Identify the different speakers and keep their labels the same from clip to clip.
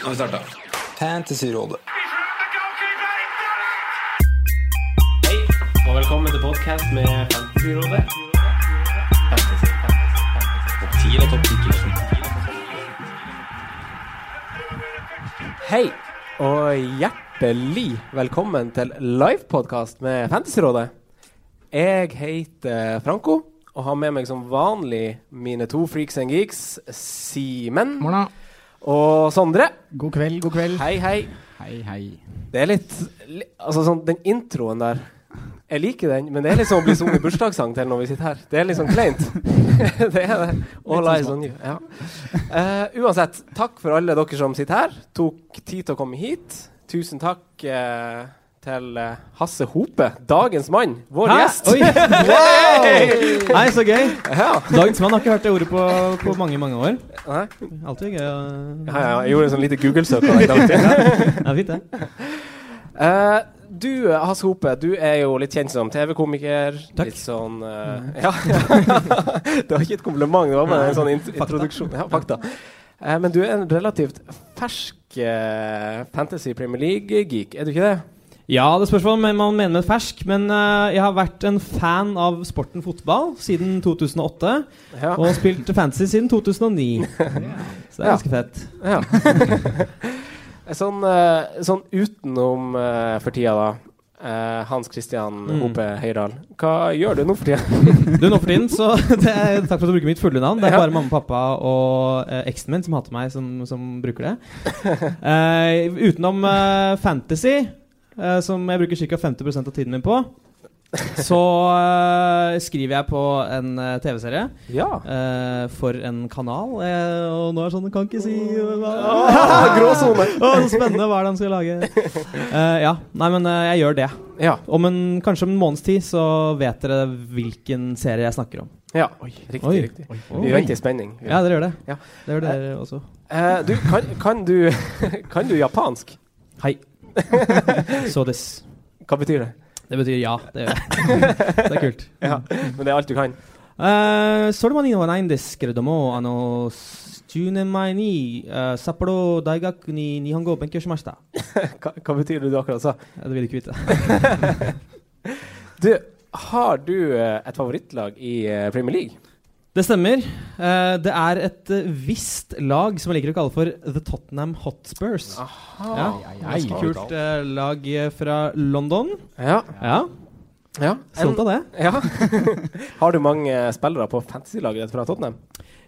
Speaker 1: Nå har vi starta.
Speaker 2: Fantasyrådet.
Speaker 3: Hei, og velkommen til podcast med Fantasyrådet. Hei, og hjertelig velkommen til livepodkast med Fantasyrådet. Jeg heter Franco, og har med meg som vanlig mine to freaks and geeks, Simen
Speaker 4: Morna.
Speaker 3: og Sondre.
Speaker 4: God kveld, god kveld.
Speaker 3: Hei, hei.
Speaker 4: Hei, hei.
Speaker 3: Det er litt li- Altså sånn, den introen der Jeg liker den, men det er liksom å bli sunget bursdagssang til når vi sitter her. Det er litt sånn kleint. det er det. All eyes on you. Ja. Eh, uansett, takk for alle dere som sitter her. Tok tid til å komme hit. Tusen takk eh, til eh, Hasse Hope, dagens mann, vår gjest.
Speaker 5: Oi! Wow! Nei, så gøy.
Speaker 3: Ja.
Speaker 5: Dagens mann har ikke hørt det ordet på, på mange mange år.
Speaker 3: Nei?
Speaker 5: Alltid gøy å
Speaker 3: Ja, ja, jeg gjorde en sånn lite Google-søk. av deg, Dante.
Speaker 5: Det er fint, det.
Speaker 3: Eh, du, Hasse Hope, du er jo litt kjent som TV-komiker.
Speaker 5: Takk. Mm.
Speaker 3: Litt sånn eh, Ja. det var ikke et kompliment, det var bare en sånn int introduksjon. Ja, fakta. Eh, men du er en relativt fersk eh, Fantasy Premier League-geek, er du ikke det?
Speaker 5: Ja, det spørs hva man man mener med fersk, men eh, jeg har vært en fan av sporten fotball siden 2008.
Speaker 3: Ja.
Speaker 5: Og spilt fantasy siden 2009. Så det er
Speaker 3: Ja.
Speaker 5: ganske fett.
Speaker 3: ja. sånn, eh, sånn utenom eh, for tida, da. eh, Hans Christian
Speaker 5: Mm.
Speaker 3: Hope Høydahl, hva gjør du nå for tida?
Speaker 5: Du, nå for tiden, så det er, Takk for at du bruker mitt fulle navn. Det
Speaker 3: Ja.
Speaker 5: er bare mamma og pappa og eh, eksen min som hater meg, som, som bruker det. Eh, utenom eh, fantasy, eh, som jeg bruker ca. 50 av tiden min på, så eh, skriver jeg på en eh, TV-serie
Speaker 3: Ja.
Speaker 5: eh, for en kanal. eh, og nå er det sånn Kan ikke si hva
Speaker 3: Ah, gråsone.
Speaker 5: Å, så spennende! Hva er det han skal lage? Eh, ja. Nei, men eh, jeg gjør det.
Speaker 3: Ja.
Speaker 5: Om en, kanskje om en måneds tid så vet dere hvilken serie jeg snakker om.
Speaker 3: ja. Riktig,
Speaker 5: Oi.
Speaker 3: riktig. Vi venter i spenning.
Speaker 5: Ja, dere gjør det.
Speaker 3: Ja.
Speaker 5: Det gjør dere også.
Speaker 3: Eh, du, kan, kan, du, kan du japansk?
Speaker 5: Hei. So this.
Speaker 3: Hva betyr det?
Speaker 5: Det betyr ja. Det gjør jeg. det er kult. Eh,
Speaker 3: Ja, Men det er alt du kan?
Speaker 5: それまでにはないんですけれども、あの10年前に、uh, 札幌大学に日本語を勉強しました。
Speaker 3: Hva, hva betyr det du akkurat sa?
Speaker 5: Ja, Det vil du ikke vite.
Speaker 3: Du, har du eh, et favorittlag i eh, Premier League?
Speaker 5: Det stemmer. Eh, det er et eh, visst lag som jeg liker å kalle for The Tottenham Hotspurs. Ja, Ganske kult eh, lag eh, fra London.
Speaker 3: Ja.
Speaker 5: Ja,
Speaker 3: ja. En,
Speaker 5: Stolt av det.
Speaker 3: ja. har du mange eh, spillere på fantasy-laget fra Tottenham?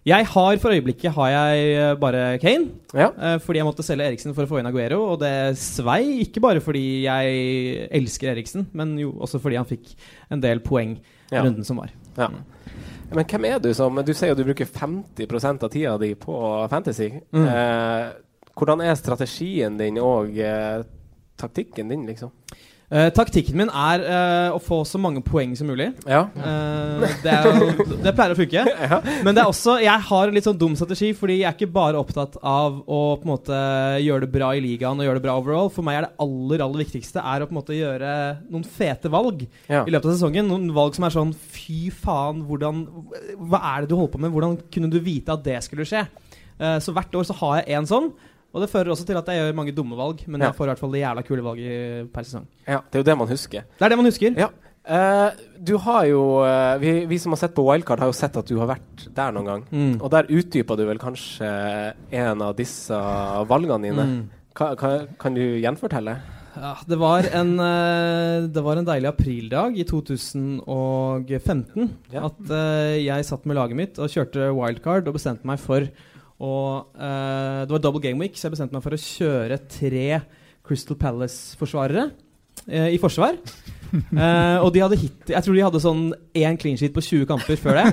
Speaker 5: Jeg har For øyeblikket har jeg eh, bare Kane.
Speaker 3: Ja.
Speaker 5: Eh, fordi jeg måtte selge Eriksen for å få inn Aguero, og det svei ikke bare fordi jeg elsker Eriksen, men jo også fordi han fikk en del poeng i
Speaker 3: Ja.
Speaker 5: runden som var.
Speaker 3: ja. Men hvem er du som Du sier jo du bruker 50 av tida di på fantasy.
Speaker 5: Mm.
Speaker 3: Eh, hvordan er strategien din og eh, taktikken din, liksom?
Speaker 5: Eh, taktikken min er eh, å få så mange poeng som mulig.
Speaker 3: Ja.
Speaker 5: Eh, det, er jo, det pleier å funke. Men det er også Jeg har en litt sånn dum strategi, fordi jeg er ikke bare opptatt av å på en måte gjøre det bra i ligaen og gjøre det bra overall. For meg er det aller aller viktigste Er å på en måte gjøre noen fete valg.
Speaker 3: ja.
Speaker 5: i løpet av sesongen. Noen valg som er sånn Fy faen, hvordan Hva er det du holder på med? Hvordan kunne du vite at det skulle skje? Eh, så hvert år så har jeg én sånn. Og det fører også til at jeg gjør mange dumme valg, men
Speaker 3: Ja.
Speaker 5: jeg får i hvert fall det jævla kule valget per sesong.
Speaker 3: ja. Det er jo det man husker.
Speaker 5: Det er det man husker.
Speaker 3: Ja. Eh, du har jo eh, vi, vi som har sett på Wildcard, har jo sett at du har vært der noen gang.
Speaker 5: Mm.
Speaker 3: Og der utdypa du vel kanskje en av disse valgene dine.
Speaker 5: Mm.
Speaker 3: Ka, ka, kan du gjenfortelle?
Speaker 5: Ja, det, var en, eh, det var en deilig aprildag i 2015
Speaker 3: Ja.
Speaker 5: at eh, jeg satt med laget mitt og kjørte wildcard og bestemte meg for å eh, Det var double game week, så jeg bestemte meg for å kjøre tre Crystal Palace-forsvarere eh, i forsvar. Eh, og de hadde hit, jeg tror de hadde sånn én clean sheet på 20 kamper før det.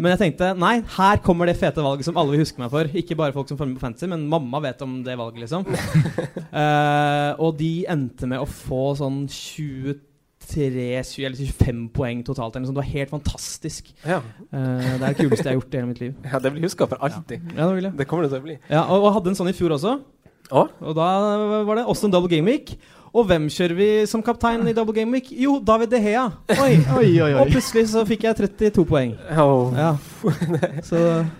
Speaker 5: Men jeg tenkte nei, her kommer det fete valget som alle vil huske meg for. Ikke bare folk som følger med på fantasy, men mamma vet om det valget, liksom. Eh, og de endte med å få sånn 23 20 eller 25 poeng totalt. Eller noe sånt. Det var helt fantastisk.
Speaker 3: Ja,
Speaker 5: Eh, det er det kuleste jeg har gjort i hele mitt liv.
Speaker 3: ja Det blir huska for alltid.
Speaker 5: Ja, det vil jeg.
Speaker 3: Det kommer det til å bli.
Speaker 5: Ja, og, og hadde en sånn i fjor også.
Speaker 3: Å?
Speaker 5: Og da var det også en double game week. Og hvem kjører vi som kaptein i Double Game Week? Jo, David De Hea. Oi.
Speaker 1: Oi, oi,
Speaker 5: Og
Speaker 1: oi.
Speaker 5: plutselig så fikk jeg 32 poeng.
Speaker 3: Ja,
Speaker 5: Ja. Så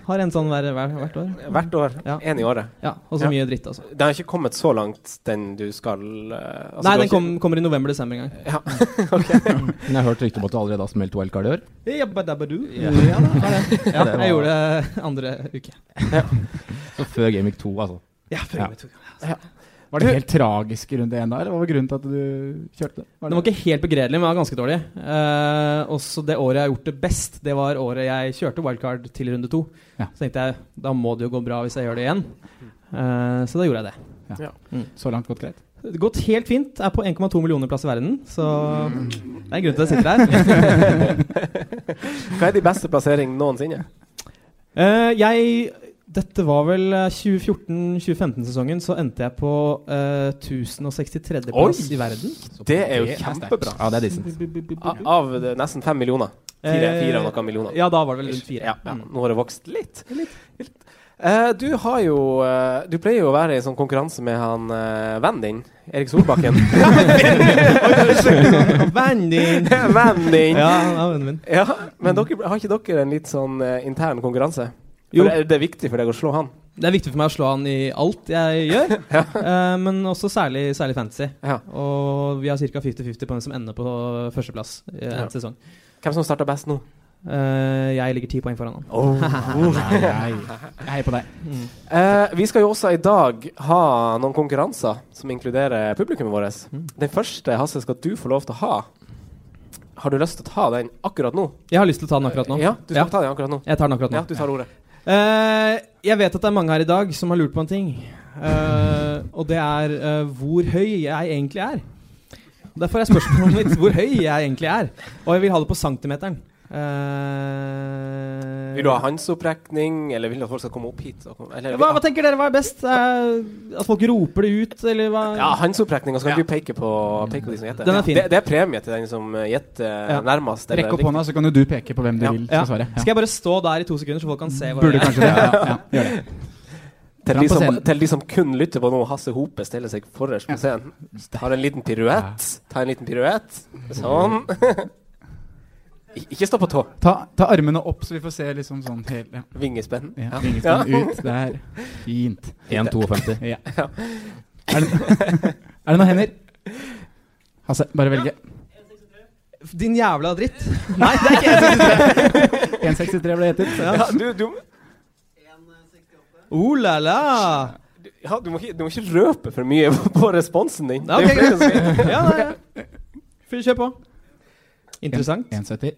Speaker 5: har en sånn hver, hver, hvert år.
Speaker 3: Hvert år.
Speaker 5: Ja.
Speaker 3: Én i året.
Speaker 5: Ja, Og så
Speaker 3: Ja.
Speaker 5: mye dritt, altså.
Speaker 3: Den har ikke kommet så langt, den du skal eh, altså,
Speaker 5: Nei,
Speaker 3: du har
Speaker 5: den
Speaker 3: ikke-
Speaker 5: kom, kommer i november-desember en gang.
Speaker 3: Ja.
Speaker 1: Men jeg har hørt rykte om at du allerede har smelt wildcard i år.
Speaker 5: Jabbadabbadu.
Speaker 1: Ja.
Speaker 5: Ja, da, har jeg. ja,
Speaker 1: Det var-
Speaker 5: jeg gjorde det andre uke.
Speaker 1: Så før Gamic 2, altså.
Speaker 5: Ja, før
Speaker 1: Ja.
Speaker 5: jeg tok-
Speaker 1: Var det helt tragisk runde én der? Hva var grunnen til at du kjørte? Var
Speaker 5: Den var ikke helt begredelig, men var ganske dårlig. Eh, også det året jeg har gjort det best, det var året jeg kjørte wildcard til runde to.
Speaker 1: Ja.
Speaker 5: Så tenkte jeg da må det jo gå bra hvis jeg gjør det igjen. Eh, så da gjorde jeg det.
Speaker 1: Så langt gått greit?
Speaker 5: Det har gått helt fint. Er på 1,2 millioner plass i verden, så det er en grunn til at jeg sitter her.
Speaker 3: Hva er de beste plasseringene noensinne?
Speaker 5: Eh, jeg Dette var vel eh, 2014-2015-sesongen, så endte jeg på eh, 1063. plass
Speaker 3: Oi!
Speaker 5: i verden.
Speaker 3: Det er jo
Speaker 1: sterkt.
Speaker 3: kjempebra.
Speaker 1: Ja, det er decent.
Speaker 3: Av, av det, nesten fem millioner. Fire,
Speaker 5: Eh,
Speaker 3: fire og noen millioner.
Speaker 5: Ja, da var det vel rundt fire.
Speaker 3: Ja, ja.
Speaker 5: Mm.
Speaker 3: Nå har det vokst litt. litt. Eh, du har jo eh, Du pleier jo å være i sånn konkurranse med han eh, vennen din, Erik Solbakken.
Speaker 5: Vennen din!
Speaker 3: vennen din!
Speaker 5: Ja,
Speaker 3: Ja.
Speaker 5: han er vennen min.
Speaker 3: men dere, har ikke dere en litt sånn eh, intern konkurranse?
Speaker 5: Jo.
Speaker 3: For det, er- det er viktig for deg å slå han.
Speaker 5: Det er viktig for meg å slå han i alt jeg gjør, eh, men også særlig, særlig fantasy.
Speaker 3: Ja.
Speaker 5: Og vi har ca. 50-50 på hvem som ender på førsteplass i en
Speaker 3: Ja.
Speaker 5: sesong.
Speaker 3: Hvem som starter best nå?
Speaker 5: Eh, jeg ligger ti poeng foran han.
Speaker 1: Nei, Jeg heier på deg.
Speaker 3: Eh, vi skal jo også i dag ha noen konkurranser som inkluderer publikummet vårt.
Speaker 5: Mm.
Speaker 3: Den første, Hasse, skal du få lov til å ha. Har du lyst til å ta den akkurat nå?
Speaker 5: Jeg har lyst til å ta den akkurat nå.
Speaker 3: Ja, du skal
Speaker 5: Ja,
Speaker 3: ta den akkurat nå.
Speaker 5: jeg tar den akkurat nå.
Speaker 3: Ja, du tar ordet.
Speaker 5: Eh, jeg vet at det er mange her i dag som har lurt på en ting. Eh, og det er eh, hvor høy jeg egentlig er. Derfor er spørsmålet mitt hvor høy jeg egentlig er. Og jeg vil ha det på centimeteren. Eh,
Speaker 3: Vil du ha håndsopprekning, eller vil du at folk skal komme opp hit? Og komme, eller,
Speaker 5: hva, hva tenker dere hva er best? Eh, at folk roper det ut, eller hva?
Speaker 3: ja, håndsopprekning, og så kan du peke på, peke på de som gjetter.
Speaker 5: Den er fin.
Speaker 3: Det, det er premie til den som eh, gjetter
Speaker 5: Ja.
Speaker 3: nærmest. eller
Speaker 1: Rekk opp hånda, så kan jo du peke på hvem du
Speaker 3: Ja.
Speaker 1: vil
Speaker 5: Ja.
Speaker 1: skal svare. Ja.
Speaker 5: Skal jeg bare stå der i to sekunder, så folk kan se hvor
Speaker 1: Burde
Speaker 5: jeg er?
Speaker 1: kanskje det. Ja, ja. Gjør det.
Speaker 3: riktig. Til de,
Speaker 1: Fram på
Speaker 3: som,
Speaker 1: scenen.
Speaker 3: til de som kun lytter på noe Hasse Hope stiller seg forrest på scenen. Har en liten piruett. Ta en liten piruett. Sånn. Ik- Ikke stå på tå.
Speaker 1: Ta, ta armene opp, så vi får se liksom sånn hele
Speaker 3: Vingespenn.
Speaker 1: ja.
Speaker 3: Ja.
Speaker 1: Vingespann ut der. Fint.
Speaker 2: 1,52.
Speaker 1: Ja. Er, det, er det noen hender? Hasse, bare velge.
Speaker 5: Eh, Din jævla dritt. Nei, det er ikke
Speaker 1: 1,63 ble det gjettet.
Speaker 3: Ja, du, du,
Speaker 5: Oh la la.
Speaker 3: ja, du, må ikke, du må ikke røpe for mye på responsen din.
Speaker 5: Ja,
Speaker 3: Det er
Speaker 5: ok,
Speaker 3: flere som sier-
Speaker 5: Ja, ja, ja. Fyr, kjør på. Interessant.
Speaker 1: 1,70.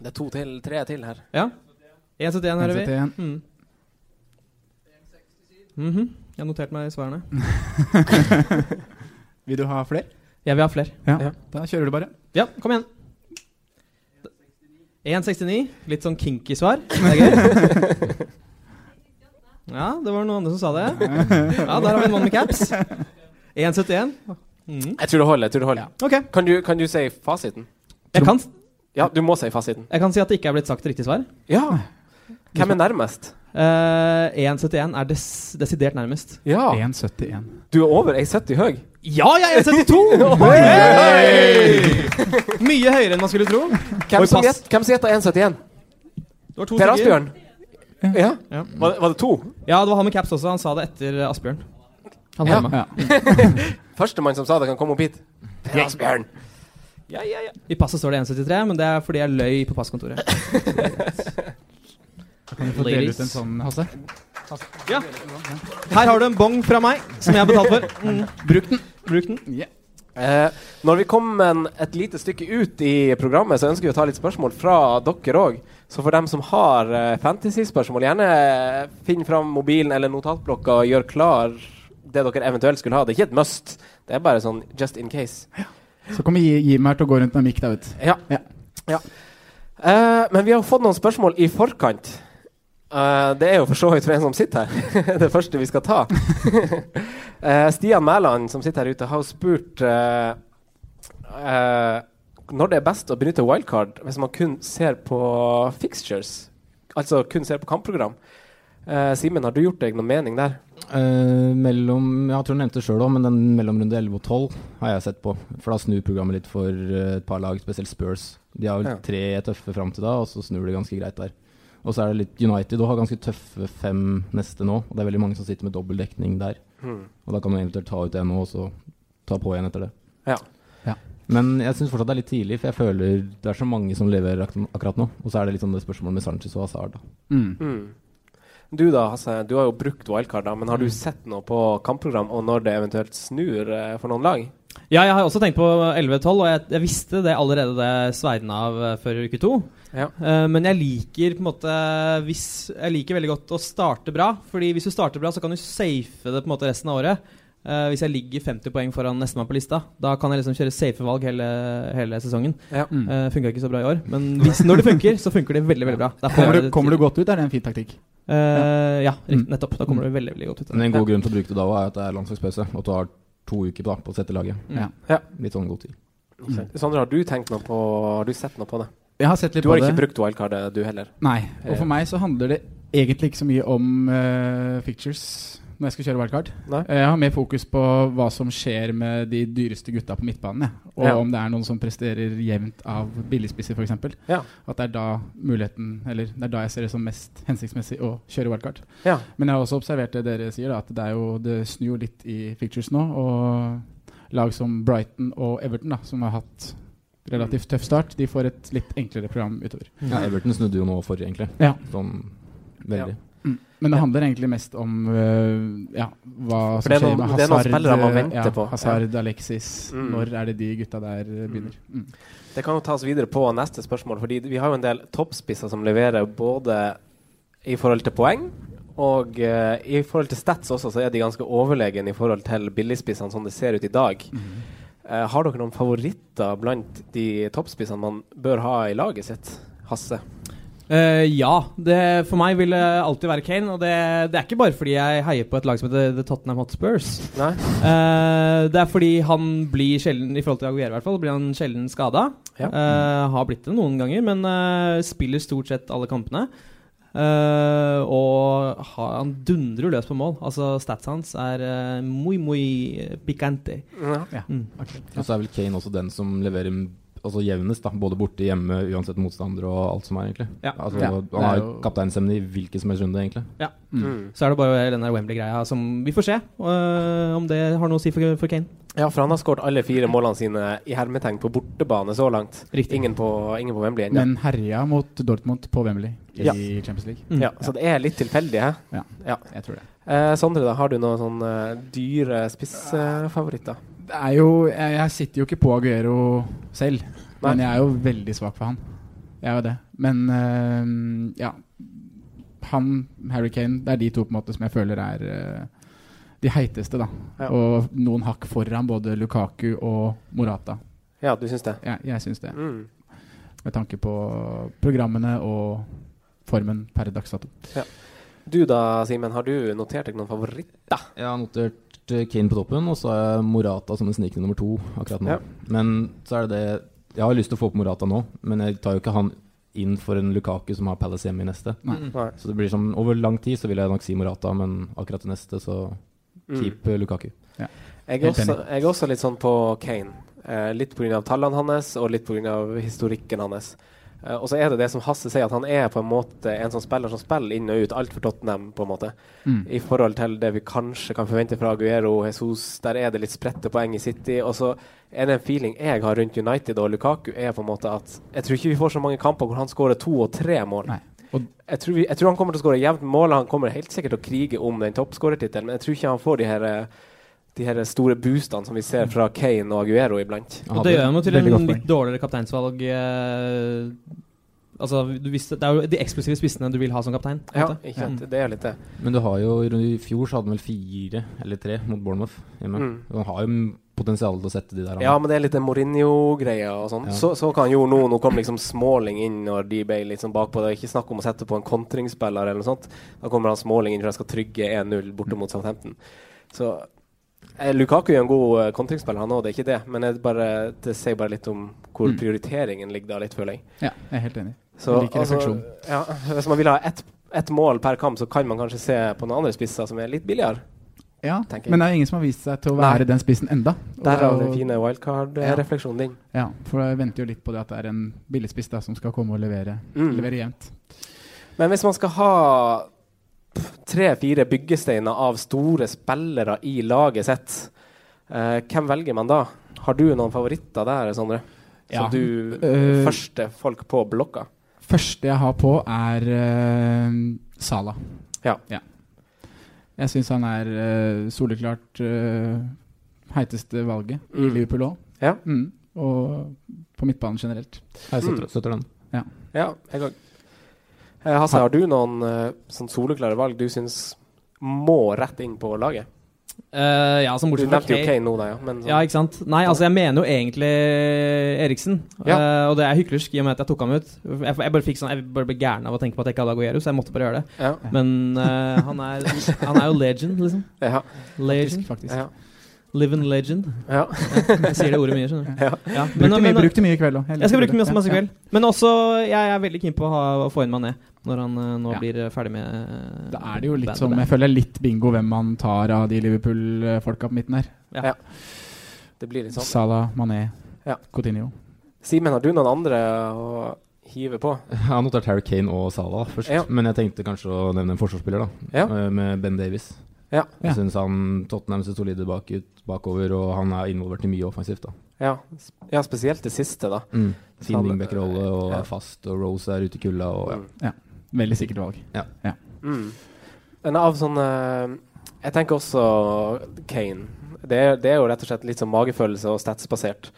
Speaker 3: Det er to til, tre til her.
Speaker 5: Ja. 171 hører vi.
Speaker 1: 1,71.
Speaker 5: Mm. Mhm. Jeg har notert meg svarene.
Speaker 1: Vil du ha flere?
Speaker 5: Jeg vil ha flere.
Speaker 1: Ja. Da kjører du bare.
Speaker 5: Ja, kom igjen. 169. Litt sånn kinky svar. Det er gøy. Ja, det var noen andre som sa det. Ja, der har vi en mann med caps. 171. Mhm.
Speaker 3: Jeg tror det holder. jeg tror det holder.
Speaker 5: Ok.
Speaker 3: Kan, du, kan du si fasiten?
Speaker 5: Jeg kan,
Speaker 3: Ja, du må si fasiten.
Speaker 5: jeg kan si at det ikke er blitt sagt riktig svar.
Speaker 3: Ja. Hvem er nærmest?
Speaker 5: Eh, 171 er des desidert nærmest.
Speaker 3: Ja.
Speaker 1: 1,71.
Speaker 3: Du er over 1,70 høy.
Speaker 5: Ja, jeg er 172! Mye høyere enn man skulle tro.
Speaker 3: Hvem
Speaker 5: Oi,
Speaker 3: som
Speaker 5: pass.
Speaker 3: gjet- hvem som gjetter 1,71?
Speaker 5: Det var to
Speaker 3: Per
Speaker 5: stykker.
Speaker 3: Asbjørn? Ja.
Speaker 5: Ja.
Speaker 3: Var, det- var det to?
Speaker 5: Ja, det var han med caps også. Han sa det etter Asbjørn. Han
Speaker 3: Ja.
Speaker 5: ja. med.
Speaker 1: Ja.
Speaker 3: Førstemann som sa det, kan komme opp hit. Per Asbjørn. Ja, ja, ja.
Speaker 5: I passet står det 173, men det er fordi jeg løy på passkontoret.
Speaker 1: Kan du få dele ut en sånn, Hasse?
Speaker 5: Ja. Her har du en bong fra meg, som jeg har betalt for. Mm. Bruk den. Bruk den.
Speaker 3: Eh, når vi kom en, et lite stykke ut i programmet, så ønsker vi å ta litt spørsmål fra dere òg. Så for dem som har eh, fantasy-spørsmål, gjerne eh, finn fram mobilen eller notatblokka og gjør klar det dere eventuelt skulle ha. Det er ikke et must. Det er bare sånn just in case.
Speaker 1: Så kommer Gi- Jim her til å gå rundt med mikk der, vet du.
Speaker 3: Ja.
Speaker 1: Ja.
Speaker 3: Ja. Eh, men vi har jo fått noen spørsmål i forkant. Eh, det er jo for så vidt for en som sitter her. det første vi skal ta. Eh, Stian Mæland, som sitter her ute, har jo spurt eh, eh, når det er best å benytte wildcard hvis man kun ser på fixtures. Altså kun ser på kampprogram. Eh, Simen, har du gjort deg noen mening der?
Speaker 1: Eh, mellom Jeg tror jeg nevnte det sjøl òg, men den mellom runde 11 og 12 har jeg sett på. For da snur programmet litt for eh, et par lag, spesielt Spurs. De har vel
Speaker 3: Ja.
Speaker 1: tre tøffe fram til da, og så snur det ganske greit der. Og så er det litt United og har ganske tøffe fem neste nå. Og det er veldig mange som sitter med dobbel dekning der.
Speaker 3: Hmm.
Speaker 1: Og da kan man eventuelt ta ut en nå, og så ta på igjen etter det.
Speaker 3: Ja.
Speaker 1: Ja. Men jeg syns fortsatt det er litt tidlig, for jeg føler det er så mange som leverer ak akkurat nå. Og så er det litt sånn det spørsmålet med Sanchez og Hazard. Da.
Speaker 2: Mm.
Speaker 3: Hmm. Du da, Hasse, du har jo brukt wildcard, da, men har du sett noe på kampprogram og når det eventuelt snur eh, for noen lag?
Speaker 5: Ja, jeg har også tenkt på 11-12, og jeg, jeg visste det allerede da jeg svei den av eh, før uke to.
Speaker 3: Ja.
Speaker 5: Eh, men jeg liker på en måte hvis, Jeg liker veldig godt å starte bra. Fordi hvis du starter bra, så kan du safe det på en måte resten av året. Eh, hvis jeg ligger 50 poeng foran nestemann på lista, da kan jeg liksom kjøre safe valg hele, hele sesongen.
Speaker 3: Ja.
Speaker 2: Mm.
Speaker 5: Uh, funka ikke så bra i år, men hvis, når det funker, så funker det veldig veldig bra. Derfor
Speaker 2: Kommer,
Speaker 5: er
Speaker 2: du,
Speaker 5: det-
Speaker 2: kommer du godt ut, er det en fin taktikk.
Speaker 5: Eh, ja,
Speaker 2: Mm.
Speaker 5: riktig, nettopp. Da kommer du veldig veldig godt ut. av
Speaker 1: Men
Speaker 5: det.
Speaker 1: en god grunn til å bruke det da òg, er at det er landslagspause, og at du har to uker da, på å sette laget.
Speaker 5: Mm.
Speaker 2: Ja.
Speaker 1: Litt sånn god tid.
Speaker 3: Ikke sant? Sondre, har du tenkt noe på Har du sett noe på det?
Speaker 2: Jeg har sett litt
Speaker 3: Du
Speaker 2: på
Speaker 3: har ikke
Speaker 2: det.
Speaker 3: brukt wildcardet, du heller?
Speaker 2: Nei. Og
Speaker 3: Eh.
Speaker 2: for meg så handler det egentlig ikke så mye om eh, fictures når jeg skal kjøre wildcard. Eh,
Speaker 3: Nei.
Speaker 2: Jeg har mer fokus på hva som skjer med de dyreste gutta på midtbanen. Jeg. Og
Speaker 3: Ja.
Speaker 2: om det er noen som presterer jevnt av billigspisser, f.eks.
Speaker 3: Ja.
Speaker 2: At det er da muligheten Eller det er da jeg ser det som mest hensiktsmessig å kjøre wildcard.
Speaker 3: Ja.
Speaker 2: Men jeg har også observert det dere sier, da, at det, er jo, det snur jo litt i fictures nå. Og lag som Brighton og Everton, da, som har hatt relativt tøff start, de får et litt enklere program utover.
Speaker 1: Ja, Everton snudde jo nå forrige, egentlig.
Speaker 2: Mm. Ja.
Speaker 1: Sånn veldig.
Speaker 2: Mm. Men det handler egentlig mest om øh, ja, hva
Speaker 3: For
Speaker 2: som
Speaker 3: det er
Speaker 2: skjer
Speaker 3: noen-
Speaker 2: med
Speaker 3: det er noen
Speaker 2: Hazard,
Speaker 3: spillere man
Speaker 2: øh,
Speaker 3: venter
Speaker 2: ja,
Speaker 3: på.
Speaker 2: Hazard Alexis.
Speaker 3: Mm.
Speaker 2: Når er det de gutta der øh, begynner? Mm.
Speaker 3: Det kan jo tas videre på neste spørsmål, fordi vi har jo en del toppspisser som leverer både i forhold til poeng og eh, i forhold til stats også, så er de ganske overlegen i forhold til billigspissene som det ser ut i dag. Eh, har dere noen favoritter blant de toppspissene man bør ha i laget sitt? Hasse?
Speaker 5: Eh, ja. Det, for meg vil det alltid være Kane. Og det, det er ikke bare fordi jeg heier på et lag som heter The Tottenham Hotspurs.
Speaker 3: Nei?
Speaker 5: Eh, det er fordi han blir sjelden, i forhold til Aguero i hvert fall, blir han sjelden skada.
Speaker 3: Ja.
Speaker 5: Eh, har blitt det noen ganger, men eh, spiller stort sett alle kampene. Eh, og ha, han dundrer jo løs på mål. Altså Stats hans er eh, muy, muy picante.
Speaker 3: Ja.
Speaker 5: Mm.
Speaker 1: Og så er vel Kane også den som leverer m- altså jevnest, da. Både borte, hjemme, uansett motstander og alt som er, egentlig.
Speaker 5: Ja.
Speaker 1: Altså,
Speaker 2: Ja, det
Speaker 1: Han
Speaker 2: er
Speaker 1: har jo
Speaker 2: jo-
Speaker 1: kapteinsemne i hvilken som helst runde, egentlig.
Speaker 3: Mm.
Speaker 5: Så er det bare den der Wembley-greia som Vi får se eh, om det har noe å si for, for Kane.
Speaker 3: ja, for han har skåret alle fire målene sine i hermetegn på bortebane så langt.
Speaker 5: Riktig.
Speaker 3: Ingen på, ingen på Wembley ennå.
Speaker 2: Men herja mot Dortmund på Wembley i
Speaker 3: Ja.
Speaker 2: Champions League.
Speaker 5: Mm.
Speaker 3: Ja, så det er litt tilfeldig, hæ?
Speaker 2: Jeg tror det.
Speaker 3: Eh, Sondre, da, har du noen sånne dyre spissfavoritter?
Speaker 2: det er jo, jeg, jeg sitter jo ikke på Aguero selv,
Speaker 3: Nei.
Speaker 2: men jeg er jo veldig svak for han. Jeg er jo det. Men øh, ja Han, Harry Kane, det er de to på en måte som jeg føler er øh, de heiteste, da.
Speaker 3: Ja.
Speaker 2: Og noen hakk foran både Lukaku og Morata.
Speaker 3: Ja, du syns det?
Speaker 2: Jeg, jeg syns det.
Speaker 3: Mm.
Speaker 2: Med tanke på programmene og formen per dags dato.
Speaker 3: Du da, Simen, har du notert deg noen favoritt?
Speaker 1: Jeg har notert eh, Kane på toppen, og så har jeg Morata som en snikende nummer to akkurat nå.
Speaker 3: Ja.
Speaker 1: Men så er det det Jeg har lyst til å få opp Morata nå, men jeg tar jo ikke han inn for en Lukaku som har Palace hjemme i neste.
Speaker 5: Mm.
Speaker 3: Nei.
Speaker 1: Så det blir som Over lang tid så vil jeg nok si Morata, men akkurat til neste så
Speaker 3: Mm.
Speaker 1: keep eh, Lukaku.
Speaker 3: Jeg, er
Speaker 2: Helt
Speaker 3: også,
Speaker 2: enig.
Speaker 3: jeg er også litt sånn på Kane. Eh, litt pga. tallene hans og litt pga. historikken hans. Eh, og så er det det som Hasse sier, at han er på en måte en sånn spiller som spiller inn og ut alt for Tottenham, på en måte.
Speaker 2: Mm.
Speaker 3: I forhold til det vi kanskje kan forvente fra Aguero og Jesus, der er det litt spredte poeng i City. Og så er det en feeling jeg har rundt United og Lukaku, er på en måte at jeg tror ikke vi får så mange kamper hvor han skårer to og tre mål.
Speaker 2: Nei. Og-
Speaker 3: jeg, tror vi, jeg tror han kommer til å skåre jevnt med mål, og han kommer helt sikkert til å krige om den toppskårertittelen, men jeg tror ikke han får de her eh, de her store boostene som vi ser
Speaker 5: Mm.
Speaker 3: fra Kane og Aguero iblant.
Speaker 1: Jeg
Speaker 5: Og
Speaker 1: hadde
Speaker 5: det gjør han jo til
Speaker 2: Veldig
Speaker 5: en
Speaker 2: godt poeng.
Speaker 5: litt dårligere kapteinsvalg. eh, altså, du visste, det er jo de eksklusive spissene du vil ha som kaptein. på en
Speaker 3: Ja,
Speaker 5: måte. Mm.
Speaker 3: ikke sant? Det er litt det.
Speaker 1: Men du har jo i fjor så hadde han vel fire eller tre mot Bournemouth hjemme.
Speaker 3: Mm.
Speaker 1: Han har jo potensial til å sette de der. han.
Speaker 3: Ja, men det er litt den Mourinho-greia og sånn.
Speaker 1: Ja.
Speaker 3: Så, så kan jo nå Nå kom liksom Smalling inn når de ble liksom bakpå. Det er ikke snakk om å sette på en kontringsspiller eller noe sånt. Da kommer han Smalling inn for han skal trygge 1-0 borte mot Southampton. Så eh, Lukaku er en god eh, kontringsspiller, han òg, det er ikke det. Men jeg bare, det sier bare litt om hvor
Speaker 2: Mm.
Speaker 3: prioriteringen ligger da, litt, føler jeg.
Speaker 2: Ja, jeg er helt enig.
Speaker 3: Så, altså,
Speaker 2: Jeg liker refleksjon.
Speaker 3: ja, hvis man vil ha ett ett mål per kamp, så kan man kanskje se på noen andre spisser som er litt billigere.
Speaker 2: Ja,
Speaker 3: Tenker jeg.
Speaker 2: men det er jo ingen som har vist seg til å
Speaker 3: Nei.
Speaker 2: være den spissen enda.
Speaker 3: Der
Speaker 2: Og det
Speaker 3: er jo
Speaker 2: jo-
Speaker 3: den fine wildcard-refleksjonen din.
Speaker 2: Ja, for jeg venter jo litt på det at det er en billigspiss da, som skal komme og levere,
Speaker 3: Mm.
Speaker 2: levere jevnt.
Speaker 3: Men hvis man skal ha tre-fire byggesteiner av store spillere i laget sitt, eh, hvem velger man da? Har du noen favoritter der, Sondre?
Speaker 2: Ja.
Speaker 3: Som du
Speaker 2: Eh,
Speaker 3: første folk på blokka?
Speaker 2: Første jeg har på, er uh, Sala.
Speaker 3: Ja.
Speaker 2: Jeg syns han er eh, soleklart eh, heiteste valget i
Speaker 3: Mm.
Speaker 2: Liverpool òg.
Speaker 3: Ja.
Speaker 2: Mm. Og på midtbanen generelt.
Speaker 1: Jeg støtter,
Speaker 3: mm.
Speaker 1: støtter den.
Speaker 3: Ja, jeg òg. Eh, Hasse, har du noen eh, sånn soleklare valg du syns må rett inn på laget?
Speaker 5: Eh, ja, som
Speaker 3: Du
Speaker 5: bortsett fra
Speaker 3: nevnte jo
Speaker 5: Kane.
Speaker 3: Kane nå, da, ja. Men
Speaker 5: Ja,
Speaker 3: sånn,
Speaker 5: ikke sant? Nei, altså jeg mener jo egentlig Eriksen.
Speaker 3: Ja.
Speaker 5: Eh, og det er hyklersk i og med at jeg tok ham ut. Jeg, jeg bare fikk sånn, jeg bare ble gæren av å tenke på at jeg ikke hadde Aguero, så jeg måtte bare gjøre det.
Speaker 3: ja.
Speaker 5: Men eh, han, er, han er jo legend, liksom.
Speaker 3: Ja,
Speaker 5: Legend.
Speaker 2: Faktisk.
Speaker 3: ja,
Speaker 5: Live and legend.
Speaker 3: ja.
Speaker 5: Jeg sier det ordet mye, skjønner du.
Speaker 3: Ja.
Speaker 5: Ja, men,
Speaker 2: Brukte,
Speaker 5: men,
Speaker 2: mye, brukte mye i kveld òg.
Speaker 5: jeg skal bruke masse, masse i kveld. Men også, jeg er veldig keen på å, ha, å få inn Mané når han eh, nå
Speaker 2: Ja.
Speaker 5: blir ferdig med eh,
Speaker 2: Da er det jo litt
Speaker 5: bandet
Speaker 2: som
Speaker 5: der.
Speaker 2: Jeg føler det er litt bingo hvem man tar av de Liverpool-folka på midten her.
Speaker 3: Det blir litt sånn.
Speaker 2: Salah, Mané,
Speaker 3: Ja.
Speaker 2: Coutinho.
Speaker 3: Simen, har du noen andre å hive på?
Speaker 1: Jeg har notert Harry Kane og Salah først,
Speaker 3: Ja.
Speaker 1: men jeg tenkte kanskje å nevne en forsvarsspiller, da.
Speaker 3: Ja.
Speaker 1: eh, Med Ben Davies.
Speaker 3: Ja.
Speaker 2: Ja.
Speaker 1: Jeg syns han Tottenham ser solide bak ut, bakover, og han er involvert i mye offensivt, da.
Speaker 3: Ja, s- ja spesielt det siste, da.
Speaker 1: Fin
Speaker 3: Mm. Han-
Speaker 1: wingback-rolle og
Speaker 3: Ja.
Speaker 1: er fast, og Rose er ute i kulda, og ja.
Speaker 2: Veldig sikkert valg.
Speaker 3: Mm. Men av sånne Jeg tenker også Kane. Det er, det er jo rett og slett litt sånn magefølelse og statsbasert.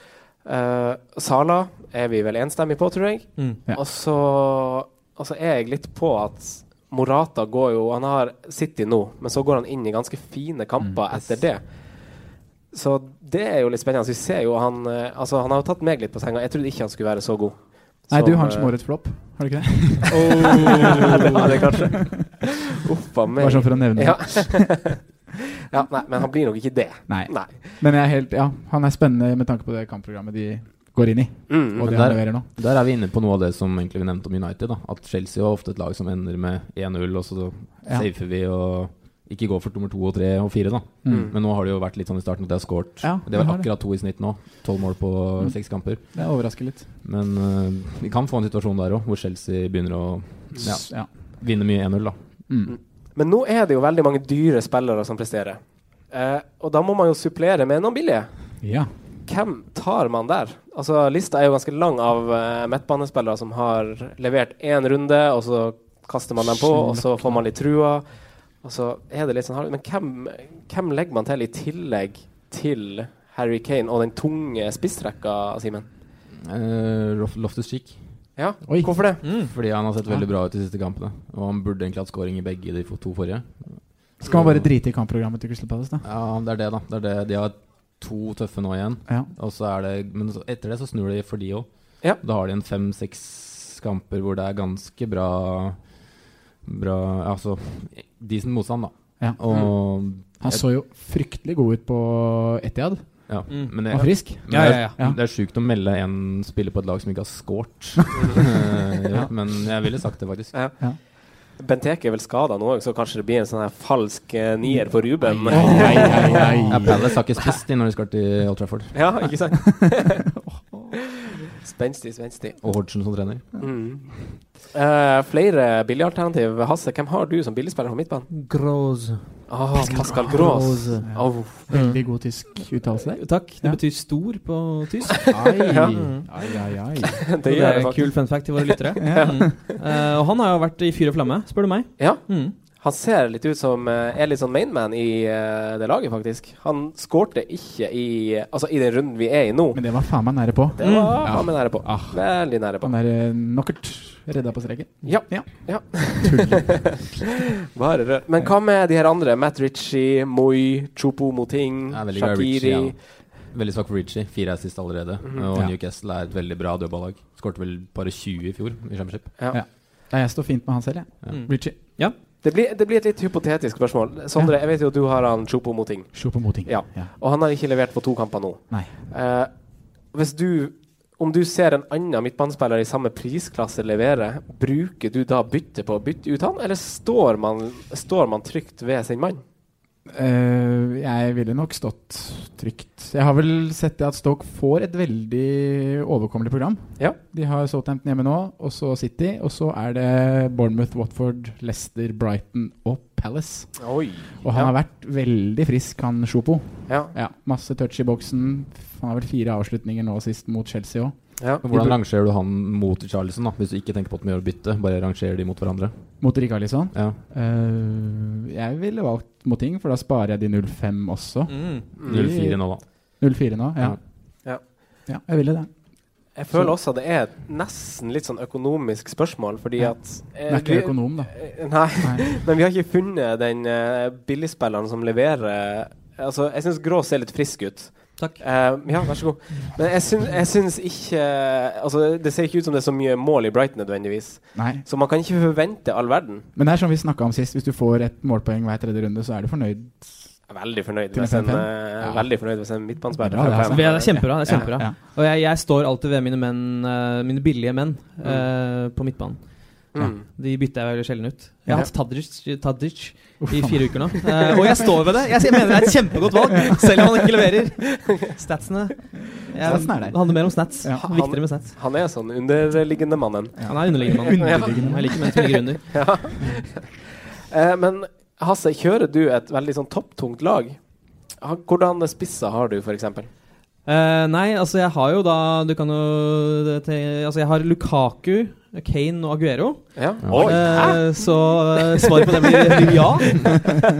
Speaker 3: Uh, Sala er vi vel enstemmige på, tror jeg.
Speaker 5: Mm.
Speaker 2: Ja.
Speaker 3: Og så og så er jeg litt på at Morata går jo Han har City nå, men så går han inn i ganske fine kamper
Speaker 2: Mm.
Speaker 3: etter det. Så det er jo litt spennende. Vi ser jo han eh, Altså, han har jo tatt meg litt på senga. Jeg trodde ikke han skulle være så god.
Speaker 2: Nei,
Speaker 3: Som,
Speaker 2: du har en
Speaker 3: eh,
Speaker 2: smårødt flopp, har du ikke det?
Speaker 3: det har jeg kanskje. Uff a meg.
Speaker 2: Bare sånn for å nevne
Speaker 3: Ja.
Speaker 2: det.
Speaker 3: ja, nei, men han blir nok ikke det.
Speaker 2: Nei.
Speaker 3: Nei.
Speaker 2: Men jeg er helt, ja, han er spennende med tanke på det kampprogrammet de går inn i.
Speaker 3: Mm.
Speaker 2: Og det
Speaker 1: der-
Speaker 2: han leverer nå.
Speaker 1: Der er vi inne på noe av det som egentlig vi nevnte om United. da At Chelsea har ofte et lag som ender med 1-0, og så
Speaker 2: Ja.
Speaker 1: safer vi og ikke går for nummer to og tre og fire. da
Speaker 2: Mm.
Speaker 1: Men nå har det jo vært litt sånn i starten at de har scoret.
Speaker 2: Ja,
Speaker 1: Det var
Speaker 2: jeg har det. Mm.
Speaker 1: akkurat to i snitt nå. Tolv mål på seks kamper.
Speaker 2: Det overrasker litt.
Speaker 1: Men eh, vi kan få en situasjon der òg, hvor Chelsea begynner å ja,
Speaker 2: S- Ja.
Speaker 1: vinne mye 1-0. da
Speaker 2: Mm.
Speaker 3: Men nå er det jo veldig mange dyre spillere som presterer. Eh, og da må man jo supplere med noen billige.
Speaker 2: ja.
Speaker 3: Hvem tar man der? Altså, Lista er jo ganske lang av eh, midtbanespillere som har levert én runde, og så kaster man dem på, og så får man litt trua. Og så er det litt sånn hard- Men hvem, hvem legger man til i tillegg til Harry Kane og den tunge spissrekka, Simen?
Speaker 1: Eh, Lof- Loftus-Cheek.
Speaker 3: Ja,
Speaker 2: Oi.
Speaker 3: hvorfor det?
Speaker 5: Mm.
Speaker 1: Fordi han har sett
Speaker 2: Ja.
Speaker 1: veldig bra ut de siste kampene. Og han burde egentlig hatt scoring i begge de fo- to forrige.
Speaker 2: Skal man bare drite i kampprogrammet til Crystal Palace, da?
Speaker 1: Ja, det er det, da. Det er det. De har to tøffe nå igjen.
Speaker 2: Ja.
Speaker 1: Og så er det, men så- etter det så snur det for de òg.
Speaker 3: Ja.
Speaker 1: Da har de en fem-seks kamper hvor det er ganske bra Bra Altså decent motstand, da.
Speaker 2: Ja. Mm.
Speaker 1: Og
Speaker 2: Han så jo fryktelig god ut på Etiad.
Speaker 1: Ja.
Speaker 5: Mm.
Speaker 1: Men
Speaker 2: Han var
Speaker 1: det,
Speaker 2: frisk.
Speaker 1: men det er-
Speaker 5: Ja, ja,
Speaker 2: ja.
Speaker 1: Det er sjukt å melde en spiller på et lag som ikke har scoret. Eh, ja, men jeg ville sagt det, faktisk.
Speaker 3: Benteke er vel skada nå òg, så kanskje det blir en sånn her falsk eh, nier for Ruben.
Speaker 2: Nei, nei,
Speaker 1: Ja,
Speaker 2: nei.
Speaker 1: Palace har ikke spist de når de skal til Old Trafford.
Speaker 3: Ja, ikke sant? spenstig, spenstig.
Speaker 1: Og Hodgson som trener.
Speaker 3: Mm. Eh, flere billigalternativ. Hasse, hvem har du som billigspiller på midtbanen?
Speaker 5: Gross.
Speaker 3: Ah, Pascal Gross. Au.
Speaker 2: Veldig god tysk uttalelse der.
Speaker 5: Takk. Det
Speaker 2: Ja.
Speaker 5: betyr stor på tysk.
Speaker 2: Ai,
Speaker 3: Ja.
Speaker 2: ai, ai. ai.
Speaker 3: det
Speaker 5: Det
Speaker 3: gjør
Speaker 5: er
Speaker 3: det
Speaker 5: en
Speaker 3: faktisk.
Speaker 5: kul fun fact til våre lyttere. mm. Eh, og han har jo vært i fyr og flamme, spør du meg.
Speaker 3: Ja.
Speaker 5: Mm.
Speaker 3: Han ser litt ut som eh, er litt sånn mainman i eh, det laget, faktisk. Han skårte ikke i Altså i den runden vi er i nå.
Speaker 2: Men det var faen meg nære på.
Speaker 3: Det var
Speaker 2: Ja.
Speaker 3: han er nære på.
Speaker 2: Ah.
Speaker 3: Veldig nære på.
Speaker 2: Han der knockert redda på streken.
Speaker 3: Ja.
Speaker 2: Ja.
Speaker 3: Ja.
Speaker 2: Tuller.
Speaker 3: Bare rør. Men hva med de her andre? Matt Ritchie, Moi, Chopo Moting,
Speaker 1: Jeg er veldig glad i Ritchie,
Speaker 3: Shakiri.
Speaker 1: ja. Veldig svak for Ritchie. Fire assist allerede. Og
Speaker 2: Ja.
Speaker 1: Newcastle er et veldig bra dødballag. Skårte vel bare 20 i fjor i Championship.
Speaker 2: Nei, jeg står fint med han selv, jeg.
Speaker 5: Mm.
Speaker 2: Richie.
Speaker 3: Det blir, det blir et litt hypotetisk spørsmål. Sondre, jeg vet jo at du har han Chopo Moting,
Speaker 2: Se på moting.
Speaker 3: Ja. og han har ikke levert på to kamper nå.
Speaker 2: Nei.
Speaker 3: Eh, hvis du om du ser en annen midtbanespiller i samme prisklasse levere, bruker du da bytte på å bytte ut han, eller står man, står man trygt ved sin mann?
Speaker 2: Eh, jeg ville nok stått trygt. Jeg har vel sett det at Stoke får et veldig overkommelig program.
Speaker 3: Ja.
Speaker 2: De har Southampton hjemme nå, og så City. Og så er det Bournemouth, Watford, Leicester, Brighton og Palace.
Speaker 3: Oi.
Speaker 2: Og han
Speaker 3: Ja.
Speaker 2: har vært veldig frisk, han Sjopo.
Speaker 3: Ja.
Speaker 2: Ja, masse touch i boksen. Han har vel fire avslutninger nå sist mot Chelsea òg.
Speaker 3: ja.
Speaker 1: Men Hvordan rangerer du han mot Charlison, da? hvis du ikke tenker på at de gjør bytte? Bare rangerer de mot hverandre?
Speaker 2: Mot Rikarlison.
Speaker 1: Ja.
Speaker 2: Uh, jeg ville valgt Moting, for da sparer jeg de 05 også.
Speaker 5: Mm.
Speaker 3: Mm.
Speaker 1: 0-4 nå, da.
Speaker 2: 04 nå, ja.
Speaker 3: Ja.
Speaker 2: Ja, jeg ville det.
Speaker 3: Jeg føler også at det er nesten litt sånn økonomisk spørsmål, fordi
Speaker 2: Ja.
Speaker 3: at
Speaker 2: Jeg
Speaker 3: eh,
Speaker 2: er ikke
Speaker 3: vi-
Speaker 2: økonom, da.
Speaker 3: Eh, Nei,
Speaker 2: Nei.
Speaker 3: men vi har ikke funnet den eh, billigspilleren som leverer Altså, jeg syns grå ser litt frisk ut.
Speaker 5: Takk.
Speaker 3: Eh, ja, vær så god. Men jeg syns, jeg syns ikke eh, Altså, det ser ikke ut som det er så mye mål i Brighton nødvendigvis.
Speaker 2: Nei.
Speaker 3: Så man kan ikke forvente all verden.
Speaker 2: Men det er som vi snakka om sist, hvis du får et målpoeng hver tredje runde, så er du fornøyd.
Speaker 3: Jeg er veldig fornøyd
Speaker 2: Til
Speaker 3: hvis en,
Speaker 2: 5-5?
Speaker 3: eh,
Speaker 2: Ja.
Speaker 3: veldig fornøyd hvis en midtbanespiller
Speaker 2: Bra, det, altså.
Speaker 5: Det er kjempebra. det er kjempebra
Speaker 2: Ja.
Speaker 5: Og jeg, jeg står alltid ved mine menn eh, Mine billige menn eh, på midtbanen.
Speaker 3: Mm.
Speaker 5: De bytter jeg veldig sjelden ut. Jeg
Speaker 3: Ja.
Speaker 5: har hatt Tadic, Tadic i fire uker nå. Eh, og jeg står ved det! Jeg, jeg mener det er et kjempegodt valg, selv om han ikke leverer. Statsene jeg,
Speaker 2: Statsen er der.
Speaker 5: Det handler mer om stats.
Speaker 2: Ja.
Speaker 5: Viktigere med stats.
Speaker 3: Han er sånn underliggende mannen.
Speaker 5: Han er underliggende mann.
Speaker 2: Underliggende.
Speaker 5: Jeg liker menn som ligger under.
Speaker 3: Ja. Eh, men Hasse, kjører du et veldig sånn topptungt lag? Ha- Hvordan spisser har du, f.eks.?
Speaker 5: Eh, nei, altså jeg har jo da Du kan jo det te- Altså jeg har Lukaku, Kane og Aguero.
Speaker 3: Ja.
Speaker 1: Ja.
Speaker 3: Oi! hæ?
Speaker 5: Eh, så eh, svaret på det blir, blir ja.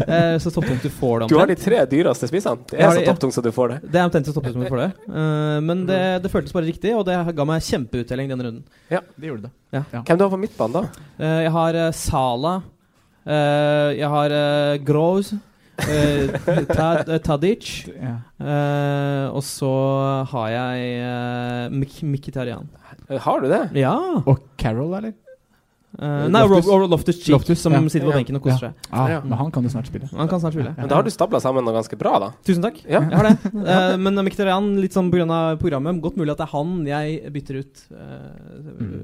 Speaker 5: Eh, så topptungt du får det
Speaker 3: Du har
Speaker 5: omtrent.
Speaker 3: de tre dyreste spissene. Det
Speaker 5: Jeg
Speaker 3: er
Speaker 5: har
Speaker 3: så
Speaker 5: de- ja.
Speaker 3: topptungt som du får det.
Speaker 5: Det er omtrent så topptungt man får det. Eh, men det, det føltes bare riktig, og det ga meg kjempeuttelling denne runden.
Speaker 2: Det gjorde det.
Speaker 3: Hvem du har på midtbanen, da?
Speaker 5: Eh, jeg har eh, Sala. eh, jeg har uh, Groz. eh, Ta- eh, Tadic.
Speaker 2: Ja.
Speaker 5: eh, og så har jeg eh, Mik Mkhitaryan.
Speaker 3: Eh, Har du det?
Speaker 5: Ja!
Speaker 2: Og Carol, eller?
Speaker 5: Eh, nei,
Speaker 2: Loftus.
Speaker 5: Loftus Cheek,
Speaker 2: Loftus,
Speaker 5: som
Speaker 2: ja.
Speaker 5: sitter på
Speaker 3: Ja.
Speaker 5: benken og koser seg.
Speaker 2: Ah,
Speaker 3: Ja.
Speaker 2: Men han kan du snart spille.
Speaker 5: Han kan snart spille.
Speaker 3: Men da har du stabla sammen noe ganske bra, da.
Speaker 5: Tusen takk.
Speaker 3: Ja.
Speaker 2: Mm.
Speaker 5: Jeg har det. Eh, men Mkhitaryan, litt sånn pga. programmet, godt mulig at det er han jeg bytter ut eh,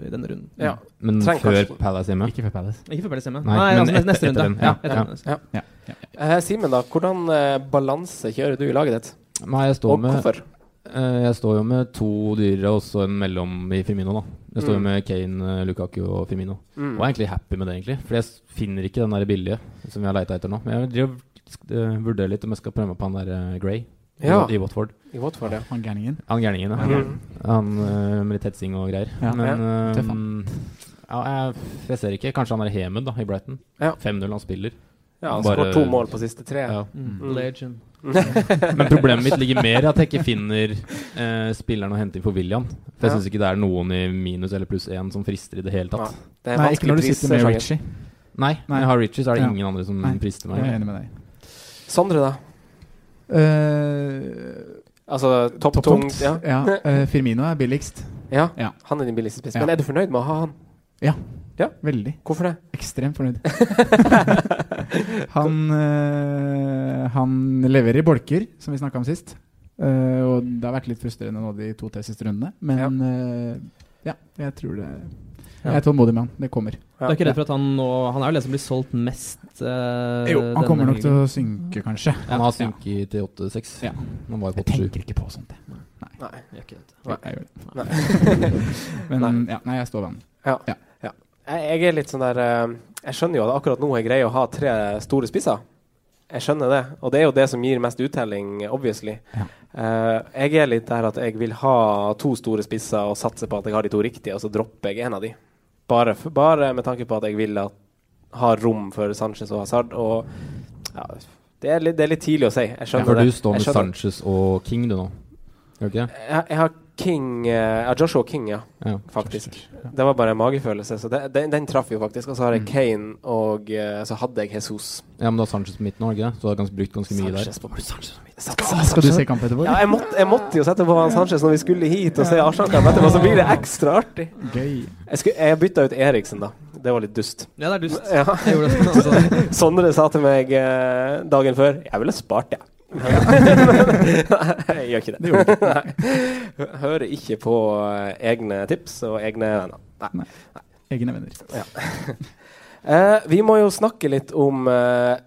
Speaker 5: i denne runden.
Speaker 3: Ja.
Speaker 1: Men
Speaker 3: Trenger
Speaker 1: før
Speaker 3: kanskje-
Speaker 1: Palace hjemme?
Speaker 2: Ikke for Palace.
Speaker 5: Ikke før Palace hjemme.
Speaker 1: Nei,
Speaker 5: Nei,
Speaker 1: men
Speaker 5: altså,
Speaker 1: etter-
Speaker 5: neste
Speaker 1: etter
Speaker 5: runde.
Speaker 1: den.
Speaker 5: Ja,
Speaker 1: Ja,
Speaker 5: etter
Speaker 1: ja.
Speaker 5: den.
Speaker 2: Ja. Ja. Ja.
Speaker 3: Eh, Simen, da. Hvordan eh, balanse kjører du i laget ditt?
Speaker 1: Nei, jeg står
Speaker 3: Og
Speaker 1: med
Speaker 3: hvorfor?
Speaker 1: Eh, Jeg står jo med to dyrere og så en mellom i Firmino, da. Jeg står jo
Speaker 3: Mm.
Speaker 1: med Kane, eh, Lukaku og Firmino.
Speaker 3: Mm.
Speaker 1: Og er egentlig happy med det, egentlig. For jeg s- finner ikke den der billige som jeg har leita etter nå. Men jeg driver og sk- eh, vurderer litt om jeg skal prøve meg på han der eh, Gray i
Speaker 3: Ja,
Speaker 1: Wat- i Watford.
Speaker 3: i Watford, ja.
Speaker 2: Han gærningen.
Speaker 1: Han gærningen, ja.
Speaker 3: Mm.
Speaker 1: Han eh, med litt hetsing og greier.
Speaker 2: Ja.
Speaker 1: Men
Speaker 2: Tøff,
Speaker 1: eh, ja, jeg, jeg ser ikke. Kanskje han er Hemund da, i Brighton.
Speaker 3: Ja.
Speaker 1: 5-0 han spiller.
Speaker 3: ja han
Speaker 1: Bare-
Speaker 3: skåret to mål på siste tre.
Speaker 1: Ja.
Speaker 5: Mm. Legend.
Speaker 1: Men problemet mitt ligger mer i at jeg ikke finner eh, spilleren å hente inn for William. For jeg
Speaker 3: Ja.
Speaker 1: syns ikke det er noen i minus eller pluss én som frister i det hele tatt.
Speaker 3: Det er
Speaker 2: Nei, ikke når du
Speaker 3: Eh, vanskelig
Speaker 2: sitter med
Speaker 3: prissjanger.
Speaker 2: Ritchie.
Speaker 1: Nei, når
Speaker 2: Nei.
Speaker 1: jeg har Richie, så er det
Speaker 2: Ja.
Speaker 1: ingen andre som
Speaker 2: Nei.
Speaker 1: frister
Speaker 2: Jeg
Speaker 1: meg.
Speaker 2: er enig med deg.
Speaker 3: Sondre, da?
Speaker 2: Eh,
Speaker 3: Altså topptungt?
Speaker 2: Topptungt.
Speaker 3: Ja.
Speaker 2: Ja. eh, Firmino er billigst.
Speaker 3: ja.
Speaker 2: Ja.
Speaker 3: Han er din billigste spiss.
Speaker 2: Ja.
Speaker 3: Men er du fornøyd med å ha han?
Speaker 2: Veldig.
Speaker 3: Hvorfor det?
Speaker 2: Ekstremt fornøyd. han, eh, han leverer i bolker, som vi snakka om sist. Eh, og det har vært litt frustrerende nå de to-tre siste rundene. Men ja. ja, jeg tror det Jeg er tålmodig med han. Det kommer.
Speaker 5: Du er ikke redd for at han nå Han er jo den som blir solgt mest eh,
Speaker 2: Jo, han
Speaker 5: denne
Speaker 2: kommer nok
Speaker 5: helgen.
Speaker 2: til å synke, kanskje.
Speaker 1: Han har synket til 8-6.
Speaker 2: Ja.
Speaker 1: Han var jo
Speaker 2: Jeg
Speaker 1: på 7
Speaker 2: tenker ikke på sånt, jeg.
Speaker 3: Nei.
Speaker 5: Gjør ikke det.
Speaker 3: Nei.
Speaker 2: Jeg gjør det.
Speaker 3: Nei.
Speaker 2: Men
Speaker 3: Nei.
Speaker 2: Ja, nei, jeg står ved han.
Speaker 3: Jeg, jeg er litt sånn der eh, Jeg skjønner jo at akkurat nå er greia å ha tre store spisser. Jeg skjønner det, og det er jo det som gir mest uttelling, obviously.
Speaker 2: Ja.
Speaker 3: Eh, jeg er litt der at jeg vil ha to store spisser og satse på at jeg har de to riktige, og så dropper jeg en av de. Bare, f- bare med tanke på at jeg vil at, ha rom for Sanchez og Hazard. Og ja, det, er litt, det er litt tidlig å si. Jeg skjønner
Speaker 1: For
Speaker 3: det.
Speaker 1: du står med
Speaker 3: Jeg skjønner-
Speaker 1: Sanchez og King, du nå. Gjør du ikke det?
Speaker 3: Jeg, jeg har King eh, Jeg har Joshua King, ja.
Speaker 1: Ja.
Speaker 3: faktisk. Det var bare en magefølelse, så det, den, den traff jo faktisk. Og så har
Speaker 2: Mm.
Speaker 3: jeg Kane, og eh, så hadde jeg Jesus.
Speaker 1: ja, men du har Sanchez på midten nå, har du ikke det? Så du har ganske, brukt ganske mye der.
Speaker 3: Sanchez på Sanchez.
Speaker 2: Skal du se kamp etterpå?
Speaker 3: Ja, jeg måtte, jeg måtte jo sette på han Sanchez når vi skulle hit og se Arsenal-kamp etterpå, så blir det ekstra artig.
Speaker 2: Gøy.
Speaker 3: Jeg, skulle, jeg bytta ut Eriksen, da. Det var litt dust.
Speaker 5: Ja, det er dust.
Speaker 3: Ja.
Speaker 5: Jeg gjorde det. Altså.
Speaker 3: Sondre sa til meg eh, dagen før Jeg ville spart, jeg. Nei, jeg gjør ikke det. Nei. Hører ikke på eh, egne tips og egne venner. Nei.
Speaker 2: Egne venner.
Speaker 3: Eh, vi må jo snakke litt om eh,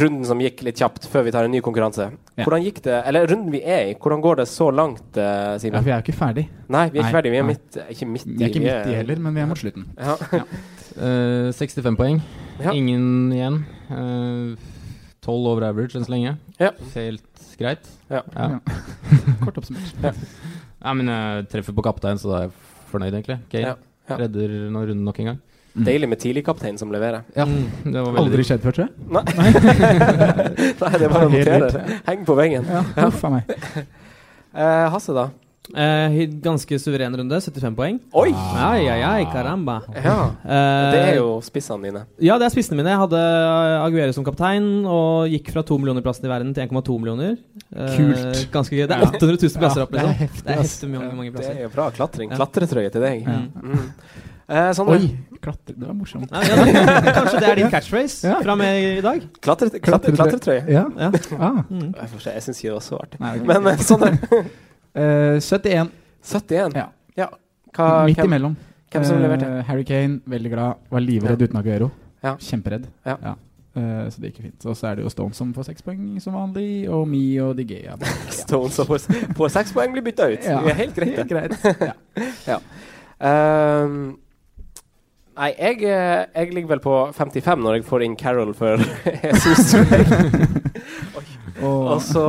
Speaker 3: runden som gikk litt kjapt, før vi tar en ny konkurranse.
Speaker 2: Ja.
Speaker 3: Hvordan gikk det, eller runden vi er i, hvordan går det så langt, eh,
Speaker 2: Ja,
Speaker 3: Simen?
Speaker 2: for jeg er jo ikke ferdig.
Speaker 3: Nei, vi er ikke
Speaker 2: Nei,
Speaker 3: ferdig. Vi er
Speaker 2: nei.
Speaker 3: midt eh, Ikke midt i. eh,
Speaker 2: Vi er ikke
Speaker 3: vi
Speaker 2: midt i heller, men vi er mot slutten.
Speaker 3: Ja.
Speaker 1: Eh, 65 poeng.
Speaker 3: Ja.
Speaker 1: Ingen igjen. Eh, 12 over average enn så lenge.
Speaker 3: Ja.
Speaker 1: Helt greit.
Speaker 3: Ja.
Speaker 1: Ja.
Speaker 2: Kort oppsummert.
Speaker 1: Nei, men jeg treffer på kaptein, så da er jeg fornøyd, egentlig. Kane
Speaker 3: Ja, ja.
Speaker 1: redder nå runden nok en gang.
Speaker 2: Mm.
Speaker 3: Deilig med tidligkaptein som leverer.
Speaker 1: Ja,
Speaker 5: Mm.
Speaker 1: det var veldig
Speaker 2: Aldri skjedd før, tror jeg.
Speaker 3: Nei. Nei, det er bare å
Speaker 2: Det er helt
Speaker 3: notere. Heng på veggen.
Speaker 2: Ja, Uff a meg.
Speaker 3: Eh, Hasse, da?
Speaker 5: Eh, hy- ganske suveren runde, 75 poeng.
Speaker 3: Oi!
Speaker 5: Ai, ai, ai, caramba.
Speaker 3: Ah. Ja.
Speaker 5: Eh,
Speaker 3: Det er jo spissene dine.
Speaker 5: Ja, det er spissene mine. Jeg hadde Aguero som kaptein og gikk fra 2 millioner plasser i verden til 1,2 millioner. Eh,
Speaker 2: Kult.
Speaker 5: ganske gøy. Det er 800 000 plasser opp,
Speaker 2: det er
Speaker 5: liksom.
Speaker 2: heftig,
Speaker 5: Det er
Speaker 2: ass.
Speaker 5: heftig mange, mange
Speaker 3: Det
Speaker 5: plasser.
Speaker 3: er jo bra klatring.
Speaker 5: Ja.
Speaker 3: Klatretrøye til deg.
Speaker 5: Ja.
Speaker 3: Mm. Eh, Sondre,
Speaker 2: Oi, klatre. Det var morsomt.
Speaker 5: Nei, ja, da- kanskje det er din catchphrase
Speaker 2: Ja.
Speaker 5: fra meg i dag?
Speaker 3: klatre, klatre,
Speaker 2: Klatretrøye.
Speaker 3: klatretrøye.
Speaker 2: Ja.
Speaker 5: Ja.
Speaker 2: Ah.
Speaker 5: Mm.
Speaker 3: Jeg får se, Jeg syns ikke det var så artig.
Speaker 2: Nei, det var
Speaker 3: Men eh, Sondre,
Speaker 2: Eh, 71.
Speaker 3: 71.
Speaker 2: Ja.
Speaker 3: Hva,
Speaker 2: Midt
Speaker 3: hvem,
Speaker 2: imellom.
Speaker 3: hvem som
Speaker 2: Eh,
Speaker 3: leverte?
Speaker 2: Harry Kane, veldig glad. Var livredd
Speaker 3: Ja.
Speaker 2: uten Aguero.
Speaker 3: Ja.
Speaker 2: Kjemperedd.
Speaker 3: Ja.
Speaker 2: Eh, så det gikk jo fint. Og så er det jo Stone som får seks poeng som vanlig, og Me og De Gea.
Speaker 3: Stones og får, får seks poeng, blir bytta ut.
Speaker 2: Ja.
Speaker 3: Det er helt greit, det.
Speaker 2: Helt greit.
Speaker 3: Ehm, nei, jeg, eh, jeg ligger vel på 55 når jeg får inn Carol for Jesus. Og
Speaker 2: Og
Speaker 3: så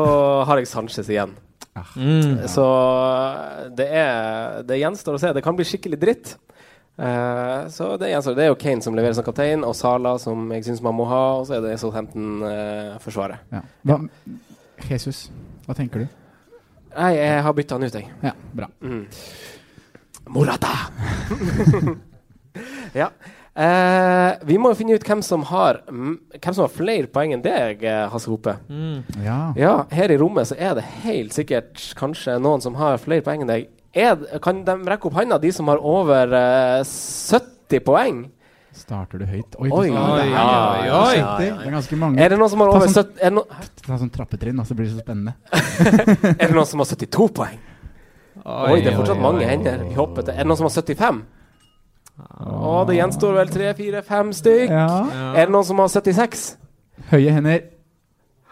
Speaker 3: har jeg Sanchez igjen.
Speaker 5: Mm.
Speaker 3: Så eh, det er Det gjenstår å se. Det kan bli skikkelig dritt. Eh, så det gjenstår. Det er jo Kane som leverer som kaptein, og Sala som jeg syns man må ha, og så er det eh, Southampton-forsvaret.
Speaker 2: ja. Hva, Jesus, hva tenker du?
Speaker 3: nei, jeg har bytta han ut, jeg.
Speaker 2: Ja, bra.
Speaker 3: Mm. Morata! ja. Eh, vi må jo finne ut hvem som har mm, Hvem som har flere poeng enn deg, eh, Hasse Hope.
Speaker 5: Mm.
Speaker 2: Ja.
Speaker 3: Ja, her i rommet så er det helt sikkert kanskje noen som har flere poeng enn deg. Er, det- kan de rekke opp hånda, de som har over eh, 70 poeng?
Speaker 2: Starter du høyt? Oi,
Speaker 3: Oi,
Speaker 2: du-
Speaker 5: oi,
Speaker 2: det er-
Speaker 5: oi, oi.
Speaker 2: det er- Det er ganske mange.
Speaker 3: Er det noen som har
Speaker 2: Ta
Speaker 3: over
Speaker 2: sånn-
Speaker 3: 70 er det, no,
Speaker 2: Ta sånn trappetrinn, da, så blir det så spennende.
Speaker 3: er det noen som har 72 poeng? Oi, det er fortsatt
Speaker 1: oi,
Speaker 3: mange
Speaker 1: oi.
Speaker 3: hender. Vi hopper til Er det noen som har 75? Å, det gjenstår vel tre, fire, fem stykk.
Speaker 2: Ja.
Speaker 5: Ja.
Speaker 3: Er det noen som har 76?
Speaker 2: Høye hender.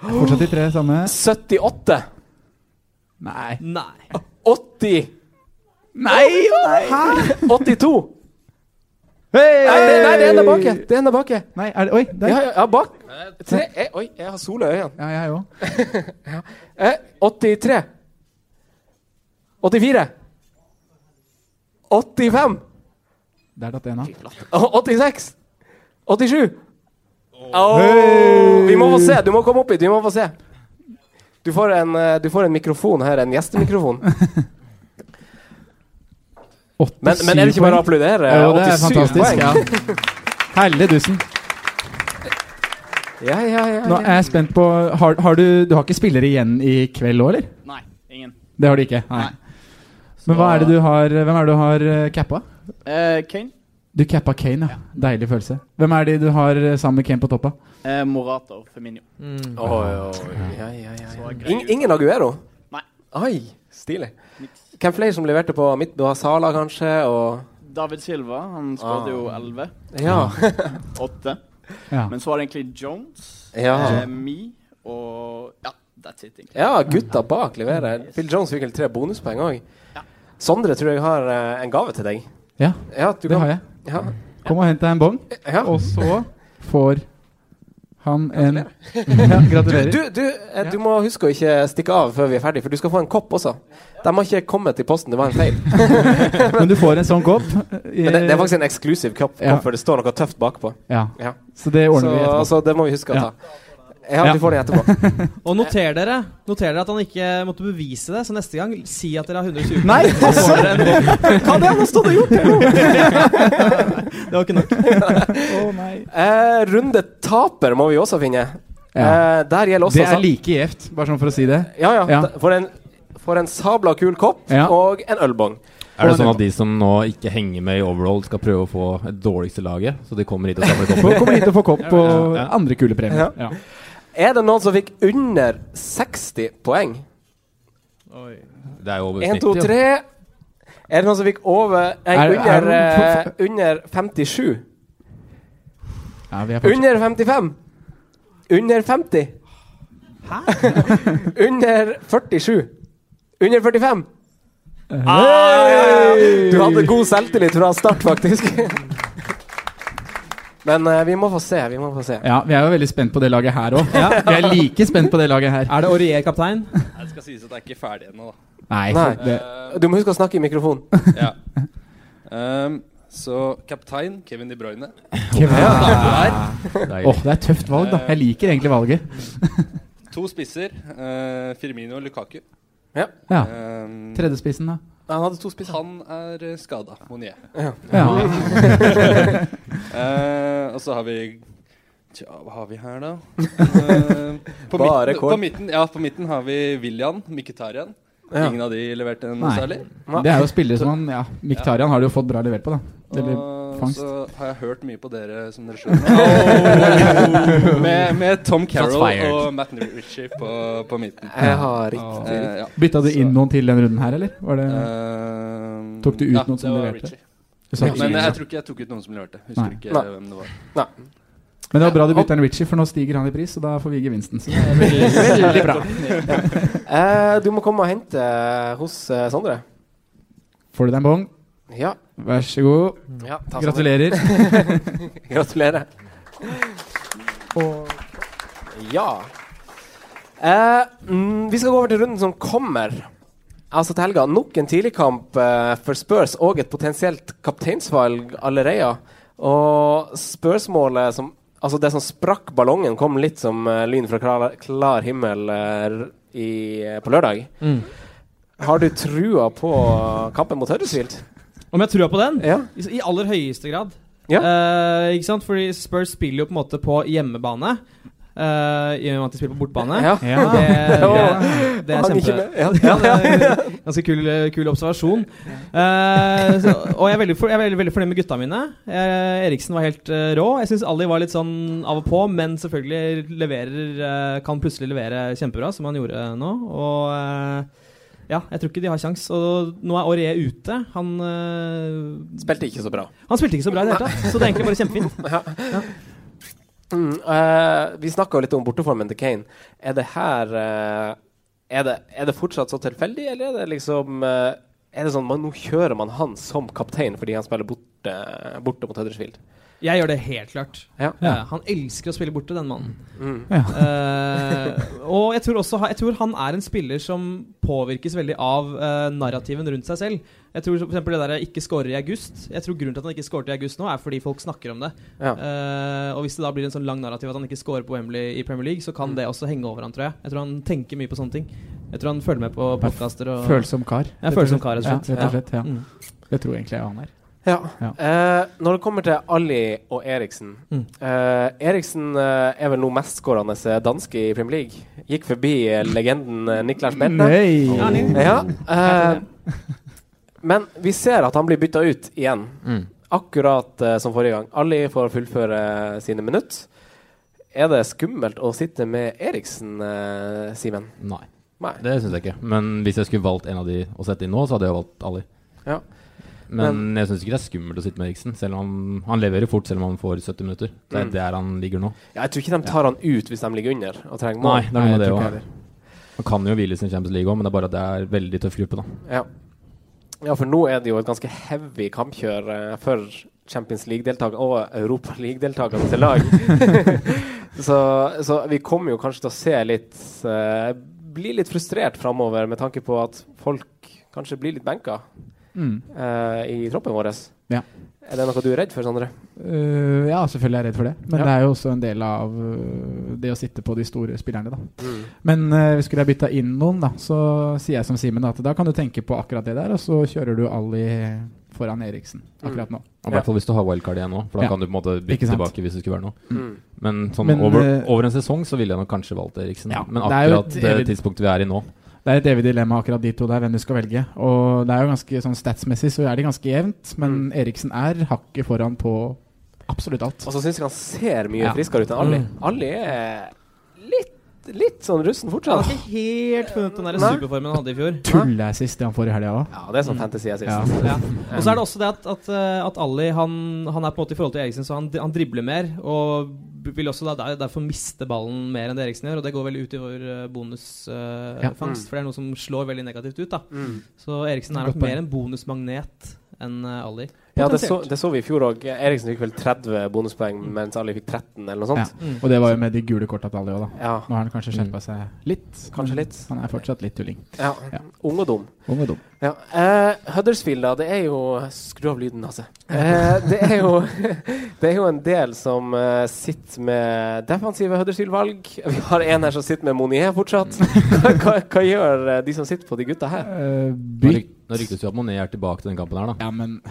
Speaker 2: Fortsatt de tre samme.
Speaker 3: 78.
Speaker 2: Nei.
Speaker 5: Nei.
Speaker 3: 80.
Speaker 2: Nei! Hæ?
Speaker 3: 82.
Speaker 2: Hey!
Speaker 3: Nei, det, nei, det er en der bake. Det er en der bake.
Speaker 2: Nei, er det Oi, der.
Speaker 3: Ja,
Speaker 2: Ja,
Speaker 3: ja, ja, bak. Tre. Eh, oi, jeg har sol i øynene.
Speaker 2: jeg òg.
Speaker 3: Eh, 83. 84. 85.
Speaker 2: Der datt en av.
Speaker 3: Å, 86. 87. Åh, vi må få se. Du må komme opp hit. Vi må få se. Du får en, eh, du får en mikrofon her. En gjestemikrofon. Men, men er det ikke bare å applaudere?
Speaker 2: Jo, det er
Speaker 3: 87
Speaker 2: fantastisk.
Speaker 3: poeng.
Speaker 2: Ja. Herlig dusen.
Speaker 3: Ja, ja, ja, ja.
Speaker 2: Nå er jeg spent på har, har du, du har ikke spillere igjen i kveld òg, eller?
Speaker 4: Nei, ingen.
Speaker 2: Det har du ikke? Nei. Men hva er det du har Hvem er det du har eh, cappa?
Speaker 4: Eh, Kane.
Speaker 2: Du cappa Kane, ja. Deilig følelse. Hvem er de du har eh, sammen med Kane på toppa?
Speaker 4: Eh, Morata og Feminio.
Speaker 5: Mm.
Speaker 3: Oi, oi, ja, ja, ja, ja.
Speaker 4: grei
Speaker 3: Ing-
Speaker 4: ut.
Speaker 3: ingen Aguero?
Speaker 4: Nei.
Speaker 3: Oi, stilig. Hvem flere som leverte på midt? Du har Sala, kanskje, og
Speaker 4: David Silva han
Speaker 3: Ah.
Speaker 4: skåret jo 11.
Speaker 3: Ja.
Speaker 4: 8.
Speaker 2: Ja.
Speaker 4: Men så var det egentlig Jones,
Speaker 3: Ja,
Speaker 4: eh, Me og Ja, that's it. egentlig.
Speaker 3: ja gutta bak leverer. Phil Jones fikk vel tre bonuspoeng òg. Sondre tror jeg har eh, en gave til deg.
Speaker 2: ja,
Speaker 3: Ja, du
Speaker 2: det har jeg.
Speaker 3: Ja,
Speaker 2: Kom og hent deg en bong,
Speaker 3: ja.
Speaker 2: og så får han en
Speaker 3: Gratulerer.
Speaker 2: ja,
Speaker 3: Du,
Speaker 2: Gratulerer.
Speaker 3: du, du, eh, du må huske å ikke stikke av før vi er ferdig, for du skal få en kopp også. De har ikke kommet i posten, det var en feil.
Speaker 2: Men du får en sånn kopp.
Speaker 3: Men det, det er faktisk en eksklusiv kopp,
Speaker 2: Ja.
Speaker 3: kopp, for det står noe tøft bakpå.
Speaker 2: Ja,
Speaker 3: Ja.
Speaker 2: så det
Speaker 3: Så,
Speaker 2: ordner vi etterpå.
Speaker 3: så det må vi huske å
Speaker 2: Ja.
Speaker 3: ta. Ja,
Speaker 2: Ja.
Speaker 3: du får den etterpå.
Speaker 5: Og noter dere, noter dere at han ikke måtte bevise det, så neste gang si at dere har 120
Speaker 2: Nei,
Speaker 5: Så får dere en bomb.
Speaker 3: Hva hadde han stått og gjort?
Speaker 5: Det var ikke nok.
Speaker 2: Å, nei.
Speaker 3: Eh, runde taper må vi også finne.
Speaker 2: Ja.
Speaker 3: Eh, der gjelder også
Speaker 2: Det er
Speaker 3: sa-
Speaker 2: like gjevt, bare sånn for å si det.
Speaker 3: Ja, ja.
Speaker 2: Ja.
Speaker 3: da- For, en, for en sabla kul kopp
Speaker 2: Ja.
Speaker 3: og en ølbong.
Speaker 1: Er det sånn at de som nå ikke henger med i overall, skal prøve å få det dårligste laget? Så de kommer hit og samler kopper?
Speaker 2: Få komme hit og få kopp og
Speaker 1: Ja.
Speaker 2: andre kule premier. Ja.
Speaker 3: Er det noen som fikk under 60 poeng?
Speaker 5: Oi.
Speaker 1: Det er jo over
Speaker 3: 1, 2,
Speaker 1: snittet.
Speaker 3: 3 Er det noen som fikk over Nei,
Speaker 2: Er- er
Speaker 3: under, eh,
Speaker 2: det
Speaker 3: under 57?
Speaker 2: Ja, vi er faktisk-
Speaker 3: Under 55? Under 50. Hæ? Under 47. Under 45. Ah, ja, ja. Du hadde god selvtillit fra start, faktisk. Men eh, vi må få se. Vi må få se.
Speaker 2: Ja, vi er jo veldig spent på det laget her òg. Vi er like spent på det laget her.
Speaker 5: Er det Aurier kaptein?
Speaker 6: Det skal sies at jeg er ikke ferdig ennå, da.
Speaker 2: Nei.
Speaker 3: Nei.
Speaker 2: Det,
Speaker 6: Eh,
Speaker 3: Du må huske å snakke i mikrofonen.
Speaker 6: ja. Ehm, så kaptein Kevin De Bruyne.
Speaker 2: Åh, det er et tøft valg, da. Jeg liker egentlig valget.
Speaker 6: To spisser. eh, Firmino og Lukaku.
Speaker 2: Ja.
Speaker 6: Ehm,
Speaker 2: Tredjespissen, da.
Speaker 3: Han hadde to spisser.
Speaker 6: han er skada, Monier.
Speaker 2: Ja.
Speaker 6: Eh, og så har vi Tja, hva har vi her, da? Eh, på,
Speaker 3: Bare
Speaker 6: midten,
Speaker 3: kål.
Speaker 6: på, midten, ja, på midten har vi William, Mkhitaryan.
Speaker 3: Ja.
Speaker 6: Ingen av de leverte noe
Speaker 2: Nei.
Speaker 6: særlig.
Speaker 2: Det er jo spillere som han Ja, Miktarian har du jo fått bra levert på, da. Det blir
Speaker 6: Og
Speaker 2: fangst.
Speaker 6: så har jeg hørt mye på dere, som dere skjønner. med, med Tom Carroll og Matt Ritchie på, på midten.
Speaker 3: Jeg har ikke
Speaker 6: Eh, ja.
Speaker 2: Bytta du
Speaker 6: Så-
Speaker 2: inn noen til den runden her, eller? Var det
Speaker 6: Eh,
Speaker 2: Tok du ut
Speaker 6: ja,
Speaker 2: noen som
Speaker 6: det var
Speaker 2: leverte?
Speaker 6: Ritchie.
Speaker 2: du sa
Speaker 3: ja,
Speaker 2: ikke
Speaker 6: Men eh,
Speaker 2: Ingen, da.
Speaker 6: jeg tror ikke jeg tok ut noen som leverte. Husker
Speaker 2: Nei.
Speaker 6: ikke
Speaker 3: Nei.
Speaker 6: hvem det var.
Speaker 2: Men det var bra du bytta inn Ritchie, for nå stiger han i pris, og da får vi gevinsten. Så det er veldig, veldig bra.
Speaker 3: Eh, du må komme og hente eh, hos eh, Sondre.
Speaker 2: Får du deg en bong?
Speaker 3: Ja.
Speaker 2: Vær så god.
Speaker 3: ja ta Sondre.
Speaker 2: Gratulerer.
Speaker 3: Gratulerer. Ja. Eh, mm, vi skal gå over til runden som kommer. Altså til helga. Nok en tidligkamp eh, for Spurs og et potensielt kapteinsvalg allerede. Og spørsmålet som Altså, det som sprakk ballongen, kom litt som eh, lyn fra klar, klar himmel eh, r- i, eh, på lørdag.
Speaker 5: Mm.
Speaker 3: Har du trua på kampen mot Huddersfield?
Speaker 5: Om jeg tror på den?
Speaker 3: Ja.
Speaker 5: I i aller høyeste grad.
Speaker 3: Ja.
Speaker 5: Eh, ikke sant? Fordi Spurs spiller jo på en måte på hjemmebane. eh, I og med at de spiller på bortebane.
Speaker 3: Ja.
Speaker 5: Det, det, det er
Speaker 3: Hang ikke
Speaker 5: kjempe...
Speaker 3: med. Ja.
Speaker 5: Ja, det er en ganske kul, kul observasjon. Eh, så, og jeg er, veldig for, jeg er veldig, veldig fornøyd med gutta mine. Eh, Eriksen var helt eh, rå. Jeg syns Ali var litt sånn av og på, men selvfølgelig leverer, eh, kan plutselig levere kjempebra, som han gjorde nå. Og eh, ja, jeg tror ikke de har kjangs. Og nå er Aurier ute. Han, eh,
Speaker 3: Spilte ikke så bra.
Speaker 5: han spilte ikke så bra i det hele tatt, så det er egentlig bare kjempefint.
Speaker 3: Mm, eh, vi snakka litt om borteformen til Kane. Er det her eh, er, det, er det fortsatt så tilfeldig, eller er det liksom eh, Er det sånn man, Nå kjører man han som kaptein fordi han spiller borte, borte mot Huddersfield?
Speaker 5: Jeg gjør det helt klart.
Speaker 3: Ja.
Speaker 5: Eh, han elsker å spille borte, den mannen.
Speaker 3: Mm.
Speaker 5: Eh, og jeg tror, også, jeg tror han er en spiller som påvirkes veldig av eh, narrativen rundt seg selv. Jeg tror for eksempel det der 'ikke scorer i august' Jeg tror Grunnen til at han ikke scoret i august nå, er fordi folk snakker om det.
Speaker 3: Ja.
Speaker 5: Eh, og hvis det da blir en sånn lang narrativ at han ikke scorer på Wembley i Premier League, så
Speaker 3: Mm.
Speaker 5: kan det også henge over han, tror jeg. Jeg tror han tenker mye på sånne ting. Jeg tror han følger med på podkaster og
Speaker 2: Følsom kar.
Speaker 5: Ja, følsom kar, rett og slett.
Speaker 2: Ja, rett og slett. Ja.
Speaker 5: Mm.
Speaker 2: Det tror jeg egentlig jeg han er.
Speaker 3: Ja.
Speaker 2: Ja.
Speaker 3: Eh, når det kommer til Ali og Eriksen
Speaker 5: Mm.
Speaker 3: eh, Eriksen eh, er vel nå mestskårende danske i Premier League. Gikk forbi eh, legenden eh, Niklas Bentner.
Speaker 5: Ja,
Speaker 2: Nei!
Speaker 5: Nils.
Speaker 3: Ja, eh, men vi ser at han blir bytta ut igjen.
Speaker 1: Mm.
Speaker 3: Akkurat eh, som forrige gang. Ali får fullføre eh, sine minutt. Er det skummelt å sitte med Eriksen, eh, Simen?
Speaker 1: Nei,
Speaker 3: Nei.
Speaker 1: det syns jeg ikke. Men hvis jeg skulle valgt en av de å sette inn nå, så hadde jeg valgt Ali.
Speaker 3: Ja.
Speaker 1: Men, jeg syns ikke det er skummelt å sitte med Eriksen. Selv om han, han leverer fort selv om han får 70 minutter. Det er
Speaker 3: Mm.
Speaker 1: der han ligger nå.
Speaker 3: Ja, jeg tror ikke de tar han ut hvis de ligger under og trenger
Speaker 1: Nei,
Speaker 3: mål.
Speaker 1: det er noe
Speaker 2: Nei, jeg
Speaker 1: med det
Speaker 2: tror ikke
Speaker 1: òg. Han kan jo hvile i sin Champions League òg, men det er bare at det er veldig tøff gruppe, da.
Speaker 3: Ja. ja, for nå er det jo et ganske heavy kampkjør eh, for Champions League-deltakere og Europa League-deltakerne til lag. så, så vi kommer jo kanskje til å se litt eh, Bli litt frustrert framover med tanke på at folk kanskje blir litt benka
Speaker 2: Mm.
Speaker 3: eh, i troppen vår.
Speaker 2: Ja.
Speaker 3: Er det noe du er redd for, Sondre?
Speaker 2: Øh, ja, selvfølgelig er jeg redd for det. Men
Speaker 3: Ja.
Speaker 2: det er jo også en del av øh, det å sitte på de store spillerne, da. Men øh, skulle jeg bytta inn noen, da, så sier jeg som Simen at da kan du tenke på akkurat det der, og så kjører du Ali foran Eriksen akkurat nå.
Speaker 1: Og I
Speaker 3: Ja.
Speaker 1: hvert fall hvis du har wildcard igjen nå, for da
Speaker 2: Ja.
Speaker 1: kan du på en måte
Speaker 2: Ikke
Speaker 1: bytte
Speaker 2: sant.
Speaker 1: tilbake hvis det skulle være noe.
Speaker 3: Mm.
Speaker 1: Men sånn
Speaker 2: Men,
Speaker 1: over,
Speaker 2: eh,
Speaker 1: over en sesong så ville jeg nok kanskje valgt Eriksen.
Speaker 2: Ja,
Speaker 1: men
Speaker 2: det er jo
Speaker 1: akkurat
Speaker 2: et
Speaker 1: det
Speaker 2: evig-
Speaker 1: tidspunktet vi er i nå
Speaker 2: Det er et evig dilemma, akkurat de to der, hvem du skal velge. Og det er jo ganske sånn statsmessig så er de ganske jevnt, men Eriksen er hakket foran på absolutt alt.
Speaker 3: Og så syns jeg han ser mye
Speaker 2: Ja. Mm.
Speaker 3: friskere ut enn Ali.
Speaker 5: Mm.
Speaker 3: Ali er litt litt sånn russen
Speaker 5: Han har
Speaker 3: fortsatt.
Speaker 5: ikke helt funnet den der
Speaker 3: Nei.
Speaker 5: superformen han hadde i fjor.
Speaker 2: Tullassist det han får i helga òg.
Speaker 3: Ja, det er sånn fantasy assist.
Speaker 2: Mm. Ja.
Speaker 5: Ja. Og så er
Speaker 2: Um.
Speaker 5: det også det at, at, eh, at Ali han, han er på en måte i forhold til Eriksen, så han, han dribler mer. Og b- vil også da, der- derfor miste ballen mer enn det Eriksen gjør. Og det går veldig ut i vår eh,
Speaker 2: Ja.
Speaker 5: bonusfangst,
Speaker 3: Mm.
Speaker 5: for det er noe som slår veldig negativt ut. da
Speaker 3: Mm.
Speaker 5: Så Eriksen er
Speaker 2: Godt
Speaker 5: nok
Speaker 2: poeng.
Speaker 5: mer en bonusmagnet enn eh, Ali.
Speaker 3: Ja, det så,
Speaker 2: Potensielt.
Speaker 3: det så vi i fjor òg. Eriksen fikk vel 30 bonuspoeng, mens Ali fikk 13, eller noe sånt.
Speaker 5: Mm.
Speaker 2: Og det var jo med de gule korta til alle òg, da.
Speaker 3: Ja.
Speaker 2: Nå har han kanskje skjerpa seg litt.
Speaker 3: Kanskje
Speaker 2: men
Speaker 3: litt.
Speaker 2: Han er fortsatt litt tulling.
Speaker 3: ja.
Speaker 2: Ja.
Speaker 3: Ung og dum.
Speaker 2: Ung og dum.
Speaker 3: Ja. eh, Huddersfield, da. Det er jo Skru av lyden, altså. Eh, det, er jo, det er jo en del som eh, sitter med defensive Huddersfield-valg. Vi har en her som sitter med Monier fortsatt. Hva, hva, hva gjør eh, de som sitter på de gutta her?
Speaker 1: Nå
Speaker 2: bytt
Speaker 1: ryk- nå ryktes det jo at Monet er tilbake til den kampen her, da.
Speaker 2: Ja, men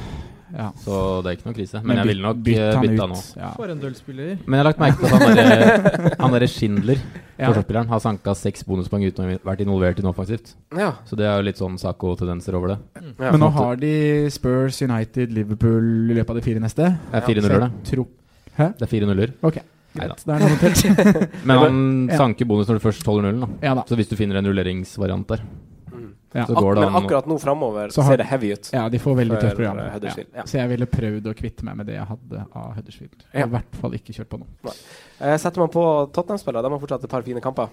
Speaker 2: ja.
Speaker 1: Så det er ikke noe krise. Men jeg
Speaker 2: bytt-
Speaker 1: ville nok eh,
Speaker 2: bytt
Speaker 1: bytta
Speaker 2: han
Speaker 1: bytte
Speaker 2: ut.
Speaker 1: nå.
Speaker 2: Ja.
Speaker 5: For en døllspiller.
Speaker 1: Men jeg har lagt merke til at han derre han derre Schindler,
Speaker 2: Ja.
Speaker 1: forsvarsspilleren, har sanka seks bonuspoeng uten å ha vært involvert i noe offensivt.
Speaker 3: Ja.
Speaker 1: Så det er jo litt sånn Saco-tendenser over det.
Speaker 3: Ja.
Speaker 2: Men nå
Speaker 1: måte.
Speaker 2: har de Spurs, United, Liverpool i løpet av de fire neste.
Speaker 1: Det er
Speaker 3: Ja,
Speaker 1: fire
Speaker 2: Så
Speaker 1: nuller,
Speaker 2: jeg
Speaker 1: det.
Speaker 2: tror
Speaker 1: Det er fire nuller.
Speaker 2: Ok,
Speaker 1: Neida.
Speaker 2: greit. Da er det notert.
Speaker 1: Men han
Speaker 2: Ja.
Speaker 1: sanker bonus når du først holder nullen, da.
Speaker 2: Ja da.
Speaker 1: Så hvis du finner en rulleringsvariant der,
Speaker 3: Mm.
Speaker 2: Ja,
Speaker 1: så går det
Speaker 3: Men
Speaker 1: an å
Speaker 3: akkurat nå framover
Speaker 2: Så har-
Speaker 3: ser det heavy ut.
Speaker 2: ja de får veldig
Speaker 3: For,
Speaker 2: tøft program.
Speaker 3: eh, Huddersfield, ja.
Speaker 2: Ja. Så jeg ville prøvd å kvitte meg med det jeg hadde av Huddersfield. Og
Speaker 3: Ja.
Speaker 2: I hvert fall ikke kjørt på noe.
Speaker 3: Eh, setter man på Tottenham-spillere, de har fortsatt et par fine kamper.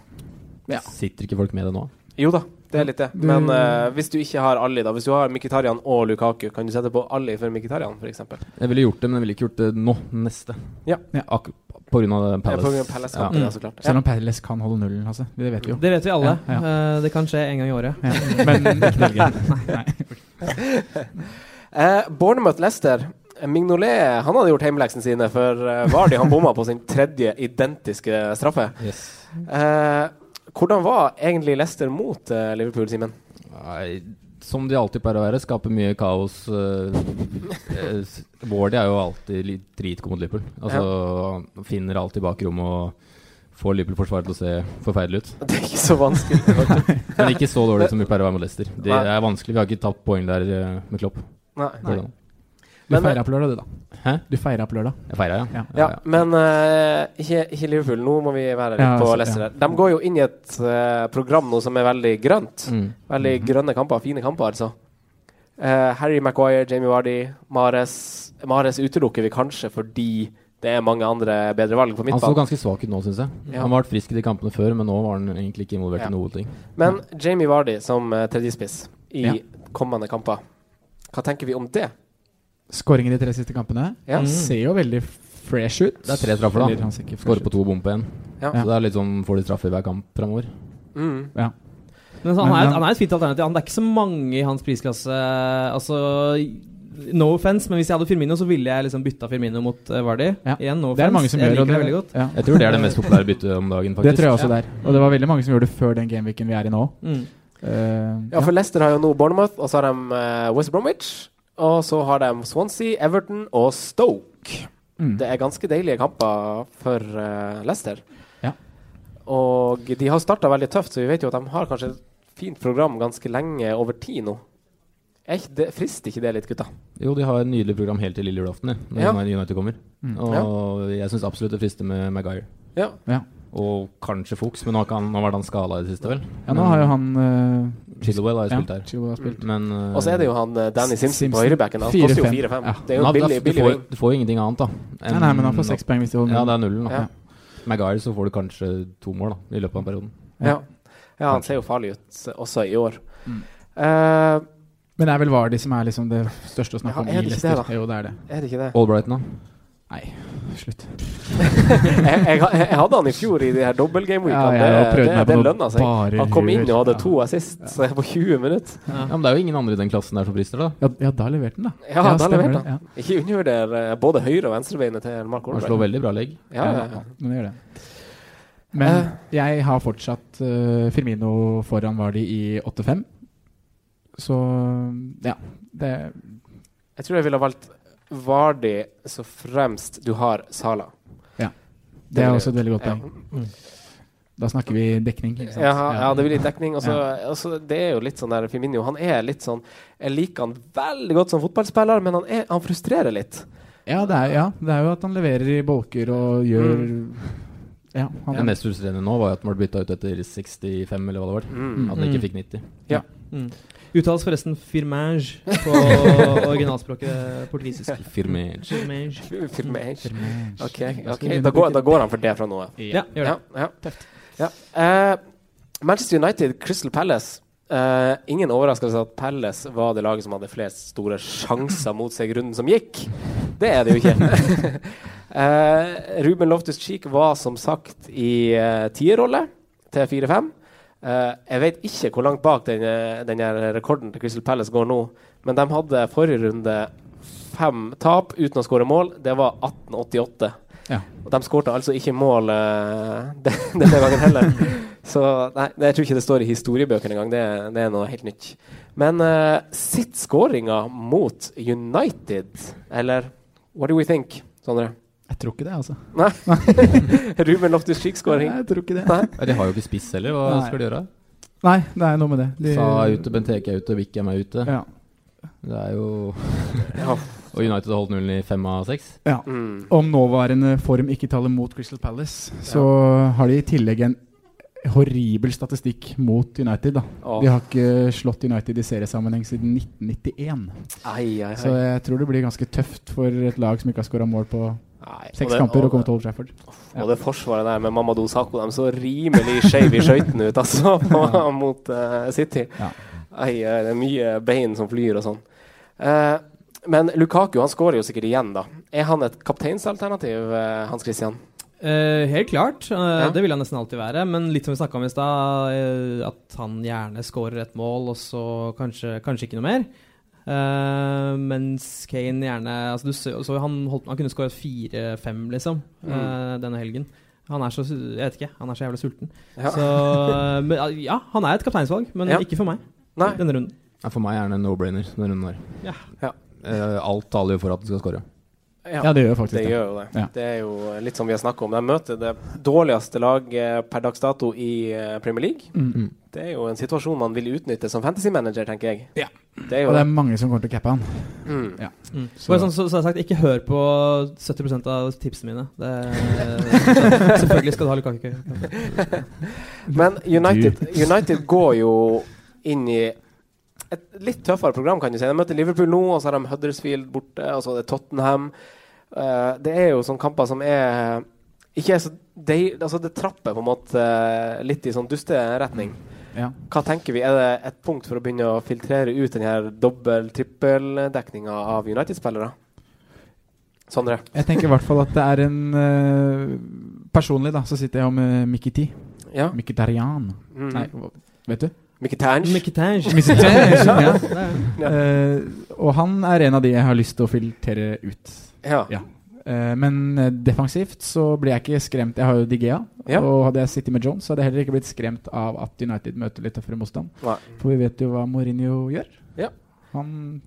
Speaker 3: Ja.
Speaker 1: Sitter ikke folk med det nå?
Speaker 3: Jo da, det er litt det.
Speaker 2: Du-
Speaker 3: Men eh, hvis du ikke har Ali, da. Hvis du har Mkhitaryan og Lukaku, kan du sette på Ali for Mkhitaryan, f.eks.?
Speaker 1: Jeg ville gjort det, men jeg ville ikke gjort det nå. Neste.
Speaker 3: Ja.
Speaker 1: Ak på grunn av det Palace.
Speaker 3: Palace
Speaker 1: Ja.
Speaker 3: ja. Ja, så klart. Ja.
Speaker 2: Selv om Palace kan holde nullen, altså. Det vet vi jo.
Speaker 5: Det vet vi alle.
Speaker 2: Ja,
Speaker 5: Eh, det kan skje en gang i året.
Speaker 2: Ja. Men ikke Norge. Nei.
Speaker 3: Eh, Bournemouth Leicester. Mignolet han hadde gjort hjemmeleksene sine, for eh, Vardy han bomma på sin tredje identiske straffe.
Speaker 1: Yes.
Speaker 3: Eh, hvordan var egentlig Leicester mot eh, Liverpool, Simen?
Speaker 1: Nei, som de alltid pleier å være, skaper mye kaos. Uh, Wardy er jo alltid litt dritgod mot Liverpool. Altså, han Finner alltid bakrommet og får Liverpool-forsvaret til å se forferdelig ut.
Speaker 3: Det er ikke så vanskelig.
Speaker 1: Men ikke så dårlig som vi pleier å være mot Leicester. Det
Speaker 3: Nei.
Speaker 1: er vanskelig. Vi har ikke tapt poeng der eh, med Klopp.
Speaker 3: Nei.
Speaker 1: Hvordan?
Speaker 2: Du
Speaker 3: Men-
Speaker 2: feira på lørdag, du, da.
Speaker 1: Hæ?
Speaker 2: Du feira på lørdag.
Speaker 1: Jeg feira, ja.
Speaker 2: Ja.
Speaker 3: Ja, men eh, ikke, ikke Liverpool. Nå må vi være litt
Speaker 2: Ja,
Speaker 3: på
Speaker 2: så-
Speaker 3: Leicester.
Speaker 2: ja.
Speaker 3: her. De går jo inn i et eh, program nå som er veldig grønt.
Speaker 1: Mm.
Speaker 3: Veldig
Speaker 2: Mhm.
Speaker 3: grønne kamper. Fine kamper, altså. Eh, Harry Maguire, Jamie Vardy, Mares Mares utelukker vi kanskje fordi det er mange andre bedre valg på
Speaker 1: Han så
Speaker 3: midtbanen.
Speaker 1: ganske svak ut nå, syns jeg.
Speaker 3: Ja.
Speaker 1: Han har vært frisk i de kampene før, men nå var han egentlig ikke involvert
Speaker 3: Ja.
Speaker 1: i noe ting.
Speaker 3: Men Jamie Vardy som eh, tredjespiss i
Speaker 2: Ja.
Speaker 3: kommende kamper, hva tenker vi om det?
Speaker 2: Skåringer de tre siste kampene.
Speaker 3: Ja.
Speaker 2: Han Ser jo veldig fresh ut.
Speaker 1: Det er tre straffer, da.
Speaker 2: Eller han ser ikke fresh
Speaker 1: Skårer på
Speaker 2: ut.
Speaker 1: to, bom på én.
Speaker 3: Ja.
Speaker 1: Så det er litt sånn får de straffer hver kamp framover.
Speaker 3: Mm.
Speaker 2: Ja.
Speaker 5: Men altså, han,
Speaker 2: Men
Speaker 5: er, et-
Speaker 2: han-
Speaker 5: han er et fint alternativ. Han, det er ikke så mange i hans prisklasse. Altså No offense, men hvis jeg hadde Firmino, så ville jeg liksom bytta Firmino mot eh, Vardy.
Speaker 2: Ja.
Speaker 5: Igjen, no
Speaker 2: Det er det mange
Speaker 5: offense.
Speaker 2: som gjør,
Speaker 5: Jeg liker
Speaker 2: og
Speaker 5: det
Speaker 2: det
Speaker 5: veldig godt.
Speaker 2: Ja.
Speaker 1: Jeg tror det er det mest populære byttet om dagen, faktisk.
Speaker 2: Det tror jeg også det er. Og det var veldig mange som gjorde det før den gameweeken vi er i nå.
Speaker 5: Mm.
Speaker 2: Eh,
Speaker 3: ja, for Leicester har jo nå Bournemouth, og så har de eh, West Bromwich. Og så har de Swansea, Everton og Stoke.
Speaker 2: Mm.
Speaker 3: Det er ganske deilige kamper for eh, Leicester.
Speaker 2: Ja.
Speaker 3: Og de har starta veldig tøft, så vi vet jo at de har kanskje et fint program ganske lenge over tid nå. Er ikke det, frister ikke det litt, gutta?
Speaker 1: Jo, de har et nydelig program helt til lille julaften, de, når
Speaker 3: Ja.
Speaker 1: United kommer.
Speaker 2: Mm.
Speaker 1: Og jeg syns absolutt det frister med Maguire.
Speaker 3: Ja.
Speaker 2: Ja.
Speaker 1: Og kanskje Fuchs, men nå, kan, nå var det han skala i det siste, vel?
Speaker 2: ja, nå har jo han eh,
Speaker 1: Chillowell har jo spilt
Speaker 2: ja,
Speaker 1: der.
Speaker 2: Chilwell har spilt.
Speaker 1: Men eh,
Speaker 3: Og så er det jo han eh, Danny
Speaker 2: S-
Speaker 3: Simpson på
Speaker 2: Simpson.
Speaker 3: høyrebacken. Han koster jo
Speaker 2: 4-5.
Speaker 3: 4-5.
Speaker 2: Ja.
Speaker 3: Det er jo
Speaker 1: Nei,
Speaker 3: en billig,
Speaker 1: da- altså, du,
Speaker 3: billig
Speaker 1: får,
Speaker 3: wing.
Speaker 1: du får jo ingenting annet, da.
Speaker 2: Nei, nei, men han får seks poeng hvis de holder
Speaker 1: Ja, det
Speaker 2: nullen.
Speaker 1: er nullen, da.
Speaker 3: Ja.
Speaker 1: Maguire, så får du kanskje to mål da, i løpet av perioden.
Speaker 3: Ja. ja, han ser jo farlig ut eh, også i år.
Speaker 2: Mm.
Speaker 3: Eh,
Speaker 2: Men det er vel Vardy som er liksom det største å snakke
Speaker 3: Ja,
Speaker 2: om
Speaker 3: er
Speaker 2: i
Speaker 3: det ikke det,
Speaker 2: Leicester.
Speaker 3: da?
Speaker 2: jo, det er det.
Speaker 3: er det ikke det?
Speaker 1: Albrighton, da?
Speaker 2: Slutt.
Speaker 3: Jeg, jeg, jeg hadde han i fjor i de her dobbeltgameweekene.
Speaker 2: har
Speaker 3: det
Speaker 2: prøvd
Speaker 3: det,
Speaker 2: meg på
Speaker 3: det
Speaker 2: noe
Speaker 3: lønna seg.
Speaker 2: bare
Speaker 3: Han kom inn
Speaker 2: lur.
Speaker 3: og hadde
Speaker 2: Ja.
Speaker 3: to assist så jeg på 20 minutter.
Speaker 1: Ja. Men det er jo ingen andre i den klassen der som frister, da.
Speaker 2: Ja, ja, da leverte han, da.
Speaker 3: Ja, da
Speaker 2: stemmer
Speaker 3: leverte
Speaker 2: det, ja.
Speaker 3: Ikke undervurder eh, både høyre- og venstrebeinet til Mark
Speaker 1: Han
Speaker 3: Olberg.
Speaker 1: slår veldig bra legg.
Speaker 3: Ja,
Speaker 2: Ja,
Speaker 3: ja,
Speaker 2: ja,
Speaker 3: ja.
Speaker 2: men det gjør det. Men
Speaker 3: Eh.
Speaker 2: jeg har fortsatt eh, Firmino foran Vardy i 8-5. Så ja. Det,
Speaker 3: Jeg tror jeg ville ha valgt Vardi så fremst du har Sala.
Speaker 2: det er også et veldig godt
Speaker 3: Ja.
Speaker 2: poeng. Da snakker vi dekning. Ikke sant?
Speaker 3: Ja, ja, det blir litt dekning. Og så,
Speaker 2: Ja.
Speaker 3: og så det er jo litt sånn der Firmino Han er litt sånn Jeg liker han veldig godt som fotballspiller, men han, er, han frustrerer litt. Mm.
Speaker 2: Ja, det er, ja, det er jo at han leverer i bolker og gjør Ja, han,
Speaker 1: Det mest frustrerende nå var jo at han ble bytta ut etter 65, eller hva det var.
Speaker 3: Mm.
Speaker 1: At han ikke
Speaker 5: Mm.
Speaker 1: fikk 90.
Speaker 5: Mm. Uttales forresten firmange på originalspråket portugisisk.
Speaker 1: Firmage.
Speaker 5: Firmange.
Speaker 3: Firmage.
Speaker 2: Firmage.
Speaker 3: Ok,
Speaker 2: Da
Speaker 3: ok.
Speaker 2: skal vi
Speaker 3: Da, går,
Speaker 2: bruke-
Speaker 3: da går han for det fra nå av.
Speaker 5: Ja, gjør det.
Speaker 3: Ja, ja. ja. Eh, Manchester United, Crystal Palace. Eh, ingen overraskelse at Palace var det laget som hadde flest store sjanser mot seg i runden som gikk. Det er det jo ikke. Eh, Ruben Loftus-Cheek var som sagt i eh, tierrolle til 4-5. Eh, jeg vet ikke hvor langt bak den, eh, den her rekorden til Crystal Palace går nå, men de hadde forrige runde fem tap uten å skåre mål. Det var 1888.
Speaker 2: Ja.
Speaker 3: Og de skårte altså ikke mål eh, den- denne gangen heller. Så nei, jeg tror ikke det står i historiebøkene engang. Det, er- det er noe helt nytt. Men eh, sitt skåringa mot United, eller what do we think, Sondre?
Speaker 2: Jeg tror ikke det, altså.
Speaker 3: Nei? Ruben Loftus-Cheek-skåring.
Speaker 2: Nei, jeg tror ikke det.
Speaker 3: Nei.
Speaker 1: Ja, De har jo ikke spiss heller, hva
Speaker 2: Nei.
Speaker 1: skal de gjøre?
Speaker 2: Nei, det er noe med det. De-
Speaker 1: Sa er ute, Benteke er ute, Wickham er ute.
Speaker 2: Ja.
Speaker 1: Det er jo
Speaker 3: Ja.
Speaker 1: Og United har holdt nullen i fem av seks.
Speaker 2: ja.
Speaker 3: Mm.
Speaker 2: Om nåværende form ikke taler mot Crystal Palace, så har de i tillegg en horribel statistikk mot United. da.
Speaker 3: Åh,
Speaker 2: De har ikke slått United i seriesammenheng siden 1991.
Speaker 3: Ai, ai,
Speaker 2: Så eh,
Speaker 3: ai.
Speaker 2: jeg tror det blir ganske tøft for et lag som ikke har skåra mål på
Speaker 3: Nei,
Speaker 2: seks
Speaker 3: og det-
Speaker 2: kamper,
Speaker 3: og
Speaker 2: å komme
Speaker 3: det-
Speaker 2: til Old Trafford. ja.
Speaker 3: Og det forsvaret der med Mamadou Sakho, de så rimelig skeive i skøytene ut, altså, på- mot eh, City.
Speaker 2: Ja.
Speaker 3: Ai, eh, det er mye bein som flyr og sånn. Eh, men Lukaku han skårer jo sikkert igjen, da. Er han et kapteinsalternativ, eh, Hans Christian?
Speaker 5: Eh, helt klart. eh,
Speaker 3: Ja.
Speaker 5: Det vil han nesten alltid være. Men litt som vi snakka om i stad, eh, at han gjerne scorer et mål, og så kanskje, kanskje ikke noe mer. Eh, mens Kane gjerne altså du så, så han, holdt, han kunne skåret fire-fem, liksom,
Speaker 3: Mm.
Speaker 5: eh, denne helgen. Han er så su- Jeg vet ikke, han er så jævlig sulten.
Speaker 3: Ja.
Speaker 5: Så men, eh, ja, han er et kapteinsvalg, men
Speaker 3: Ja.
Speaker 5: ikke for meg
Speaker 3: Nei.
Speaker 5: denne runden.
Speaker 1: Ja, For meg er det en no-brainer denne runden her.
Speaker 5: Ja.
Speaker 3: Ja.
Speaker 1: Eh, alt taler jo for at han skal skåre.
Speaker 3: Ja,
Speaker 2: Ja, det gjør faktisk
Speaker 3: det
Speaker 2: det.
Speaker 3: gjør jo det.
Speaker 2: Ja.
Speaker 3: Det er jo litt som vi har snakka om. De møter det dårligste laget per dags dato i eh, Premier League.
Speaker 2: Mm.
Speaker 3: Det er jo en situasjon man vil utnytte som fantasy manager, tenker jeg.
Speaker 2: Ja.
Speaker 3: Det er jo
Speaker 2: Og det
Speaker 3: det.
Speaker 2: er mange som kommer til å cappe han.
Speaker 3: Mm.
Speaker 5: Mm.
Speaker 2: Så-
Speaker 5: Bare sånn, så, så har jeg sagt, ikke hør på 70 av tipsene mine. Det, selvfølgelig skal du ha Lukaku.
Speaker 3: Men United, United går jo inn i et litt tøffere program, kan du si. De møter Liverpool nå, og så har de Huddersfield borte, og så er det Tottenham. Eh, det er jo sånne kamper som er ikke er så deil, altså Det trapper på en måte eh, litt i sånn dusteretning.
Speaker 2: Ja.
Speaker 3: Hva tenker vi? Er det et punkt for å begynne å filtrere ut den her dobbel-trippeldekninga av United-spillere? Sondre?
Speaker 2: Jeg tenker i hvert fall at det er en eh, Personlig da, så sitter jeg jo med Mickey T.
Speaker 3: Ja?
Speaker 2: Mickey Tarian.
Speaker 3: Mm.
Speaker 2: Nei, hva- vet du?
Speaker 3: Mkhitaryan?
Speaker 5: Mkhitaryan.
Speaker 2: ja.
Speaker 5: Ja.
Speaker 2: Eh, og han er en av de jeg har lyst til å filtrere ut.
Speaker 3: Ja.
Speaker 2: Ja. Eh, men eh, defensivt så blir jeg ikke skremt. Jeg har jo Digea.
Speaker 3: Ja.
Speaker 2: Og hadde jeg sittet med Jones, så hadde jeg heller ikke blitt skremt av at United møter litt tøffere motstand.
Speaker 3: Nei.
Speaker 2: For vi vet jo hva Mourinho gjør.
Speaker 3: Ja.
Speaker 2: Han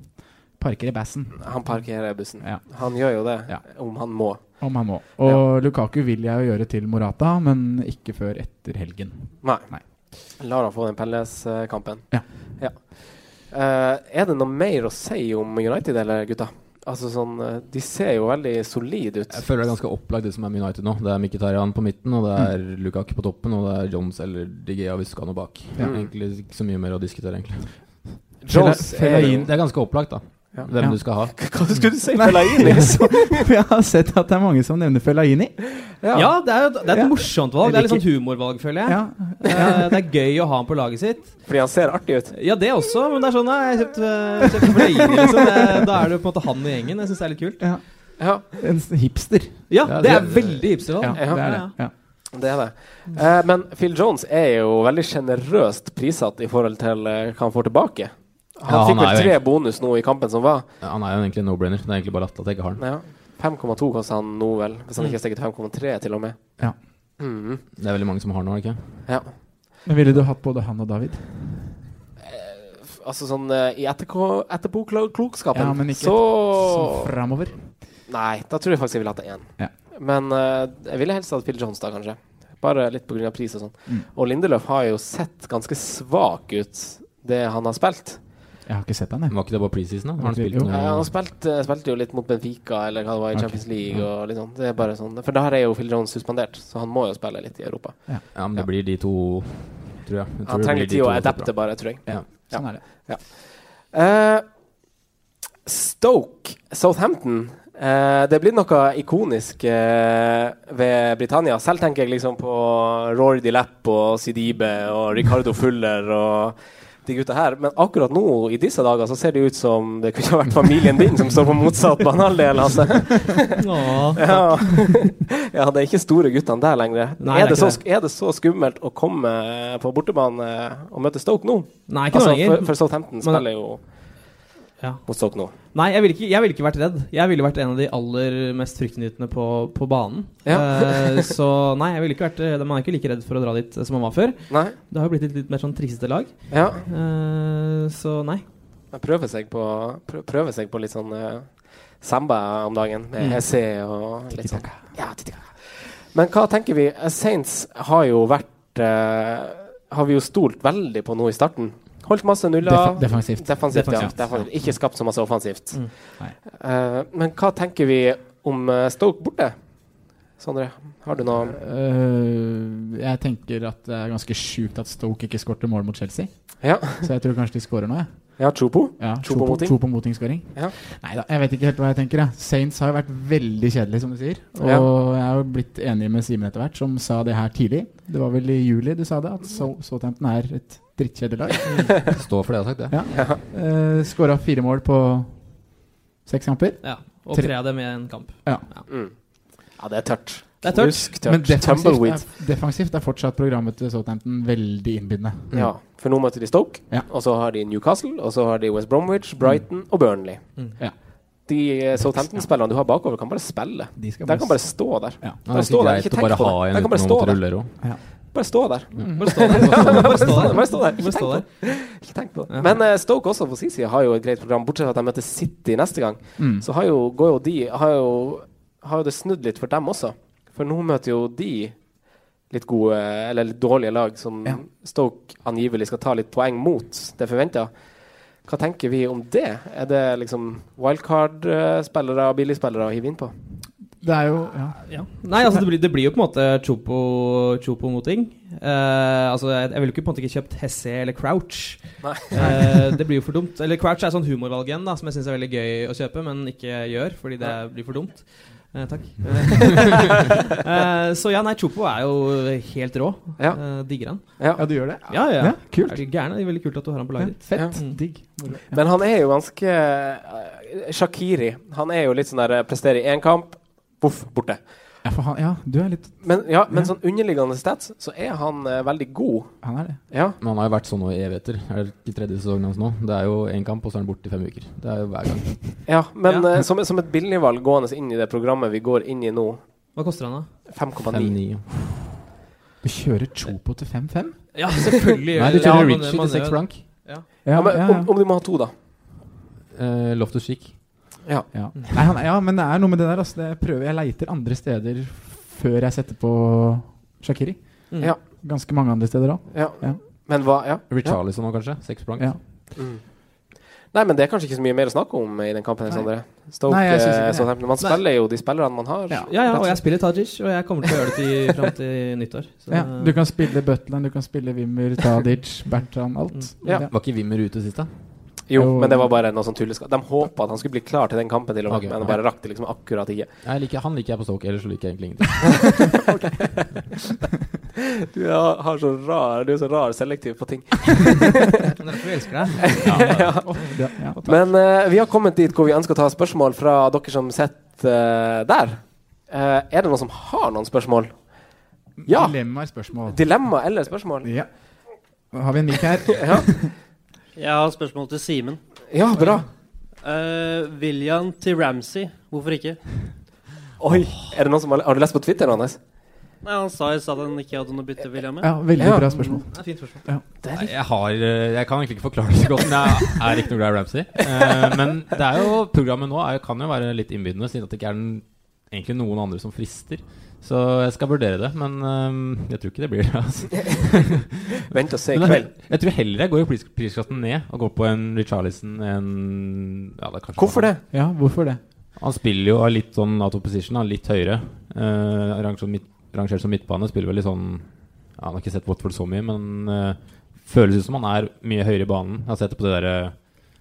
Speaker 2: parker i bassen
Speaker 3: Han parkerer bussen.
Speaker 2: Ja.
Speaker 3: Han gjør jo det,
Speaker 2: Ja.
Speaker 3: om han må.
Speaker 2: om han må. Og Lukaku vil jeg jo gjøre til Morata, men ikke før etter helgen.
Speaker 3: Nei.
Speaker 2: Nei.
Speaker 3: Lar han få den Pelles-kampen.
Speaker 2: Ja.
Speaker 3: Eh, er det noe mer å si om United, eller gutta? Altså sånn, eh, De ser jo veldig solide ut.
Speaker 1: Jeg føler det er ganske opplagt det som er med United nå. Det er Mkhitaryan på midten, og det er Lukaku på toppen, og det er Jones eller Digea hvis du skal ha noe bak.
Speaker 2: Ja.
Speaker 1: Egentlig ikke så mye mer å diskutere, egentlig.
Speaker 3: Jones
Speaker 2: Fela-
Speaker 3: er jo
Speaker 1: Det er ganske opplagt, da.
Speaker 3: Ja.
Speaker 1: Hvem
Speaker 2: Ja.
Speaker 1: du skal ha.
Speaker 3: Hva skulle du si? Fellaini, liksom?
Speaker 2: For jeg har sett at det er mange som nevner Fellaini.
Speaker 5: ja, det er, jo- det er et
Speaker 2: Ja.
Speaker 5: morsomt valg. Det er litt sånn humorvalg, føler jeg.
Speaker 2: Ja.
Speaker 5: Eh, det er gøy å ha han på laget sitt.
Speaker 3: Fordi han ser artig ut.
Speaker 5: Ja, det også, men det er sånn nei, jeg kjøpte, jeg kjøpte fløyer, liksom. Eh, Da er det jo på en måte han i gjengen. Jeg syns det er litt kult.
Speaker 2: ja.
Speaker 3: Ja,
Speaker 2: En s- hipster.
Speaker 5: Ja, det er
Speaker 1: det-
Speaker 5: veldig
Speaker 2: Ja,
Speaker 5: hipstervalg.
Speaker 2: det er det. Ja.
Speaker 3: det er det. Eh, men Phil Jones er jo veldig sjenerøst prissatt i forhold til eh, hva han får tilbake. Han
Speaker 1: Ja, han
Speaker 3: fikk vel
Speaker 1: er jo
Speaker 3: tre bonus nå i kampen som var.
Speaker 1: Ja, Han er jo egentlig en no-brainer. Det er egentlig bare at jeg ikke har han.
Speaker 3: Ja. 5,2 kosta han nå, vel. Hvis han ikke har steget 5,3 til og med.
Speaker 2: Ja.
Speaker 3: Mhm.
Speaker 1: Det er veldig mange som har han nå, er det ikke?
Speaker 3: ja.
Speaker 2: Men ville du hatt både han og David?
Speaker 3: Altså sånn eh, i etterko- etterpåklokskapen,
Speaker 2: Ja, men ikke
Speaker 3: så
Speaker 2: Sånn framover?
Speaker 3: Nei, da tror jeg faktisk jeg ville hatt det én.
Speaker 2: Ja.
Speaker 3: Men eh, jeg ville helst hatt Phil Jones da, kanskje. Bare litt pga. pris og sånn.
Speaker 2: Mm.
Speaker 3: Og Lindeløf har jo sett ganske svak ut, det han har spilt.
Speaker 2: Jeg har ikke sett den, jeg.
Speaker 1: Var ikke det bare preseason, da? Har han spilt
Speaker 2: Jo.
Speaker 1: noe?
Speaker 3: Ja, han spilte, spilte jo litt mot Benfica eller hva det var i
Speaker 2: Ok,
Speaker 3: Champions League.
Speaker 2: ja.
Speaker 3: og litt sånn. Det er bare sånn. For der er jo Phil Jones suspendert, så han må jo spille litt i Europa.
Speaker 1: Ja, men det blir de to, tror jeg. jeg tror
Speaker 3: Han
Speaker 1: det
Speaker 3: trenger
Speaker 1: blir de
Speaker 3: tid å
Speaker 1: to som
Speaker 3: adapte, bare, tror jeg. Ja.
Speaker 2: Sånn er det.
Speaker 3: Eh, Stoke, Southampton. Eh, det er blitt noe ikonisk eh, ved Britannia. Selv tenker jeg liksom på Rory Di Lapp og Sidibe og Ricardo Fuller og de gutta her. Men akkurat nå, i disse dager, så ser det ut som det kunne ha vært familien din som står på motsatt banehalvdel. Altså.
Speaker 5: Åh.
Speaker 3: Ja. ja, det er ikke store guttene der lenger.
Speaker 5: Nei,
Speaker 3: er,
Speaker 5: det er
Speaker 3: det så,
Speaker 5: ikke
Speaker 3: sk- er det så skummelt å komme eh, på bortebane og møte Stoke nå?
Speaker 5: Nei, ikke
Speaker 3: Altså,
Speaker 5: noe
Speaker 3: for,
Speaker 5: lenger.
Speaker 3: for Southampton
Speaker 5: Men-
Speaker 3: spiller jo
Speaker 5: Ja.
Speaker 3: mot Stoke nå.
Speaker 5: Nei, jeg ville ikke, jeg ville ikke vært redd. Jeg ville vært en av de aller mest fryktinngytende på, på banen. Eh, så nei, jeg ville ikke vært eh, man er ikke like redd for å dra dit eh, som man var før.
Speaker 3: Nei?
Speaker 5: Det har jo blitt et litt mer sånn triksete lag.
Speaker 3: Ja.
Speaker 5: Eh, så nei.
Speaker 3: De prøver seg på, prø- prøver seg på litt sånn eh, samba om dagen, med Hesse og litt sånn. Ja, tiki-taka. Men hva tenker vi? Eh, Saints har jo vært eh, Har vi jo stolt veldig på nå i starten. Holdt masse nuller.
Speaker 2: Def defensivt.
Speaker 3: Defensivt,
Speaker 5: Defensivt,
Speaker 3: ja. Defensivt. Ikke skapt så masse offensivt.
Speaker 5: Mm.
Speaker 2: Nei.
Speaker 3: Eh, men hva tenker vi om eh, Stoke borte? Sondre, har du noe
Speaker 2: Øh, jeg tenker at det er ganske sjukt at Stoke ikke skårte mål mot Chelsea.
Speaker 3: Ja,
Speaker 2: Så jeg tror kanskje de skårer nå, jeg.
Speaker 3: ja Chopo?
Speaker 2: Ja,
Speaker 3: Tro på Moting?
Speaker 2: tro på Moting-skåring?
Speaker 3: Ja.
Speaker 2: Nei da, jeg vet ikke helt hva jeg tenker. Jeg. Saints har jo vært veldig kjedelig, som du sier. Og
Speaker 3: Ja.
Speaker 2: jeg har jo blitt enig med Simen etter hvert, som sa det her tidlig. Det var vel i juli du sa det, at So- Southampton er et drittkjedelig lag.
Speaker 1: Står for det, jeg har sagt det.
Speaker 2: Uh, Skåra fire mål på seks kamper.
Speaker 5: Ja. Og
Speaker 2: Tre-
Speaker 5: tre av dem i en kamp.
Speaker 3: Mm. Ja, det er tørt.
Speaker 5: Det er tørt.
Speaker 3: Knusktørt.
Speaker 2: Men defensivt
Speaker 3: Tumbleweed.
Speaker 2: er, defensivt er fortsatt programmet til Southampton veldig innbydende.
Speaker 1: Mm.
Speaker 3: Ja, for nå møter de Stoke,
Speaker 2: Ja.
Speaker 3: og så har de Newcastle, og så har de West Bromwich, Brighton og Burnley.
Speaker 5: Mm.
Speaker 2: Ja.
Speaker 3: De eh, Southampton-spillerne du har bakover, kan bare spille.
Speaker 2: De skal
Speaker 3: De kan bare stå der.
Speaker 2: Ja.
Speaker 1: Men det
Speaker 3: Bare
Speaker 1: er ikke
Speaker 3: stå der,
Speaker 1: greit
Speaker 3: ikke
Speaker 1: å
Speaker 3: tenk
Speaker 1: bare
Speaker 3: på
Speaker 1: ha
Speaker 3: det. Jeg
Speaker 1: en
Speaker 3: kan
Speaker 1: uten
Speaker 3: bare
Speaker 1: å
Speaker 3: stå
Speaker 1: måtte
Speaker 3: der.
Speaker 1: rulle òg.
Speaker 3: Bare stå der.
Speaker 5: Bare stå der. Bare stå der.
Speaker 3: Bare stå der. Ikke
Speaker 5: Bare stå
Speaker 3: tenk
Speaker 5: der.
Speaker 3: Ikke tenk på det.
Speaker 5: Ja.
Speaker 3: Men eh, Stoke også på sin side har jo et greit program, bortsett fra at de møter City neste gang.
Speaker 2: Mm.
Speaker 3: Så har jo, går jo de har jo, har jo det snudd litt for dem også. For nå møter jo de litt gode, eller litt dårlige lag som
Speaker 2: Ja.
Speaker 3: Stoke angivelig skal ta litt poeng mot. Det forventa. Hva tenker vi om det? Er det liksom wildcard-spillere og billigspillere å hive inn på?
Speaker 2: Det er jo ja.
Speaker 5: Ja. Nei, altså det blir, det blir jo på en måte Chopo, Chopo moting. Eh, altså, jeg, jeg ville jo ikke på en måte ikke kjøpt Hesse eller Crouch.
Speaker 3: Nei.
Speaker 5: Eh, det blir jo for dumt. Eller Crouch er sånn humorvalg igjen, da, som jeg syns er veldig gøy å kjøpe, men ikke gjør, fordi det blir for dumt. Eh, takk. Eh, så ja, nei, Chopo er jo helt rå.
Speaker 3: Ja.
Speaker 5: Eh, digger han.
Speaker 2: ja, du gjør det?
Speaker 5: Ja, ja.
Speaker 2: Ja, kult.
Speaker 5: Er du gæren? Det er veldig kult at du har han på
Speaker 2: Ja,
Speaker 5: laget ditt.
Speaker 2: fett.
Speaker 3: Mm.
Speaker 5: Ja.
Speaker 2: Digg. Moro. Ja.
Speaker 3: Men han er jo ganske eh, Shakiri. Han er jo litt sånn der eh, presterer i én kamp, voff, borte.
Speaker 2: Ja, for han, ja, du er litt
Speaker 3: Men, ja, men
Speaker 2: Ja.
Speaker 3: sånn underliggende stats, så er han eh, veldig god.
Speaker 2: Han er det.
Speaker 3: Ja.
Speaker 1: Men han har jo vært sånn nå i evigheter. Er det ikke tredje sesongen hans nå? Det er jo én kamp, og så er han borte i fem uker. Det er jo hver gang.
Speaker 3: ja men
Speaker 5: Ja.
Speaker 3: eh, som, som et billigvalg gående inn i det programmet vi går inn i nå,
Speaker 5: Hva koster han, da?
Speaker 3: 5,9
Speaker 1: 5-9.
Speaker 2: Du kjører Chopo til 5-5?
Speaker 5: Ja, selvfølgelig.
Speaker 1: Nei, du kjører Richie til seks blank.
Speaker 3: ja, men, Om, om du må ha to, da.
Speaker 1: Eh, Loftus Chic.
Speaker 2: Ja. Nei, han, ja, men det er noe med det der. Altså, det prøver, jeg leiter andre steder før jeg setter på Shakiri.
Speaker 5: Mm.
Speaker 3: Ja.
Speaker 2: Ganske mange andre steder òg.
Speaker 3: Ja.
Speaker 2: Ja.
Speaker 3: Men hva Ja.
Speaker 1: Richarlison òg, kanskje. Seks blank.
Speaker 2: Ja.
Speaker 3: Mm. Nei, men det er kanskje ikke så mye mer å snakke om i den kampen.
Speaker 2: Nei.
Speaker 3: Sondre. Stoke,
Speaker 2: Nei, jeg synes ikke
Speaker 3: eh,
Speaker 2: det.
Speaker 3: Southampton. Man
Speaker 5: Nei.
Speaker 3: spiller jo de spillerne man har.
Speaker 2: Ja.
Speaker 5: Ja, ja, og jeg spiller Tajic, og jeg kommer til å gjøre det til, fram til nyttår. Så,
Speaker 2: Ja, du kan spille Butland, du kan spille Wimmer, Tadic, Bertrand, alt.
Speaker 3: Ja.
Speaker 1: Var ikke Wimmer ute sist, da?
Speaker 3: Jo,
Speaker 2: Jo.
Speaker 3: men det var bare noe sånn tulleskap. De håpa at han skulle bli klar til den kampen, til og med,
Speaker 1: Ok,
Speaker 3: men
Speaker 1: ja.
Speaker 3: bare rakk det liksom akkurat ikke.
Speaker 1: Jeg liker, han liker jeg på Stoke, ellers så liker jeg egentlig ingenting.
Speaker 3: Du har, har så rar, du er så rar selektiv på ting.
Speaker 5: Det er derfor vi elsker deg.
Speaker 2: Ja, ja.
Speaker 3: Men eh, vi har kommet dit hvor vi ønsker å ta spørsmål fra dere som sitter eh, der. Eh, er det noen som har noen spørsmål? Ja.
Speaker 2: Dilemmaer, spørsmål.
Speaker 3: Dilemma eller spørsmål?
Speaker 2: Ja. Nå har vi en mic her.
Speaker 3: Ja,
Speaker 7: Jeg har et spørsmål til Simen.
Speaker 3: ja bra.
Speaker 7: Uh, William til Ramsey, hvorfor ikke?
Speaker 3: Oi, er det noen som har, har du lest på Twitter, Anders?
Speaker 7: Nei, Han sa i stad at han ikke hadde noe å bytte William med.
Speaker 2: Ja, veldig
Speaker 3: Ja.
Speaker 2: bra spørsmål.
Speaker 5: Det er et fint spørsmål.
Speaker 1: Nei, Jeg, har, eh, jeg kan egentlig ikke forklare det så godt, men jeg er ikke noe glad i Ramsey. Eh, men det er jo, programmet nå er, kan jo være litt innbydende, siden at det ikke er den, egentlig noen andre som frister. Så jeg skal vurdere det, men øhm, jeg tror ikke det blir det. Altså.
Speaker 3: Vent og se i
Speaker 1: Men
Speaker 3: kveld.
Speaker 1: jeg, jeg tror heller jeg går i pris, prisklassen ned og går på en Richarlison enn ja, det er kanskje
Speaker 3: Hvorfor det?
Speaker 2: Ja, hvorfor det?
Speaker 1: Han spiller jo av litt sånn out of position, han er litt høyere. Eh, rang- som midt, rangert som midtbane spiller vel litt sånn ja, Han har ikke sett Watford så mye, men eh, føles ut som han er mye høyere i banen. Jeg har sett det på det derre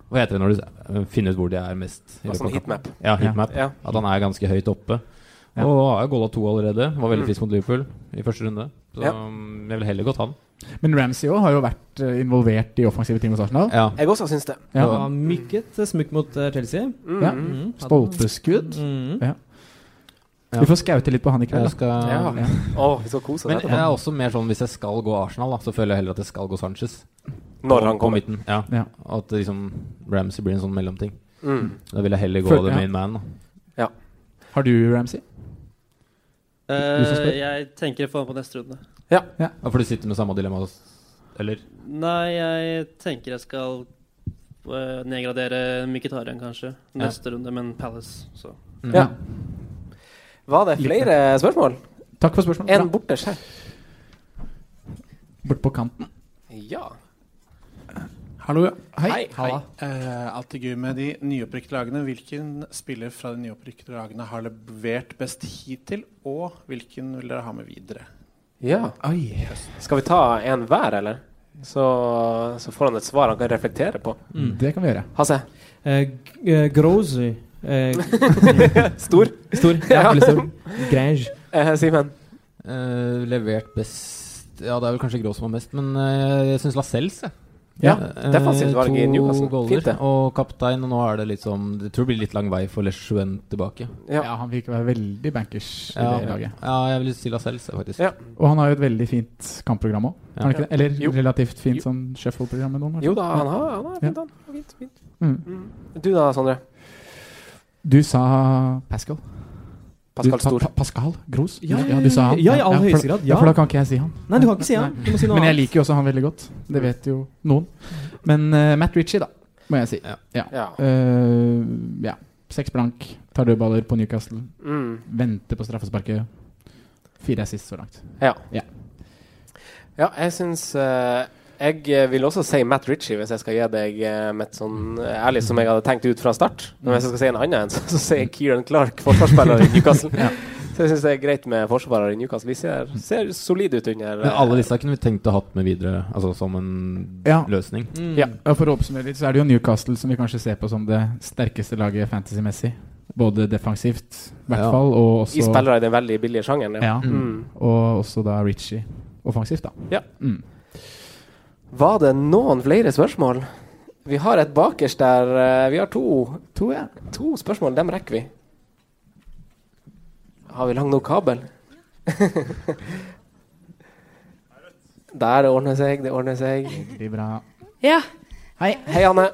Speaker 1: Hva heter det når du eh, finner ut hvor de er mest? i
Speaker 3: Ja,
Speaker 1: løpet
Speaker 3: Sånn
Speaker 1: av kampen?
Speaker 3: heatmap.
Speaker 1: Ja, heatmap.
Speaker 3: Ja.
Speaker 1: At han er ganske høyt oppe.
Speaker 2: Ja.
Speaker 1: Og har jo goala to allerede. Var
Speaker 3: Mm.
Speaker 1: veldig frisk mot Liverpool i første runde. Så
Speaker 3: Ja.
Speaker 1: mm, jeg ville heller gått han.
Speaker 2: Men Ramsey òg har jo vært eh, involvert i offensive ting hos Arsenal.
Speaker 1: Ja.
Speaker 3: Jeg også syns det.
Speaker 2: Ja.
Speaker 5: Det var mykket eh, smukk mot eh, Chelsea.
Speaker 3: Mm.
Speaker 2: Ja.
Speaker 5: Mm, hadde-
Speaker 2: Stolpeskudd.
Speaker 5: Mm.
Speaker 1: Ja.
Speaker 2: Vi får skaute litt på han i kveld.
Speaker 1: Jeg
Speaker 2: da.
Speaker 1: skal
Speaker 3: Ja.
Speaker 2: Ja.
Speaker 3: Å, vi skal kose
Speaker 1: Men
Speaker 3: oss
Speaker 1: jeg er også mer sånn hvis jeg skal gå Arsenal, da, så føler jeg heller at jeg skal gå Sanchez.
Speaker 3: når
Speaker 1: På-
Speaker 3: han kommer.
Speaker 1: På midten, ja.
Speaker 2: Ja.
Speaker 1: At det liksom Ramsey blir en sånn mellomting.
Speaker 3: Mm.
Speaker 1: Da vil jeg heller gå
Speaker 2: Føl-
Speaker 1: the
Speaker 2: ja.
Speaker 1: main man. Da.
Speaker 2: Har du Ramsey? Du som spør.
Speaker 7: Eh, jeg tenker å få han på neste runde.
Speaker 1: Ja, For du sitter med samme dilemma s- Eller?
Speaker 7: Nei, jeg tenker jeg skal eh, nedgradere Mkhitaryan kanskje neste runde, men Palace, så
Speaker 2: Mm.
Speaker 3: Ja. Var det flere spørsmål?
Speaker 2: Takk for spørsmålet.
Speaker 3: En
Speaker 2: Bra.
Speaker 3: borte skjerm.
Speaker 2: Bort på kanten.
Speaker 3: Ja.
Speaker 2: Hallo, ja. Hei.
Speaker 3: Hei.
Speaker 5: Halla.
Speaker 8: Eh, alltid gøy med de nyopprykkede lagene. Hvilken spiller fra de nyopprykkede lagene har levert best hittil, og hvilken vil dere ha med videre?
Speaker 3: Ja.
Speaker 2: Oi.
Speaker 3: Skal vi ta en hver, eller? Så, så får han et svar han kan reflektere på.
Speaker 5: Mm.
Speaker 2: Det kan vi gjøre.
Speaker 3: Hasse.
Speaker 5: Eh, g- eh, Grozy. Eh,
Speaker 3: Stor.
Speaker 5: stor. Ja, veldig stor. Grange.
Speaker 3: Eh, Simen.
Speaker 1: Eh, levert best Ja, det er vel kanskje Grå som har mest, men eh, jeg syns Lascelles, jeg.
Speaker 2: Ja,
Speaker 1: Eh,
Speaker 3: det er fasit valg i
Speaker 1: to
Speaker 3: Newcastle.
Speaker 1: goller
Speaker 3: Fint det.
Speaker 1: Og kaptein, og nå er det litt sånn Jeg tror det blir litt lang vei for Lechouen tilbake.
Speaker 3: Ja.
Speaker 2: Ja, han virker å være veldig bankers i
Speaker 1: Ja,
Speaker 2: det laget.
Speaker 1: ja jeg vil si Lascelles, jeg, faktisk.
Speaker 3: Ja.
Speaker 2: Og han har jo et veldig fint kampprogram òg.
Speaker 1: Ja.
Speaker 2: det ikke det? Eller
Speaker 3: Jo.
Speaker 2: relativt fint
Speaker 3: Jo.
Speaker 2: sånn shuffle-program med noen. kanskje?
Speaker 3: Jo da, han har, han har fint, han. Fint, fint.
Speaker 2: Mm.
Speaker 3: Mm. Du da, Sondre?
Speaker 2: Du sa Pascal.
Speaker 3: Pascal
Speaker 2: du sa
Speaker 3: Stor.
Speaker 2: Pa Pascal Gros?
Speaker 5: Ja, ja,
Speaker 2: du sa han.
Speaker 5: ja, i all
Speaker 2: for-
Speaker 5: høyeste grad, ja.
Speaker 2: for da kan ikke jeg si han.
Speaker 5: Nei, du kan ikke si han. Du må si noe
Speaker 2: Men jeg
Speaker 5: annet.
Speaker 2: liker jo også han veldig godt. Det vet jo noen. Men eh, Matt Ritchie, da, må jeg si.
Speaker 1: Ja.
Speaker 3: Ja.
Speaker 2: Eh, ja. Seks blank, tar dødballer på Newcastle,
Speaker 3: Mm.
Speaker 2: venter på straffesparket. Fire assist så langt.
Speaker 3: Ja.
Speaker 2: Ja.
Speaker 3: Ja, jeg syns eh, Jeg eh, vil også si Matt Ritchie, hvis jeg skal gi deg eh, mitt sånn eh, ærlig som jeg hadde tenkt ut fra start. Men hvis jeg skal si en annen en, så, så sier jeg Kieran Clark, forsvarsspiller i Newcastle. Så jeg syns det er greit med forsvarere i Newcastle. Vi ser, ser solide ut under
Speaker 1: Men
Speaker 3: eh,
Speaker 1: alle disse kunne vi tenkt å hatt med videre, altså som en
Speaker 2: Ja.
Speaker 1: løsning.
Speaker 5: Mm.
Speaker 3: Ja.
Speaker 2: Ja, For å oppsummere litt, så er det jo Newcastle som vi kanskje ser på som det sterkeste laget fantasy-messig. Både defensivt, i hvert
Speaker 1: Ja.
Speaker 2: fall, og
Speaker 3: eh, I
Speaker 2: også,
Speaker 3: spillere i den veldig billige sjangeren.
Speaker 2: ja,
Speaker 3: Mm.
Speaker 2: og også da Ritchie offensivt, da.
Speaker 3: Ja.
Speaker 2: Mm.
Speaker 3: Var det noen flere spørsmål? Vi har et bakerst der. eh, Vi har to,
Speaker 2: To, ja.
Speaker 3: to spørsmål. Dem rekker vi. Har vi lang nok kabel? Der det ordner seg, det ordner seg.
Speaker 2: Veldig bra.
Speaker 9: Ja.
Speaker 3: Hei, Anne.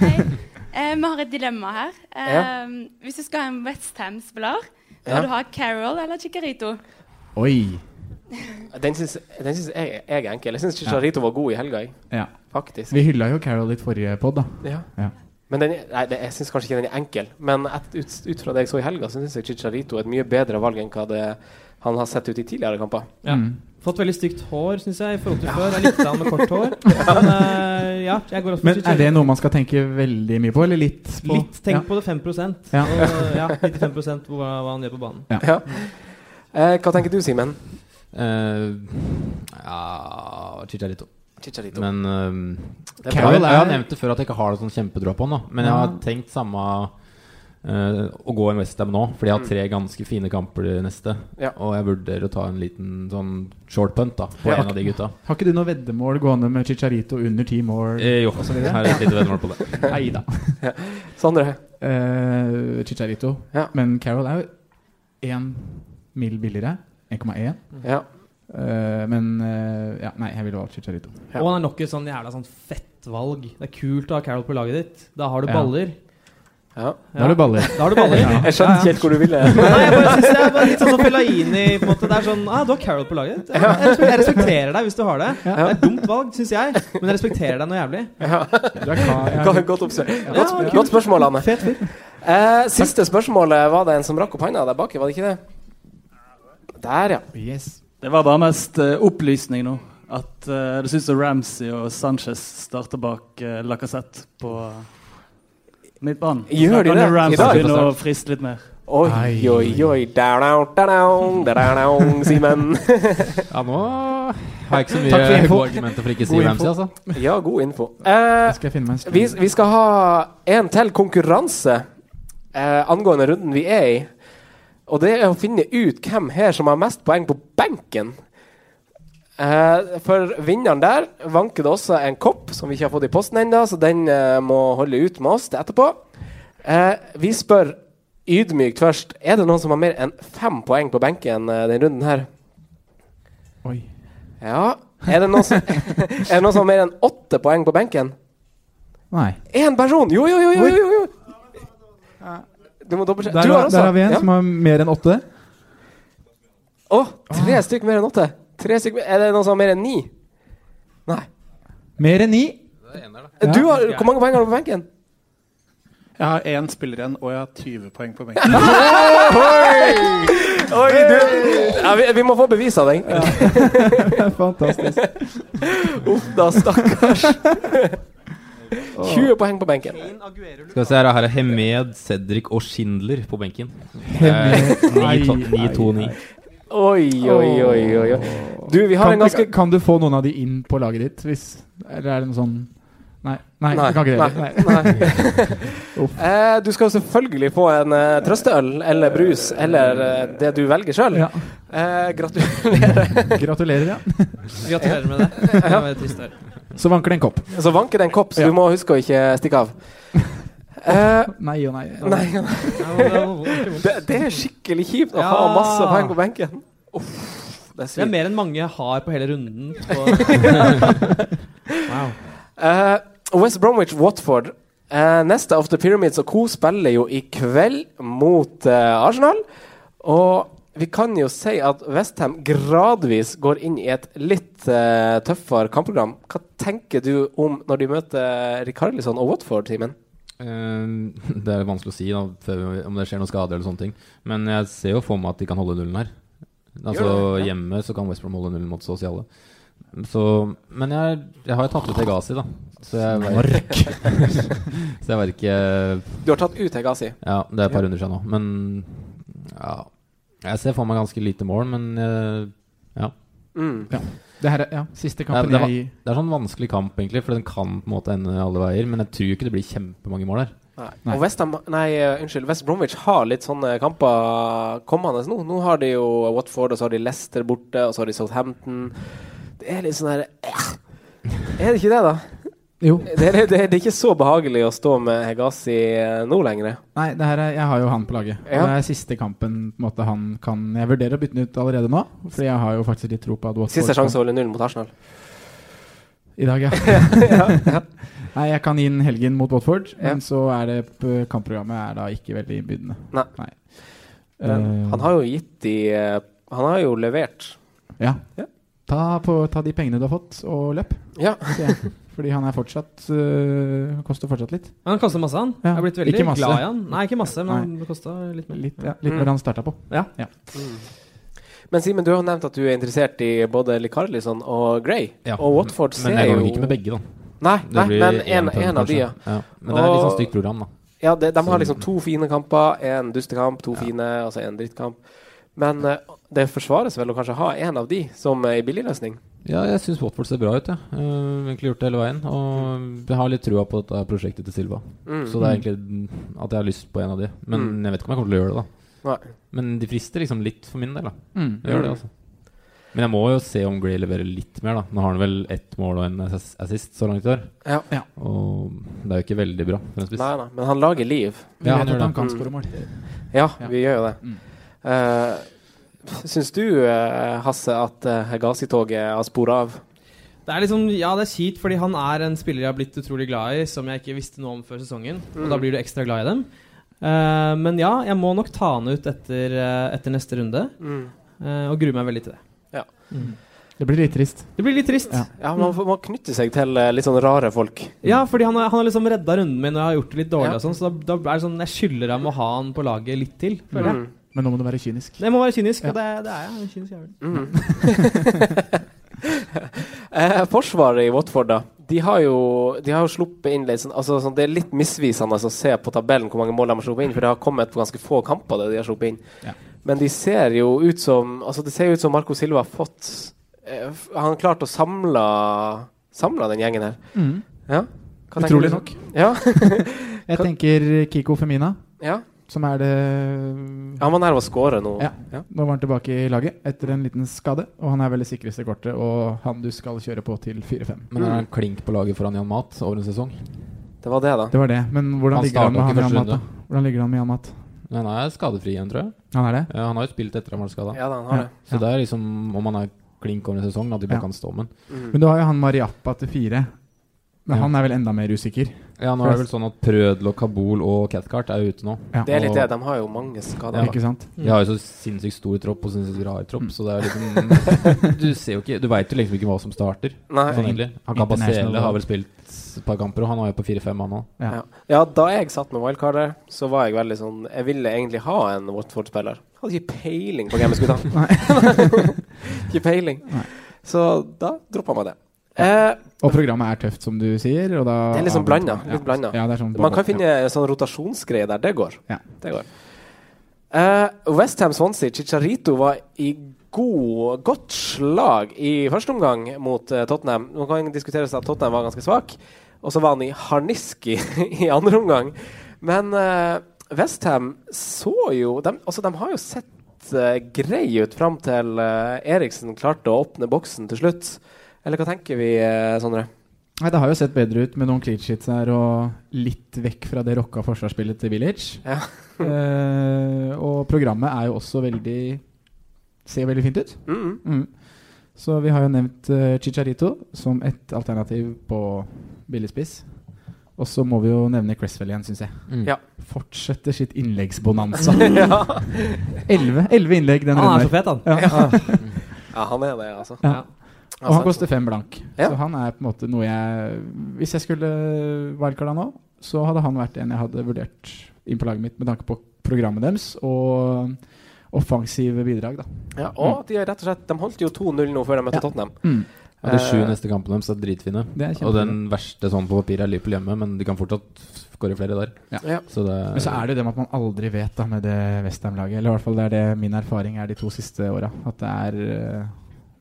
Speaker 9: Hei. Eh, vi har et dilemma her. Eh,
Speaker 3: Ja.
Speaker 9: Hvis du skal ha en Westham-spiller, bør
Speaker 3: Ja.
Speaker 9: du ha Carol eller Chicarito?
Speaker 2: Oi.
Speaker 3: Den syns den syns jeg, jeg er enkel. Jeg syns Chicharito var god i helga, jeg.
Speaker 2: Ja.
Speaker 3: faktisk.
Speaker 2: Vi hylla jo Carol litt forrige pod, da.
Speaker 3: Ja.
Speaker 2: Ja.
Speaker 3: Men den, nei, det, jeg syns kanskje ikke den er enkel. Men et, ut, ut fra det jeg så i helga, så syns jeg Chicharito er et mye bedre valg enn hva det, han har sett ut i tidligere kamper.
Speaker 5: Ja.
Speaker 2: Mm.
Speaker 5: Fått veldig stygt hår, syns jeg, i forhold til før. Jeg likte han med kort hår. Men eh, ja, jeg går også for
Speaker 2: Men er det noe man skal tenke veldig mye på, eller litt? På?
Speaker 5: Litt. Tenk på det 5 Og, eh,
Speaker 2: Ja.
Speaker 5: ja, 95 på hva, hva han gjør på banen.
Speaker 3: Ja. Eh, hva tenker du, Simen?
Speaker 1: Eh, ja Chicharito.
Speaker 3: Chicharito.
Speaker 1: Men eh,
Speaker 3: Det er
Speaker 1: jeg,
Speaker 2: Carroll
Speaker 1: har- jeg har
Speaker 2: er-
Speaker 1: nevnt det før at jeg ikke har noe sånn kjempedrå på han. da Men jeg har
Speaker 2: Ja.
Speaker 1: tenkt samme eh, å gå en Westham nå, fordi jeg har tre ganske fine kamper i neste.
Speaker 3: Ja.
Speaker 1: Og jeg vurderer å ta en liten sånn short punt da på
Speaker 2: Ja.
Speaker 1: en av de gutta.
Speaker 2: Har ikke du noe veddemål gående med Chicharito under ti mål?
Speaker 1: Eh, jo, her er et lite veddemål på det.
Speaker 2: Nei da.
Speaker 3: Sondre?
Speaker 2: Eh, Chicharito.
Speaker 3: Ja.
Speaker 2: Men Carol er jo én mil billigere. 1,1.
Speaker 3: Ja.
Speaker 2: Eh, men eh, ja, nei, jeg ville valgt Chicharito.
Speaker 3: Ja.
Speaker 5: Og han er nok et sånn jævla sånn fett valg. Det er kult å ha Carol på laget ditt. Da har du
Speaker 2: Ja.
Speaker 5: baller.
Speaker 3: ja.
Speaker 2: Da har du baller.
Speaker 5: Da har du baller.
Speaker 2: Ja.
Speaker 3: Jeg skjønte ikke helt hvor du ville.
Speaker 5: Nei, jeg bare synes jeg var litt sånn som Fellaini. På en måte. Det er sånn ah, Du har Carol på laget. Jeg, respekterer, jeg respekterer deg hvis du har det. Det er et dumt valg, syns jeg, men jeg respekterer deg noe jævlig.
Speaker 2: Du er klar. Ja,
Speaker 3: Godt, godt, oppsø- godt,
Speaker 5: kult.
Speaker 3: godt spørsmål, Anne.
Speaker 5: Fet fyr.
Speaker 3: Eh, siste spørsmålet var det en som rakk opp hånda der bak, var det ikke det? Der, ja.
Speaker 2: Yes.
Speaker 10: Det var bare mest eh, opplysning nå. At eh, det syns Ramsey og Sanchez starter bak uh, Lacassette på eh, midtbanen.
Speaker 3: Gjør de
Speaker 10: Så da
Speaker 3: det?
Speaker 10: Kan
Speaker 3: I dag?
Speaker 10: Ramsey begynne å friste litt mer.
Speaker 3: Oi,
Speaker 2: Ai.
Speaker 3: oi, oi. Da-da, da-da, da-da, Simen.
Speaker 1: Ja, nå har jeg ikke så
Speaker 2: Takk for
Speaker 1: mye
Speaker 2: info.
Speaker 1: gode argumenter for ikke å si
Speaker 2: God info.
Speaker 1: Ramsey, altså.
Speaker 3: Ja, god info. Eh,
Speaker 2: Da skal jeg finne meg en
Speaker 3: vi,
Speaker 2: stund.
Speaker 3: vi skal ha en til konkurranse eh, angående runden vi er i. Og det er å finne ut hvem her som har mest poeng på benken. Eh, for vinneren der vanker det også en kopp som vi ikke har fått i posten ennå, så den eh, må holde ut med oss til etterpå. Eh, vi spør ydmykt først. Er det noen som har mer enn fem poeng på benken eh, denne runden her?
Speaker 2: Oi.
Speaker 3: Ja. Er det noen som, er det noen som har mer enn åtte poeng på benken?
Speaker 2: Nei.
Speaker 3: Én person! Jo, jo, jo! jo, jo, jo. Du må dobbeltsjekke.
Speaker 2: Der,
Speaker 3: Du har
Speaker 2: var-
Speaker 3: også.
Speaker 2: der har vi en
Speaker 3: Ja.
Speaker 2: som har mer enn åtte.
Speaker 3: Å, tre stykk mer enn åtte. Tre stykk mer. Er det noen som har mer enn ni? Nei.
Speaker 2: Mer enn ni. Ja.
Speaker 3: Du har, hvor mange poeng har du på benken?
Speaker 8: Jeg har én spiller igjen, og jeg har 20 poeng på benken.
Speaker 3: Oi, du. Ja, vi, vi må få bevis av deg.
Speaker 2: Fantastisk.
Speaker 3: Uff da, stakkars. 20 poeng på benken.
Speaker 1: Skal vi se her, her er Hemed, Cedric og Schindler på benken. Eh,
Speaker 2: Nei,
Speaker 1: 9-2-9.
Speaker 3: Oi, oi, oi, oi. oi. Du, vi har
Speaker 2: Kan,
Speaker 3: en ganske
Speaker 2: kan du få noen av de inn på laget ditt? Hvis, eller er det noe sånn Nei. Nei, du kan ikke det.
Speaker 3: nei,
Speaker 2: Nei.
Speaker 3: nei.
Speaker 2: Uff.
Speaker 3: Eh, du skal jo selvfølgelig få en eh, trøsteøl eller brus eller eh, det du velger sjøl.
Speaker 2: Ja.
Speaker 3: Eh, gratulerer.
Speaker 2: Gratulerer, ja.
Speaker 5: Gratulerer med det. Det var trist å høre.
Speaker 2: Så vanker det en kopp.
Speaker 3: Så vanker det en kopp, så
Speaker 2: Ja.
Speaker 3: du må huske å ikke stikke av. Eh,
Speaker 2: Nei og nei.
Speaker 3: nei,
Speaker 5: Det var- det var ordentlig vondt.
Speaker 3: det, det er skikkelig kjipt å ha
Speaker 5: Ja.
Speaker 3: masse poeng på benken. Uff, det er
Speaker 5: Det er
Speaker 3: sykt.
Speaker 5: mer enn mange har på hele runden. På wow.
Speaker 3: Eh, West Bromwich Watford. Eh, neste of the Pyramids og co. spiller jo i kveld mot eh, Arsenal. Og vi kan jo si at Westham gradvis går inn i et litt eh, tøffere kampprogram. Hva tenker du om når de møter Rikarlison og Watford, Simen?
Speaker 1: Eh, det er vanskelig å si da, før- om det skjer noen skader eller sånne ting. Men jeg ser jo for meg at de kan holde nullen her. Altså
Speaker 3: Gjør det, ja.
Speaker 1: Hjemme så kan West Brom holde nullen mot Sociale. Så, men jeg, jeg har jo tatt ut Egasi, da. Så jeg vet- Så jeg vet ikke
Speaker 3: Du har tatt ut Hegazi.
Speaker 1: Ja, det er et par runder siden nå. Men ja Jeg ser for meg ganske lite mål, men eh, ja.
Speaker 3: Mm.
Speaker 2: Det her er ja, siste
Speaker 1: Nei,
Speaker 2: kampen
Speaker 1: det var-
Speaker 2: jeg
Speaker 1: Det er sånn vanskelig kamp, egentlig, for den kan på en måte ende alle veier. Men jeg tror ikke det blir kjempemange mål her.
Speaker 3: Nei.
Speaker 2: Nei.
Speaker 3: Og West, Ham, nei, eh, unnskyld, West Bromwich har litt sånne kamper kommende nå. Nå har de jo Watford, og så har de Leicester borte, og så har de Southampton. Det er litt sånn her Er det ikke det, da?
Speaker 2: Jo.
Speaker 3: Det er, det er, det er ikke så behagelig å stå med Hegazi eh, nå lenger.
Speaker 2: Nei, det her er, jeg har jo han på laget. Og
Speaker 3: Ja.
Speaker 2: Det er siste kampen på en måte, han kan Jeg vurderer å bytte den ut allerede nå, Fordi jeg har jo faktisk litt tro på at Watford
Speaker 3: Siste
Speaker 2: kan-
Speaker 3: sjanse å holde null mot Arsenal.
Speaker 2: I dag, ja. Nei, jeg kan inn helgen mot Watford, men så er det p- kampprogrammet er da ikke veldig innbydende.
Speaker 3: Nei. Men
Speaker 2: Eh,
Speaker 3: han har jo gitt de eh, Han har jo levert.
Speaker 2: Ja.
Speaker 3: Ja.
Speaker 2: Ta, på, ta de pengene du har fått, og løp.
Speaker 3: Ja.
Speaker 2: sier jeg. Fordi han er fortsatt øh, Han koster fortsatt litt.
Speaker 5: Men han kosta masse, han.
Speaker 2: Ja.
Speaker 5: Jeg er blitt veldig
Speaker 2: Ikke masse.
Speaker 5: glad i han. Nei, ikke masse, men det kosta litt mer.
Speaker 2: Litt, ja, litt
Speaker 3: Mm.
Speaker 2: mer enn han starta på.
Speaker 3: Men Simen, du har jo nevnt at du er interessert i både Likarlison og Gray.
Speaker 1: Ja.
Speaker 3: Og Watford ser
Speaker 1: Men jeg går
Speaker 3: jo
Speaker 1: nok ikke med begge, da.
Speaker 3: Nei,
Speaker 1: Det
Speaker 3: nei
Speaker 1: blir
Speaker 3: men en,
Speaker 1: en pønn,
Speaker 3: en av de,
Speaker 1: kanskje.
Speaker 3: ja.
Speaker 1: Ja. Men det er litt sånn
Speaker 3: Og-
Speaker 1: stygt program, da.
Speaker 3: Ja, det, de har
Speaker 1: Så-
Speaker 3: liksom to fine kamper, én dustekamp, to fine, og så én drittkamp. Men eh, det forsvares vel å kanskje ha én av de som er i billigløsning.
Speaker 1: Ja, jeg syns Watford ser bra ut, jeg. Ja. egentlig gjort det hele veien. Og jeg har litt trua på dette prosjektet til Silva.
Speaker 3: Mm.
Speaker 1: Så det er egentlig at jeg har lyst på en av de. Men
Speaker 3: Mm.
Speaker 1: jeg vet ikke om jeg kommer til å gjøre det, da.
Speaker 3: Nei.
Speaker 1: Men de frister liksom litt for min del, da.
Speaker 2: Mm.
Speaker 1: Jeg gjør det, altså. Men jeg må jo se om Gray leverer litt mer, da. Nå har han vel ett mål og en ass- assist så langt i år.
Speaker 3: Ja.
Speaker 2: Ja.
Speaker 1: Og det er jo ikke veldig bra for en spiss.
Speaker 3: Nei, nei, men han lager liv.
Speaker 2: Vi
Speaker 1: Ja, han
Speaker 2: vet
Speaker 1: gjør
Speaker 2: at han
Speaker 1: det.
Speaker 2: kan
Speaker 3: Mm.
Speaker 2: skåre mål.
Speaker 3: Ja,
Speaker 2: Ja.
Speaker 3: vi gjør jo det.
Speaker 2: Mm.
Speaker 3: Uh, Syns du, eh, Hasse, at uh, Gazi-toget har spora av?
Speaker 5: Det er liksom, ja, det er kjipt, fordi han er en spiller jeg har blitt utrolig glad i, som jeg ikke visste noe om før sesongen. Og da blir du ekstra glad i dem. Eh, men ja, jeg må nok ta han ut etter, eh, etter neste runde, eh, og gruer meg veldig til det.
Speaker 2: Det blir litt trist.
Speaker 5: Det blir litt trist.
Speaker 2: Ja.
Speaker 5: Ja,
Speaker 3: Ja, man får- må knytte seg til eh, litt sånn rare folk.
Speaker 5: fordi han har, han har liksom redda runden min, og jeg har gjort det litt dårlig,
Speaker 3: Ja.
Speaker 5: og sånn, så da, da er det sånn, jeg skylder ham å ha han på laget litt til, føler jeg.
Speaker 3: Mm.
Speaker 2: Men nå må du være kynisk.
Speaker 5: Det må være kynisk,
Speaker 2: Ja.
Speaker 5: og det, er- det er jeg. En kynisk jævel.
Speaker 3: Mm. eh, forsvaret i Watford, da. De har jo, de har jo sluppet inn litt sånn, altså, sånn, Det er litt misvisende å se på tabellen hvor mange mål de har sluppet inn, for det har kommet på ganske få kamper. det de har sluppet inn.
Speaker 2: Ja.
Speaker 3: Men de ser jo ut som altså det ser jo ut som Marco Silva har fått eh, f- Han har klart å samle, samle den gjengen her.
Speaker 2: Mhm.
Speaker 3: Ja? Hva tenker
Speaker 2: Utrolig
Speaker 3: du?
Speaker 2: nok.
Speaker 3: Ja.
Speaker 2: Jeg tenker Kiko Femina,
Speaker 3: Ja.
Speaker 2: som er det
Speaker 3: Han var nær å skåre nå.
Speaker 2: Ja. Nå var han tilbake i laget etter en liten skade, og han er vel det sikreste kortet og han du skal kjøre på til 4-5.
Speaker 1: Men er
Speaker 3: Mm.
Speaker 1: han klink på laget foran Jan Mat over en sesong?
Speaker 3: Det var det, da.
Speaker 2: Det var det. Men hvordan
Speaker 1: Han
Speaker 2: ligger han
Speaker 1: startet
Speaker 2: med han
Speaker 1: ikke
Speaker 2: Jan
Speaker 1: første
Speaker 2: Mat? da?
Speaker 1: runde.
Speaker 2: Hvordan ligger han med Jan Mat?
Speaker 1: Men Han er skadefri igjen, tror jeg.
Speaker 2: Han er det?
Speaker 1: Ja, han har jo spilt etter han ble skada.
Speaker 3: Ja da, han har det.
Speaker 1: Så det er liksom om han er klink over en sesong, at de bare
Speaker 2: Ja.
Speaker 1: kan stå med den.
Speaker 2: Men du har jo han Mariappa til 4. Men
Speaker 1: Ja.
Speaker 2: han er vel enda mer usikker?
Speaker 1: Ja, nå er det vel sånn at Prødel og Kabul og Cathcart er ute nå.
Speaker 2: Ja.
Speaker 3: Det er litt
Speaker 1: Og-
Speaker 3: det. De har jo mange skader.
Speaker 1: Ja.
Speaker 2: Ikke sant?
Speaker 3: Mm.
Speaker 1: De har jo så sinnssykt stor tropp og sinnssykt rar tropp, så det er liksom Du ser jo ikke Du veit jo liksom ikke hva som starter.
Speaker 3: Nei.
Speaker 1: Sånn egentlig. Han Kabasele
Speaker 2: International-
Speaker 1: har vel spilt et par kamper, og han er jo på 4-5, han òg.
Speaker 2: Ja.
Speaker 3: Ja. ja, da jeg satt med wildcardet, så var jeg veldig sånn Jeg ville egentlig ha en Watford-spiller. Hadde ikke peiling på hvem jeg skulle ta. ikke peiling. Så da droppa jeg det. Eh,
Speaker 2: Og programmet er tøft, som du sier. Og da
Speaker 3: det er liksom blanda.
Speaker 2: Ja.
Speaker 3: Litt blanda.
Speaker 2: Ja, det er sånn
Speaker 3: Man kan finne sånn rotasjonsgreie der. Det går.
Speaker 2: Ja.
Speaker 3: Det går. Eh, Westham Swansea, Chicharito var i god, godt slag i første omgang mot eh, Tottenham. Nå kan diskuteres at Tottenham var ganske svak, og så var han i harnisk i, i andre omgang. Men eh, Westham så jo de, altså, de har jo sett eh, grei ut fram til eh, Eriksen klarte å åpne boksen til slutt. Eller hva tenker vi, eh, Sondre?
Speaker 2: Nei, Det har jo sett bedre ut med noen clean sheets her og litt vekk fra det rocka forsvarsspillet til Village.
Speaker 3: Ja.
Speaker 2: Eh, og programmet er jo også veldig Ser veldig fint ut.
Speaker 3: Mm.
Speaker 2: Mm. Så vi har jo nevnt eh, Chicharito som et alternativ på billigspiss. Og så må vi jo nevne Cresswell igjen, syns jeg.
Speaker 1: Mm.
Speaker 3: Ja.
Speaker 2: Fortsetter sitt innleggsbonanza.
Speaker 3: ja.
Speaker 2: Elleve elleve innlegg den
Speaker 5: Han er så
Speaker 2: runden. her.
Speaker 5: fet, han.
Speaker 2: Ja.
Speaker 3: ja, han er det, altså.
Speaker 2: Ja. Og han
Speaker 3: Altså,
Speaker 2: koster fem blank.
Speaker 3: Ja.
Speaker 2: Så han er på en måte noe jeg Hvis jeg skulle wildcarda nå, så hadde han vært en jeg hadde vurdert inn på laget mitt med tanke på programmet deres og offensive bidrag, da.
Speaker 3: Ja, og de, er rett og slett, de holdt jo 2-0 nå før de møtte
Speaker 2: Ja.
Speaker 3: Tottenham.
Speaker 1: Og de sju
Speaker 3: Eh,
Speaker 1: neste kampene deres er dritfine.
Speaker 2: Det er kjempefint.
Speaker 1: Og den verste sånn på papir er Liverpool hjemme, men de kan fortsatt skåre flere der.
Speaker 3: Ja.
Speaker 1: Så det
Speaker 2: Men så er det jo det med at man aldri vet da med det Westham-laget. Eller i hvert fall det er det min erfaring er de to siste åra. At det er eh,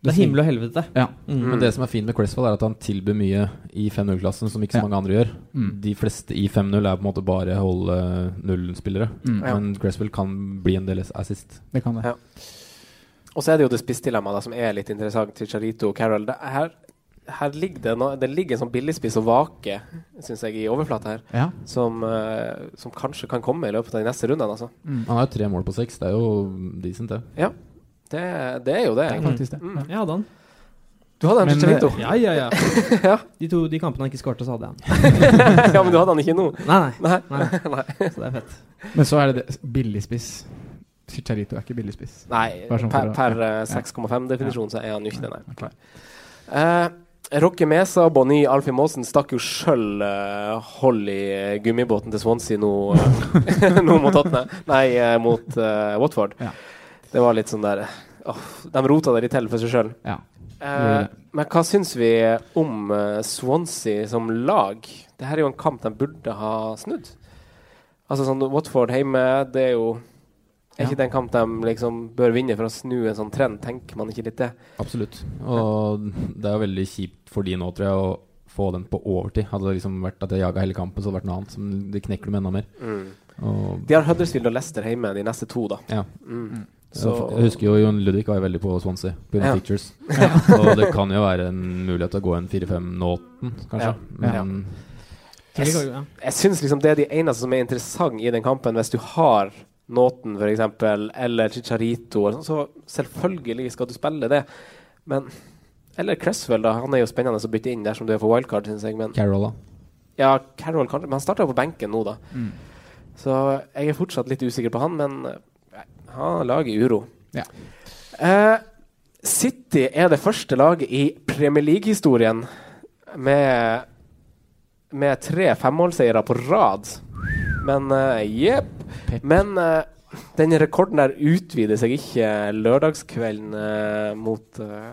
Speaker 5: Det er himmel og helvete. Mm.
Speaker 2: Ja.
Speaker 3: Mm.
Speaker 1: Men det som er fint med Cresswell, er at han tilbyr mye i 5-0-klassen som ikke så
Speaker 2: Ja.
Speaker 1: mange andre gjør.
Speaker 2: Mm.
Speaker 1: De fleste i 5-0 er på en måte bare holde null-spillere.
Speaker 2: Mm.
Speaker 3: Ja.
Speaker 1: Men Cresswell kan bli en del assist.
Speaker 2: Det kan
Speaker 3: Ja.
Speaker 2: det.
Speaker 3: Og så er det jo det spissdilemmaet da, som er litt interessant til Charito og Carol. Det, her, her ligger det, no, det ligger en sånn billigspiss og vake, syns jeg, i overflata her,
Speaker 2: Ja.
Speaker 3: som, eh, som kanskje kan komme i løpet av de neste rundene. Altså.
Speaker 1: Han har jo tre mål på seks, det er jo decent, det.
Speaker 3: Ja, det, det er jo det.
Speaker 2: Det er
Speaker 3: egentlig.
Speaker 2: faktisk det.
Speaker 3: Mm.
Speaker 2: Ja.
Speaker 5: Jeg hadde han.
Speaker 3: Du hadde en
Speaker 2: Men,
Speaker 3: Chicharito.
Speaker 5: Ja, ja, ja.
Speaker 3: Ja.
Speaker 5: De to de kampene han ikke skårte, så hadde jeg han.
Speaker 3: eh, ja, men du hadde han ikke nå.
Speaker 5: Nei, nei.
Speaker 3: Nei.
Speaker 5: nei.
Speaker 3: Nei.
Speaker 5: Så det er fett.
Speaker 2: Men så er det det billigspiss. Chicharito er ikke billigspiss.
Speaker 3: Nei,
Speaker 2: Bare sånn
Speaker 3: per,
Speaker 2: for å-
Speaker 3: per eh, 6,5-definisjon så er han ikke det, nei. Eh, Rocky Mesa og Bonny Alfie Maasen stakk jo sjøl hold i eh, gummibåten til Swansea nå, eh, nå mot Tottenham. Nei, eh, mot eh, Watford.
Speaker 2: Ja.
Speaker 3: Det var litt sånn der eh, åh, De rota det litt til for seg sjøl.
Speaker 2: Ja. gjorde det.
Speaker 3: Eh, men hva syns vi om eh, Swansea som lag? Dette er jo en kamp de burde ha snudd. Altså sånn Watford hjemme, det er jo Er
Speaker 2: Ja.
Speaker 3: ikke det en kamp de liksom bør vinne for å snu en sånn trend? Tenker man ikke litt det?
Speaker 1: Absolutt. Og det er jo veldig kjipt for de nå, tror jeg, å få den på overtid. Hadde det liksom vært at jeg jaga hele kampen, så hadde det vært noe annet. Men det knekker dem enda mer. Og,
Speaker 3: De har Huddersfield og Leicester hjemme de neste to, da.
Speaker 1: ja.
Speaker 3: Mm.
Speaker 1: Så
Speaker 3: Så-
Speaker 1: jeg husker jo Jon Ludvig var jo veldig på Swansea, på grunn av
Speaker 3: Ja.
Speaker 1: Pictures. Og det kan jo være en mulighet til å gå en 4-5-nåten, kanskje.
Speaker 3: Ja.
Speaker 1: Men
Speaker 2: Ja.
Speaker 5: Tror ikke- ja.
Speaker 3: Jeg syns liksom det er de eneste som er interessant i den kampen, hvis du har Nåten f.eks., eller Chicharito, eller sånn, så selvfølgelig skal du spille det. Men Eller Cresswell, da. Han er jo spennende å bytte inn dersom du er for wildcard, syns jeg. Men
Speaker 1: Carol, da.
Speaker 3: ja, Carroll kanskje, men han starta jo på benken nå, da. Så jeg er fortsatt litt usikker på han, men eh, nei, han lager uro.
Speaker 2: Ja.
Speaker 3: Eh, City er det første laget i Premier League-historien med, med tre femmålseiere på rad. Men eh, jepp. Men eh, Den rekorden der utvider seg ikke lørdagskvelden eh, mot eh,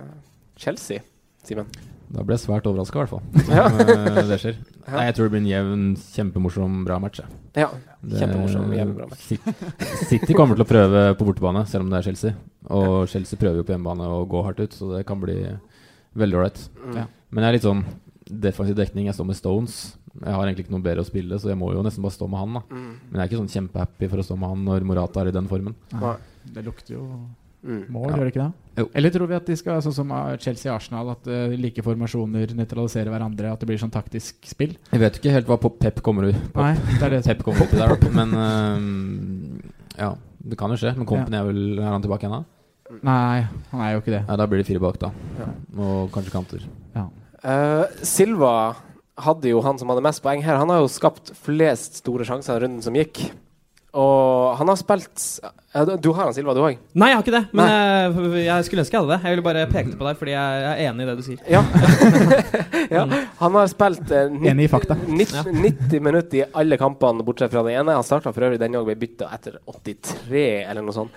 Speaker 3: Chelsea, Simen.
Speaker 1: Da ble jeg svært overraska, i hvert fall. Om, eh, det skjer.
Speaker 3: Ja.
Speaker 1: Nei, jeg tror det blir en jevn, kjempemorsom, bra match. jeg.
Speaker 3: Ja,
Speaker 1: Det-
Speaker 3: kjempemorsom, jevn, bra match.
Speaker 1: Sit- City kommer til å prøve på bortebane, selv om det er Chelsea. Og Chelsea prøver jo på hjemmebane å gå hardt ut, så det kan bli veldig ålreit.
Speaker 3: Mm. Ja.
Speaker 1: Men jeg er litt sånn defensiv dekning. Jeg står med Stones. Jeg har egentlig ikke noe bedre å spille, så jeg må jo nesten bare stå med han. da
Speaker 3: Mm.
Speaker 1: Men jeg er ikke sånn kjempehappy for å stå med han når Morata er i den formen.
Speaker 2: Nei, Det lukter jo
Speaker 3: Mm.
Speaker 2: mål,
Speaker 1: Ja.
Speaker 2: gjør det ikke det?
Speaker 1: Jo.
Speaker 2: Eller tror vi at de skal, sånn som eh, Chelsea og Arsenal, at eh, like formasjoner nøytraliserer hverandre? At det blir sånn taktisk spill?
Speaker 1: Jeg vet ikke helt hva pop- Pep kommer ut pop-
Speaker 2: Nei, det er det som-
Speaker 1: Pep kommer ut i der, da. men eh, ja. Det kan jo skje. Men Company er vel Er han tilbake ennå?
Speaker 2: Nei, han er jo ikke det.
Speaker 1: Ja, da blir det fire bak, da. Og kanskje kanter.
Speaker 3: Eh, Silva hadde jo han som hadde mest poeng her. Han har jo skapt flest store sjanser i runden som gikk. Og han har spilt eh, du- Du har han, Silva, du òg?
Speaker 5: Nei, jeg har ikke det. Men jeg, jeg skulle ønske jeg hadde det. Jeg ville bare peke det på deg fordi jeg er enig i det du sier.
Speaker 3: Ja. ja. Han har spilt eh, nitt-
Speaker 2: Mm. Enig i fakta.
Speaker 3: nitt- 90 minutter i alle kampene, bortsett fra den ene. Han starta for øvrig den òg, ble bytta etter 83, eller noe sånt.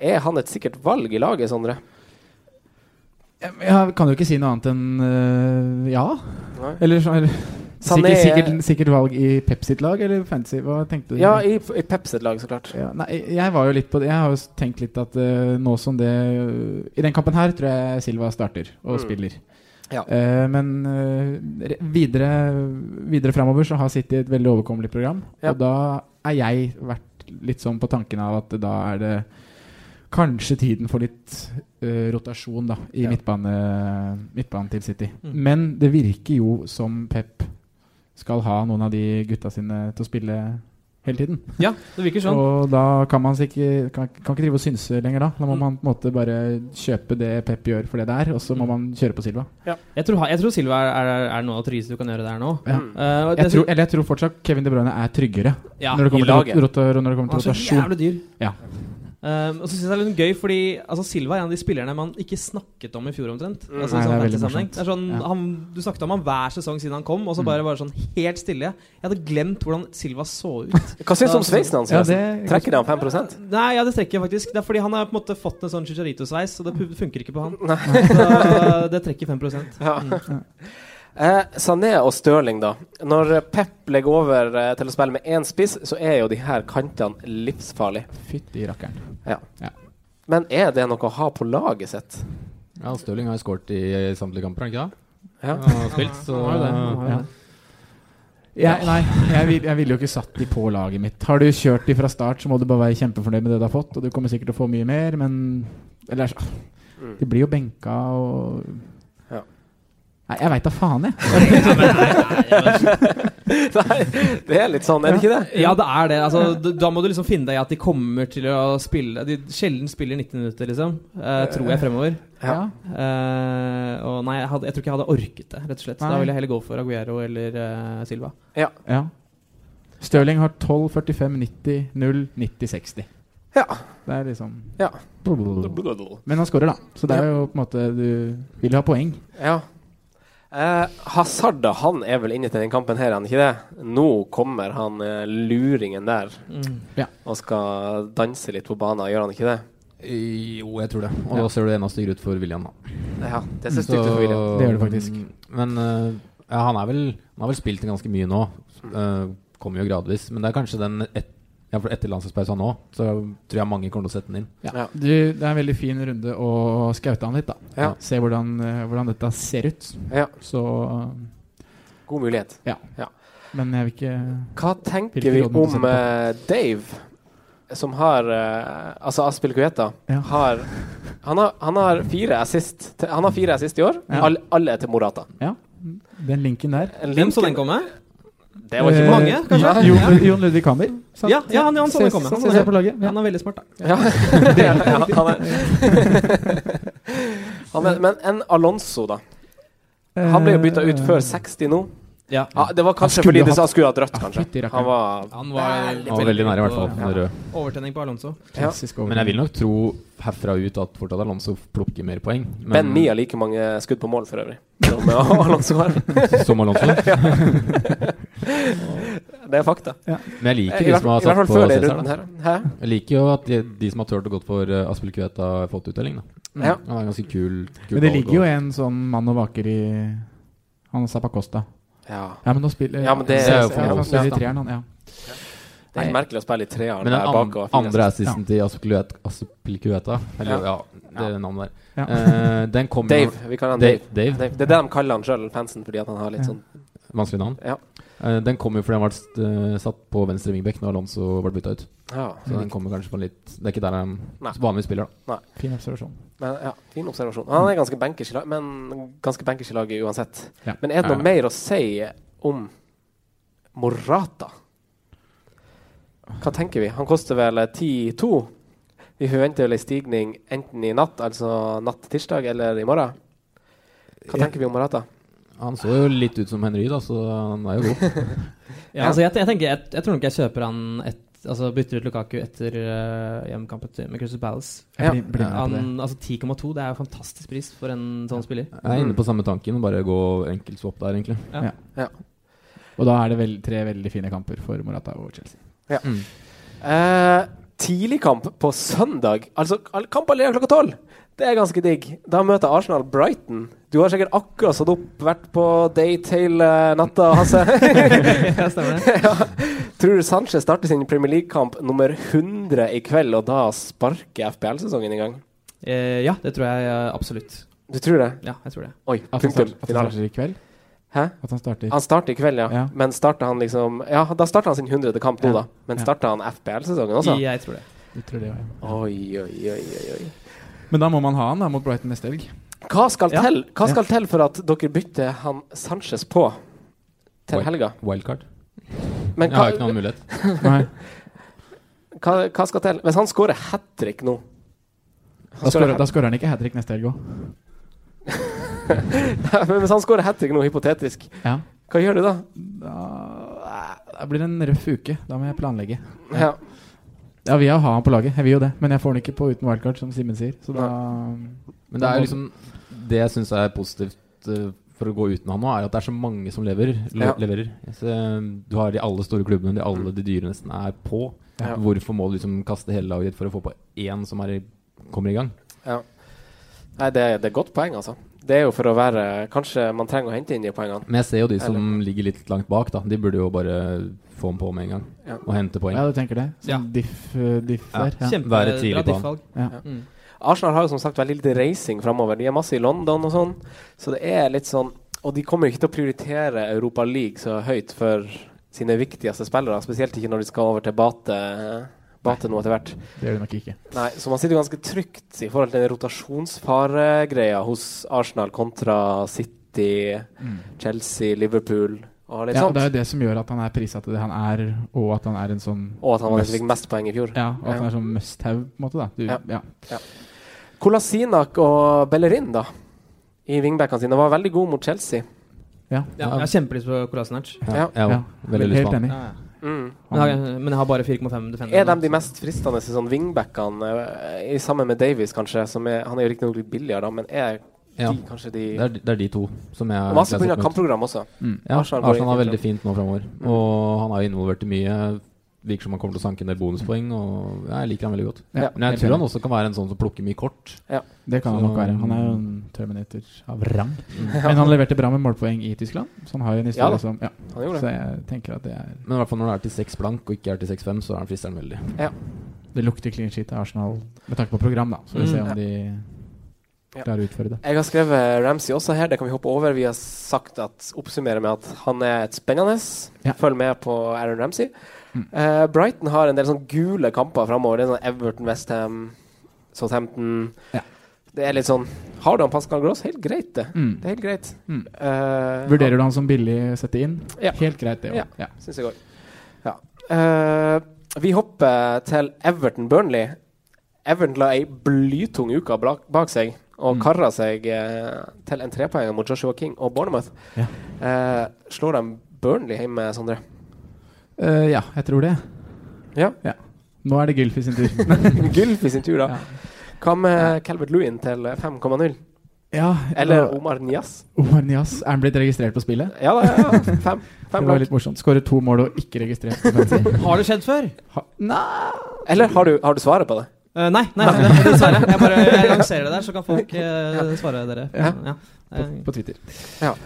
Speaker 3: Er han et sikkert valg i laget, Sondre?
Speaker 2: Jeg kan jo ikke si noe annet enn eh, ja.
Speaker 3: Nei.
Speaker 2: Eller sånn eller-
Speaker 3: Sané-
Speaker 2: sikkert, sikkert, sikkert valg i Pep sitt lag, eller fantasy? Hva tenkte du?
Speaker 3: Ja, i, i Pep sitt lag, så klart.
Speaker 2: Ja, nei, jeg var jo litt på det. Jeg har jo s- tenkt litt at eh, nå som det I den kampen her tror jeg Silva starter og
Speaker 3: Mm.
Speaker 2: spiller.
Speaker 3: Ja.
Speaker 2: Eh, men eh, re- videre, videre framover så har City et veldig overkommelig program.
Speaker 3: Ja.
Speaker 2: Og da er jeg vært litt sånn på tanken av at da er det kanskje tiden for litt eh, rotasjon da i
Speaker 3: Ja.
Speaker 2: midtbane, midtbanen til City.
Speaker 5: Mm.
Speaker 2: Men det virker jo som Pep skal ha noen av de gutta sine til å spille hele tiden.
Speaker 5: Ja, det virker sånn.
Speaker 2: Og da kan man ikke, kan, kan ikke drive og synse lenger da. Da må
Speaker 5: Mm.
Speaker 2: man på en måte bare kjøpe det Pep gjør for det det er, og så må
Speaker 5: Mm.
Speaker 2: man kjøre på Silva.
Speaker 5: Jeg tror, jeg tror Silva er, er, er noe av det tryggeste du kan gjøre der nå.
Speaker 2: Ja.
Speaker 3: Mm.
Speaker 5: Eh, og
Speaker 2: Jeg
Speaker 5: det-
Speaker 2: tror, eller jeg tror fortsatt Kevin De Bruyne er tryggere
Speaker 5: ja,
Speaker 2: når det
Speaker 3: i
Speaker 2: kommer til,
Speaker 3: laget.
Speaker 2: rot rotor- og når det kommer
Speaker 5: Han
Speaker 2: til
Speaker 5: er så
Speaker 2: rotasjon.
Speaker 5: jævlig dyr.
Speaker 2: Ja.
Speaker 5: Um, og så synes jeg det er litt gøy, fordi altså, Silva er en av de spillerne man ikke snakket om i fjor omtrent.
Speaker 3: Mm.
Speaker 5: Altså,
Speaker 2: Nei,
Speaker 5: i sånn
Speaker 2: det er veldig
Speaker 5: fantasy-sammenheng. det er sånn,
Speaker 2: Ja.
Speaker 5: han, du snakket om han hver sesong siden han kom, og så
Speaker 2: Mm.
Speaker 5: bare, bare sånn helt stille. Jeg hadde glemt hvordan Silva så ut.
Speaker 3: Hva syns du om sveisen hans?
Speaker 2: Ja,
Speaker 3: forresten?
Speaker 2: det-
Speaker 3: Trekker han 5
Speaker 5: Nei, ja, det trekker jeg faktisk. Det er fordi han har på en måte fått en sånn chicharito-sveis, og det pu- funker ikke på han.
Speaker 3: Nei.
Speaker 5: Så eh, det trekker 5
Speaker 3: Ja. Mm. Eh, Sané og Stirling, da. Når eh, Pep legger over eh, til å spille med én spiss, så er jo de her kantene livsfarlige.
Speaker 2: Fytti rakkeren.
Speaker 3: Men er det noe å ha på laget sitt?
Speaker 1: Ja, Stirling har jo skåret i samtlige kamper, har han ikke det?
Speaker 3: Ja.
Speaker 1: Han har spilt, så
Speaker 5: Han har jo det, han har jo
Speaker 2: Ja.
Speaker 5: det.
Speaker 2: Jeg, nei, jeg, vil, jeg ville jo ikke satt de på laget mitt. Har du kjørt de fra start, så må du bare være kjempefornøyd med det du har fått, og du kommer sikkert til å få mye mer, men Eller så- De blir jo benka og
Speaker 3: Mm. Ja.
Speaker 2: Nei, jeg veit da faen, jeg.
Speaker 3: Nei, det er litt sånn, er det ikke det?
Speaker 5: Ja, det er det. Altså, d- da må du liksom finne deg i at de kommer til å spille De sjelden spiller 90 minutter, liksom. Eh, tror jeg fremover.
Speaker 3: Ja.
Speaker 2: Ja.
Speaker 5: Eh, og nei, jeg, hadde, jeg tror ikke jeg hadde orket det, rett og slett. Så da
Speaker 2: Nei.
Speaker 5: ville jeg heller gå for Aguero eller eh, Silva.
Speaker 2: Ja. Stirling har 12, 45, 90, 0, 90, 60.
Speaker 3: Ja.
Speaker 2: Det er liksom
Speaker 3: Ja.
Speaker 2: Men han scorer, da. Så det er jo på en måte Du vil ha poeng.
Speaker 3: ja. Eh, Hazard, da, han er vel inne til den kampen her, er han ikke det? Nå kommer han eh, luringen der
Speaker 5: Mm.
Speaker 3: og skal danse litt på banen, gjør han ikke det?
Speaker 1: Jo, jeg tror det. Og da ser du enda styggere ut for William, da.
Speaker 3: Ja, det ser stygt ut for William.
Speaker 2: Det gjør det faktisk.
Speaker 1: Men eh, ja, han, er vel, han har vel spilt ganske mye nå. Eh, kommer jo gradvis. Men det er kanskje den et, ja, for etter landslagspausa nå, så tror jeg mange kommer til å sette den inn.
Speaker 2: Ja.
Speaker 3: Ja.
Speaker 2: Du, det er en veldig fin runde å skaute han litt, da.
Speaker 3: Ja.
Speaker 2: Se hvordan, eh, hvordan dette ser ut.
Speaker 3: Ja.
Speaker 2: Så
Speaker 3: God mulighet.
Speaker 2: Men jeg vil ikke
Speaker 3: Hva tenker
Speaker 2: Hvilke
Speaker 3: vi
Speaker 2: råd må du
Speaker 3: om eh, Dave, som har eh, Altså Aspil Kueta.
Speaker 2: Ja.
Speaker 3: Har, han, har, han har fire assist til- Han har fire assist i år.
Speaker 2: Ja.
Speaker 3: All, alle er til Morata.
Speaker 2: Den linken der
Speaker 5: Hvem så den komme?
Speaker 3: Det var ikke
Speaker 2: Eh,
Speaker 3: mange.
Speaker 5: mange, kanskje?
Speaker 2: Jo, jo, Jon Ludvig Kammer. sant?
Speaker 5: Ja, ja, han- han så den
Speaker 2: Ses-
Speaker 5: komme. Han
Speaker 2: ses
Speaker 5: så den
Speaker 2: på laget. Ja.
Speaker 5: Han er veldig smart, da.
Speaker 3: Ja. Det er- ja, han er. han er, men en Alonso, da. Han ble jo bytta
Speaker 2: Eh,
Speaker 3: ut før 60 nå.
Speaker 5: Ja.
Speaker 3: Ja, det var kanskje
Speaker 2: Han skulle
Speaker 3: fordi de
Speaker 2: hatt-
Speaker 3: sa han skulle hatt rødt,
Speaker 2: Ah,
Speaker 3: kanskje.
Speaker 2: fytti rakkeren.
Speaker 3: Han var
Speaker 5: Han var,
Speaker 1: Han var veldig nære, i hvert fall.
Speaker 5: på-
Speaker 1: den røde.
Speaker 5: Overtenning på Alonso.
Speaker 2: Klassisk
Speaker 1: Men jeg
Speaker 2: overgang.
Speaker 1: vil nok tro herfra ut at fortsatt Alonso plukker mer poeng. Men,
Speaker 3: Ben Mia like mange skudd på mål, eh, for øvrig. Som Alonso har.
Speaker 1: som Alonso.
Speaker 3: Det er fakta.
Speaker 1: Men jeg liker
Speaker 3: I
Speaker 1: de
Speaker 3: hvert-
Speaker 1: som har
Speaker 3: i hvert
Speaker 1: satt
Speaker 3: fall
Speaker 1: på
Speaker 3: før den
Speaker 1: Cæsar.
Speaker 3: runden
Speaker 1: da.
Speaker 3: her. Hæ?
Speaker 1: Jeg liker jo at de, de som har turt å gå for uh, Aspel Kuveta, har fått uttelling. Da.
Speaker 3: Mm. Ja.
Speaker 1: Han er en ganske kul, kul
Speaker 2: Men det
Speaker 1: valg,
Speaker 2: ligger jo
Speaker 1: og-
Speaker 2: en sånn mann og vaker i Han Zappacosta.
Speaker 3: Ja.
Speaker 2: men nå spiller
Speaker 3: Ja, men det
Speaker 2: Ja,
Speaker 3: er
Speaker 2: for han spiller i treeren, han. Ja.
Speaker 3: Det er helt merkelig å spille i treeren
Speaker 1: Men den
Speaker 3: der
Speaker 1: an-
Speaker 3: bak.
Speaker 1: andre assisten til Aspilicueta, Aspilicueta Eller ja,
Speaker 3: Ja.
Speaker 1: det er navnet der.
Speaker 3: Ja.
Speaker 1: Eh, den kommer
Speaker 3: Dave. Vi kaller han Dave.
Speaker 1: Dave. Dave.
Speaker 3: Det er det de kaller han sjøl, fansen, fordi at han har litt
Speaker 1: Ja.
Speaker 3: sånn
Speaker 1: Vanskelig navn.
Speaker 3: Ja.
Speaker 1: Eh, den kommer jo fordi han var st- eh, satt på venstre vingbekk når Alonso ble bytta ut.
Speaker 3: Ja.
Speaker 1: Så den kommer kanskje på en litt Det er ikke der han
Speaker 3: Mm. Nei.
Speaker 1: vanligvis spiller, da.
Speaker 3: Nei.
Speaker 2: Fin observasjon.
Speaker 3: Men, ja, fin observasjon. Han er ganske bankers i lag, men ganske bankers i laget uansett.
Speaker 2: Ja.
Speaker 3: Men er det noe
Speaker 1: Ja.
Speaker 3: mer å si om Morata? Hva tenker vi? Han koster vel 10-2. Vi forventer vel en stigning enten i natt, altså natt til tirsdag, eller i morgen. Hva
Speaker 1: Ja.
Speaker 3: tenker vi om Morata?
Speaker 1: Han så jo litt ut som Henry, da, så han er jo god.
Speaker 5: Ja, altså jeg, jeg, tenker, jeg, jeg tror nok jeg kjøper han et, altså bytter ut Lukaku etter eh, hjemmekampen til- med Crystal Palace.
Speaker 1: Jeg blir- blir med på
Speaker 5: Han, altså 10,2 det er jo fantastisk pris for en sånn spiller.
Speaker 1: Jeg er inne på samme tanken, bare gå enkelt swap der, egentlig.
Speaker 5: Ja.
Speaker 2: Og da er det vel, tre veldig fine kamper for Morata og Chelsea.
Speaker 3: Ja. Eh, tidlig kamp på søndag. Altså all- kamp allerede klokka tolv. Det er ganske digg. Da møter Arsenal Brighton. Du har sikkert akkurat stått opp, vært på date hele natta, Hasse.
Speaker 5: Ja, stemmer det.
Speaker 3: Ja. Tror du Sanchez starter sin Premier League-kamp nummer 100 i kveld, og da sparker FPL-sesongen i gang?
Speaker 5: Eh, ja, det tror jeg eh, absolutt.
Speaker 3: Du tror det?
Speaker 5: Ja, jeg tror det.
Speaker 3: Oi,
Speaker 2: At han,
Speaker 3: punktum.
Speaker 2: start, at han
Speaker 3: Finale.
Speaker 2: starter i kveld?
Speaker 3: Hæ?
Speaker 2: At han starter
Speaker 3: Han starter i kveld, ja.
Speaker 2: Ja.
Speaker 3: Men starter han liksom Ja, da starter han sin 100. kamp nå,
Speaker 2: Ja.
Speaker 3: da. Men
Speaker 2: Ja.
Speaker 3: starter han FPL-sesongen også?
Speaker 5: Jeg tror det.
Speaker 2: Jeg tror det, ja.
Speaker 3: Oi, oi, oi, oi, oi.
Speaker 2: Men da må man ha han da mot Brighton neste helg.
Speaker 3: Hva skal
Speaker 2: Ja.
Speaker 3: til Hva
Speaker 2: Ja.
Speaker 3: skal til for at dere bytter han Sanchez på til
Speaker 1: Wild-
Speaker 3: helga?
Speaker 1: Wildcard.
Speaker 3: Men
Speaker 1: Jeg har ikke noen mulighet.
Speaker 2: Nei.
Speaker 3: hva, hva skal til? Hvis han scorer hat trick nå
Speaker 2: Da skårer- Da skårer han ikke hat trick neste helg òg.
Speaker 3: Men Hvis han scorer hat trick nå, hypotetisk,
Speaker 2: Ja.
Speaker 3: hva gjør du da?
Speaker 2: Da blir det en røff uke. Da må jeg planlegge.
Speaker 3: Ja.
Speaker 2: Ja, vi har han på laget. Jeg vil jo det. Men jeg får han ikke på uten wildcard, som Simen sier. Så da
Speaker 1: Men det er jo liksom Det jeg syns er positivt eh, for å gå uten han nå, er at det er så mange som leverer. Le
Speaker 2: Ja. Mm.
Speaker 1: leverer. Så, eh, du har de alle store klubbene, de alle de dyre nesten er på.
Speaker 3: Ja.
Speaker 1: Hvorfor må du liksom kaste hele laget ditt for å få på én som er i, kommer i gang?
Speaker 3: Ja. Nei, det, det er godt poeng, altså. Det er jo for å være Kanskje man trenger å hente inn de poengene.
Speaker 1: Men jeg ser jo de som
Speaker 3: Eller-
Speaker 1: ligger litt langt bak, da. De burde jo bare få ham på med en gang.
Speaker 3: Ja.
Speaker 1: Og hente poeng.
Speaker 2: Ja, du tenker det? Sånn diff, eh, diff
Speaker 1: Ja.
Speaker 2: der? Ja.
Speaker 1: Kjempe- Være tidlig bra på han.
Speaker 2: Ja.
Speaker 3: Ja.
Speaker 5: Mm.
Speaker 3: Arsenal har jo som sagt veldig lite reising framover. De er masse i London og sånn. Så det er litt sånn Og de kommer jo ikke til å prioritere Europa League så høyt for sine viktigste spillere. Spesielt ikke når de skal over til Bate, bate nå etter hvert.
Speaker 2: Det gjør de nok ikke.
Speaker 3: Nei, så man sitter jo ganske trygt i forhold til den rotasjonsfaregreia hos Arsenal kontra City, Chelsea, Liverpool og litt
Speaker 2: Mm. Ja, og
Speaker 3: sånt.
Speaker 2: det er jo det som gjør at han er prisa til det han er, og at han er en sånn
Speaker 3: Og at han var den som
Speaker 2: must-
Speaker 3: fikk mest poeng i fjor.
Speaker 2: Ja, og at
Speaker 3: Ja.
Speaker 2: han er sånn must-have, på en måte. da du,
Speaker 3: Ja.
Speaker 2: ja.
Speaker 3: Ja. Kolasinak og Bellerin, da, i wingbackene sine, var veldig gode mot Chelsea.
Speaker 2: Ja.
Speaker 5: Ja, jeg har kjempelyst på Kolasinac.
Speaker 3: Ja. Ja,
Speaker 2: ja. Veldig lyst på han.
Speaker 5: Ja, ja.
Speaker 3: Mm.
Speaker 5: Men, jeg, har- men jeg har bare 4,5 defender.
Speaker 3: Er de de mest fristende i sånn wingbackene, eh, i- sammen med Davies, kanskje? Som er, han er jo riktignok litt billigere, da, men er
Speaker 1: Ja.
Speaker 3: de kanskje de
Speaker 1: Det er, det er de to som jeg
Speaker 3: Og Masse
Speaker 1: jeg har
Speaker 3: pga.
Speaker 1: sett møte.
Speaker 3: kampprogram også.
Speaker 1: Mm. Ja,
Speaker 3: Arsenal
Speaker 1: Arsenal,
Speaker 3: går
Speaker 1: har
Speaker 3: fint
Speaker 1: veldig fint nå framover. Og han er jo involvert i mye. Virker som han kommer til å sanke en del bonuspoeng. Og jeg liker han veldig godt.
Speaker 2: Ja.
Speaker 1: Men jeg
Speaker 2: Helt
Speaker 1: tror han
Speaker 2: enig.
Speaker 1: også kan være en sånn som plukker mye kort.
Speaker 3: Ja.
Speaker 2: Det kan han nok være. Han er jo en terminator av rang. Men han leverte bra med målpoeng i Tyskland, så han har jo en
Speaker 1: Ja da.
Speaker 2: historie som ja.
Speaker 1: Han gjorde det.
Speaker 2: Så jeg tenker at det er
Speaker 1: Men i hvert fall når det er til 6 blank og ikke er til 6-5, så er han fristeren veldig.
Speaker 2: Det lukter clean sheet av Arsenal med tanke på program, da. Så vi
Speaker 1: Mm.
Speaker 2: ser om
Speaker 1: Ja.
Speaker 2: de klarer å utføre det.
Speaker 3: Jeg har skrevet Ramsey også her, det kan vi hoppe over. Vi har sagt at oppsummerer med at han er et spennende. Følg med på Aaron Ramsey. Eh, Brighton har en del sånn gule kamper framover. Det er sånn Everton, Westham, Southampton. Det er litt sånn Har du han Pascal Gross? Helt greit, det.
Speaker 2: Mm.
Speaker 3: Det er helt greit.
Speaker 2: Mm.
Speaker 3: Eh,
Speaker 2: Vurderer du han som billig sette inn?
Speaker 3: Ja.
Speaker 2: Helt greit, det òg.
Speaker 3: Ja, synes jeg òg. Ja. Eh, vi hopper til Everton-Burnley. Everton la ei blytung uke bak, bak seg og
Speaker 2: Mm.
Speaker 3: karra seg eh, til en trepoenger mot Joshua King og Bournemouth.
Speaker 2: Ja.
Speaker 3: Eh, slår de Burnley hjemme, Sondre?
Speaker 2: Eh, ja, jeg tror det.
Speaker 3: Ja.
Speaker 2: Nå er det Gylfi sin tur.
Speaker 3: Gylfi sin tur, da. Hva med Calvert Lewin til eh, 5,0?
Speaker 2: Ja,
Speaker 3: Eller
Speaker 2: og-
Speaker 3: Omar Nias.
Speaker 2: Omar Nias. Er han blitt registrert på spillet?
Speaker 3: Ja da, ja, ja. Fem,
Speaker 2: Det
Speaker 3: fem
Speaker 2: var
Speaker 3: blank.
Speaker 2: litt morsomt. Skårer to mål og ikke registrert på fancy.
Speaker 5: Har det skjedd før?
Speaker 3: Eller har du, har du svaret på det?
Speaker 5: Eh, nei, nei, nei, nei, dessverre. Jeg bare jeg lanserer det der, så kan folk eh, svare dere.
Speaker 2: Ja.
Speaker 5: Ja.
Speaker 2: På,
Speaker 5: Eh,
Speaker 2: på Twitter.
Speaker 3: Ja.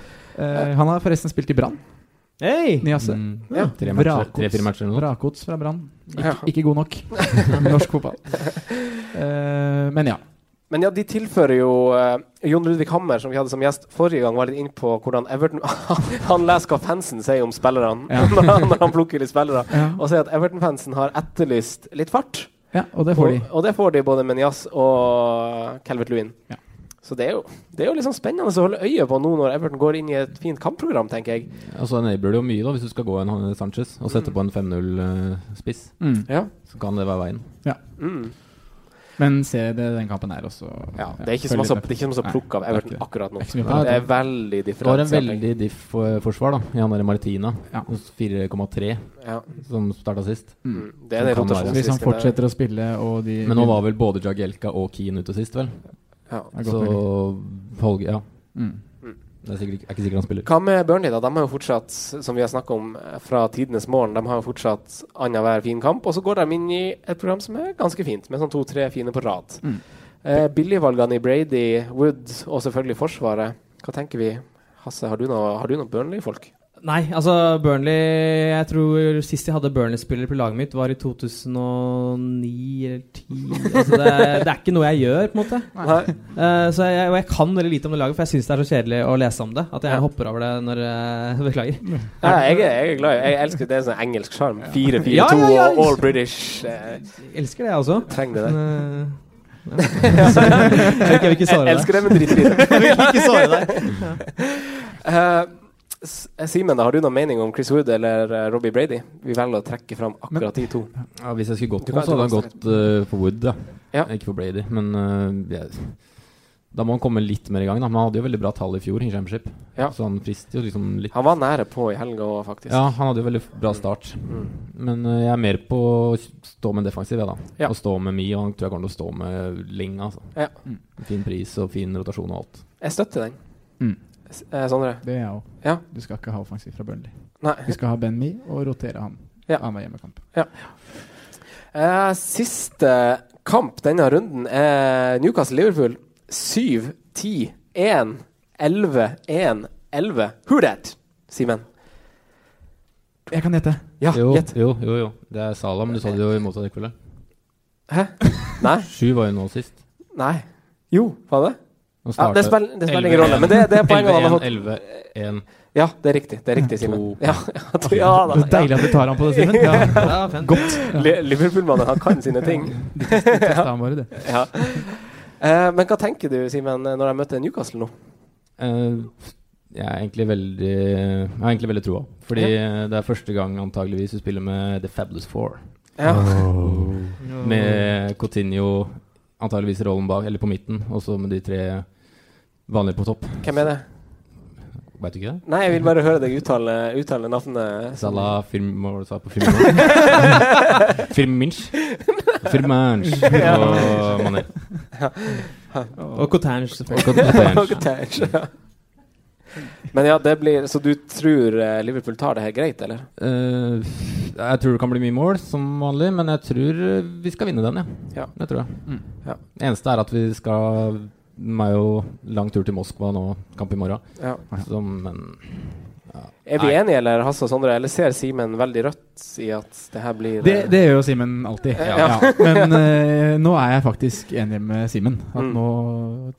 Speaker 2: Eh, han har forresten spilt i Brann.
Speaker 5: Hei!
Speaker 2: Niasse.
Speaker 3: Ja.
Speaker 1: Mm. Tre matcher,
Speaker 2: Vrakots.
Speaker 1: tre-fire matcher eller noe.
Speaker 2: Vrakots fra Brann. Ikke,
Speaker 3: Ja.
Speaker 2: ikke god nok. Norsk fotball. Eh, men ja.
Speaker 3: Men ja, de tilfører jo eh, Jon Ludvig Hammer, som vi hadde som gjest forrige gang, var litt inne på hvordan Everton Han leser hva fansen sier om spillerne
Speaker 2: Ja.
Speaker 3: når, han, når han plukker litt spillere,
Speaker 2: ja.
Speaker 3: og sier at Everton-fansen har etterlyst litt fart.
Speaker 2: Ja, og det får de.
Speaker 3: og, og det får de både med Nias og Calvert Lewin.
Speaker 2: Ja.
Speaker 3: Så det er, jo, det er jo liksom spennende å holde øye på nå når Everton går inn i et fint kampprogram, tenker jeg.
Speaker 1: Og så enabler det jo mye da hvis du skal gå en Juan Sanchez og sette på en 5-0-spiss.
Speaker 2: Mm.
Speaker 3: Ja.
Speaker 1: Så kan det være veien.
Speaker 3: Mm.
Speaker 2: Men se det, den kampen her også.
Speaker 3: Ja, det er ikke så
Speaker 2: følg
Speaker 3: masse,
Speaker 2: litt med.
Speaker 3: det er ikke så masse
Speaker 2: Nei,
Speaker 3: plukk av
Speaker 2: det er
Speaker 3: Everton
Speaker 2: ikke det.
Speaker 3: akkurat nå.
Speaker 2: Det er ikke så mye
Speaker 3: Nei,
Speaker 2: på
Speaker 3: Det
Speaker 2: det.
Speaker 3: er veldig
Speaker 1: Det var
Speaker 3: differensiert.
Speaker 1: en veldig diff eh, forsvar, da. I han der Martina.
Speaker 2: Ja.
Speaker 1: 4,3,
Speaker 3: ja.
Speaker 1: som starta sist.
Speaker 3: mm. Det er den
Speaker 1: Som kan være.
Speaker 2: Så hvis han
Speaker 3: rotasjonsrisken der.
Speaker 2: fortsetter å spille og de
Speaker 1: Men nå var vel både Jagielka og Keane ute sist, vel?
Speaker 3: Ja.
Speaker 2: Det er
Speaker 1: Så
Speaker 2: godt mulig.
Speaker 1: Holge Ja.
Speaker 2: mm.
Speaker 1: Det er, sikkert, ikke- er ikke sikkert han spiller.
Speaker 3: Hva med Burnley, da? De har jo fortsatt, som vi har snakket om eh, fra tidenes morgen, de har jo fortsatt annenhver fin kamp. Og så går de inn i et program som er ganske fint, med sånn to-tre fine på rad.
Speaker 2: Mm.
Speaker 3: Eh, Billigvalgene i Brady, Wood og selvfølgelig Forsvaret. Hva tenker vi? Hasse, har du noe, har du noe Burnley-folk?
Speaker 5: Nei, altså Burnley Jeg tror sist jeg hadde Burnley-spiller på laget mitt, var i 2009 eller 2010. Altså, det, det er ikke noe jeg gjør, på en måte.
Speaker 3: Nei.
Speaker 5: Eh, så jeg, og jeg kan veldig lite om det laget, for jeg syns det er så kjedelig å lese om det. At jeg
Speaker 3: Ja.
Speaker 5: hopper over det når jeg Beklager.
Speaker 3: Nei, jeg, er- jeg er glad i Jeg elsker det er sånn engelsk sjarm. 4-4-2
Speaker 5: Ja, ja, ja.
Speaker 3: og all British. Eh,
Speaker 5: Jeg elsker det, jeg også.
Speaker 3: trenger det der.
Speaker 5: Men, eh, ja. Så jeg vil ikke- jeg vil ikke
Speaker 3: Jeg
Speaker 5: svare deg.
Speaker 3: elsker det, men driter i det.
Speaker 5: Jeg vil ikke svare deg.
Speaker 3: Eh, S- Simen, da, har du noen mening om Chris Wood eller eh, Robbie Brady? Vi velger å trekke fram akkurat de to.
Speaker 1: Ja, hvis jeg skulle gått
Speaker 3: Du
Speaker 1: for
Speaker 3: kan-
Speaker 1: noe, så hadde
Speaker 3: du
Speaker 1: han
Speaker 3: kan
Speaker 1: gått eh, for Wood, da.
Speaker 3: Ja.
Speaker 1: Ikke for Brady. Men eh, jeg, da må han komme litt mer i gang. Da. Men han hadde jo veldig bra tall i fjor i Championship,
Speaker 3: Ja.
Speaker 1: så han frister jo liksom litt.
Speaker 3: Han var nære på i helga òg, faktisk.
Speaker 1: Ja, han hadde jo veldig bra start.
Speaker 3: Mm.
Speaker 1: Men eh, jeg er mer på å stå med en defensiv, jeg, da.
Speaker 3: Ja.
Speaker 1: Å stå med Mi, og han tror jeg kommer til å stå med lenge, altså.
Speaker 3: Ja.
Speaker 1: Mm. Fin pris og fin rotasjon og alt.
Speaker 3: Jeg støtter den.
Speaker 2: Mm.
Speaker 3: S- eh, Sondre?
Speaker 2: Det er jeg òg.
Speaker 3: Ja.
Speaker 2: Du skal ikke ha offensiv fra Burnley.
Speaker 3: Nei.
Speaker 2: Vi skal ha Ben Mi og rotere han
Speaker 3: Ja.
Speaker 2: annenhver hjemmekamp.
Speaker 3: Eh, siste kamp denne runden er Newcastle-Liverpool. 7, 10, 1, 11, 1, 11. Who that? Simen?
Speaker 2: Jeg kan gjette.
Speaker 3: Ja,
Speaker 1: jo,
Speaker 3: gjett.
Speaker 1: jo, jo, jo. Det er Salah, men du sa det jo i motsatt rekkefølge.
Speaker 3: Hæ? Nei?
Speaker 1: Sju var jo nå sist.
Speaker 3: Nei. Jo, var det?
Speaker 1: Han
Speaker 3: Ja, det
Speaker 1: startet
Speaker 3: spiller det spiller ingen rolle, men det, det er poenget han har fått.
Speaker 1: 11-1, 11-1.
Speaker 3: Ja, det er riktig. Det er riktig, Simen.
Speaker 1: To.
Speaker 3: Ja, ja, du- ja da.
Speaker 2: Det er
Speaker 3: Ja.
Speaker 2: deilig at du tar han på det, Simen.
Speaker 5: Ja, fint.
Speaker 3: Li- Liverpool-mannen, han kan sine ting.
Speaker 2: Testa han bare, du.
Speaker 3: Ja. Eh, men hva tenker du, Simen, når jeg møter Newcastle nå?
Speaker 1: Eh, jeg er egentlig veldig Jeg har egentlig veldig troa. Fordi eh, det er første gang antageligvis vi spiller med The Fabulous Four.
Speaker 3: Ja.
Speaker 1: Med Coutinho antageligvis i rollen bak, eller på midten, og så med de tre vanlige på topp.
Speaker 3: Hvem er det?
Speaker 1: Veit du ikke det?
Speaker 3: Nei, jeg vil bare høre deg uttale, uttale navnet.
Speaker 1: Salah Firm... Hva var det du sa på Firmino? Firminch. Firmanch og Mané.
Speaker 5: Og Cotange, selvfølgelig.
Speaker 1: Og
Speaker 3: Cottage, ja. Men ja, det blir Så du tror eh, Liverpool tar det her greit, eller?
Speaker 1: Eh, jeg tror det kan bli mye mål, som vanlig, men jeg tror eh, vi skal vinne den, ja.
Speaker 3: Ja.
Speaker 1: Det tror jeg.
Speaker 2: Mm.
Speaker 3: Ja.
Speaker 1: Det eneste er at vi skal Det er jo lang tur til Moskva nå, kamp i morgen.
Speaker 3: Ja.
Speaker 1: Så, men
Speaker 3: Er vi enige, eller Hasse og Sondre? Eller ser Simen veldig rødt i at det her blir
Speaker 2: Det,
Speaker 3: eh,
Speaker 2: det gjør jo Simen alltid.
Speaker 3: Ja.
Speaker 2: Ja. Men eh, nå er jeg faktisk enig med Simen. At
Speaker 3: Mm.
Speaker 2: nå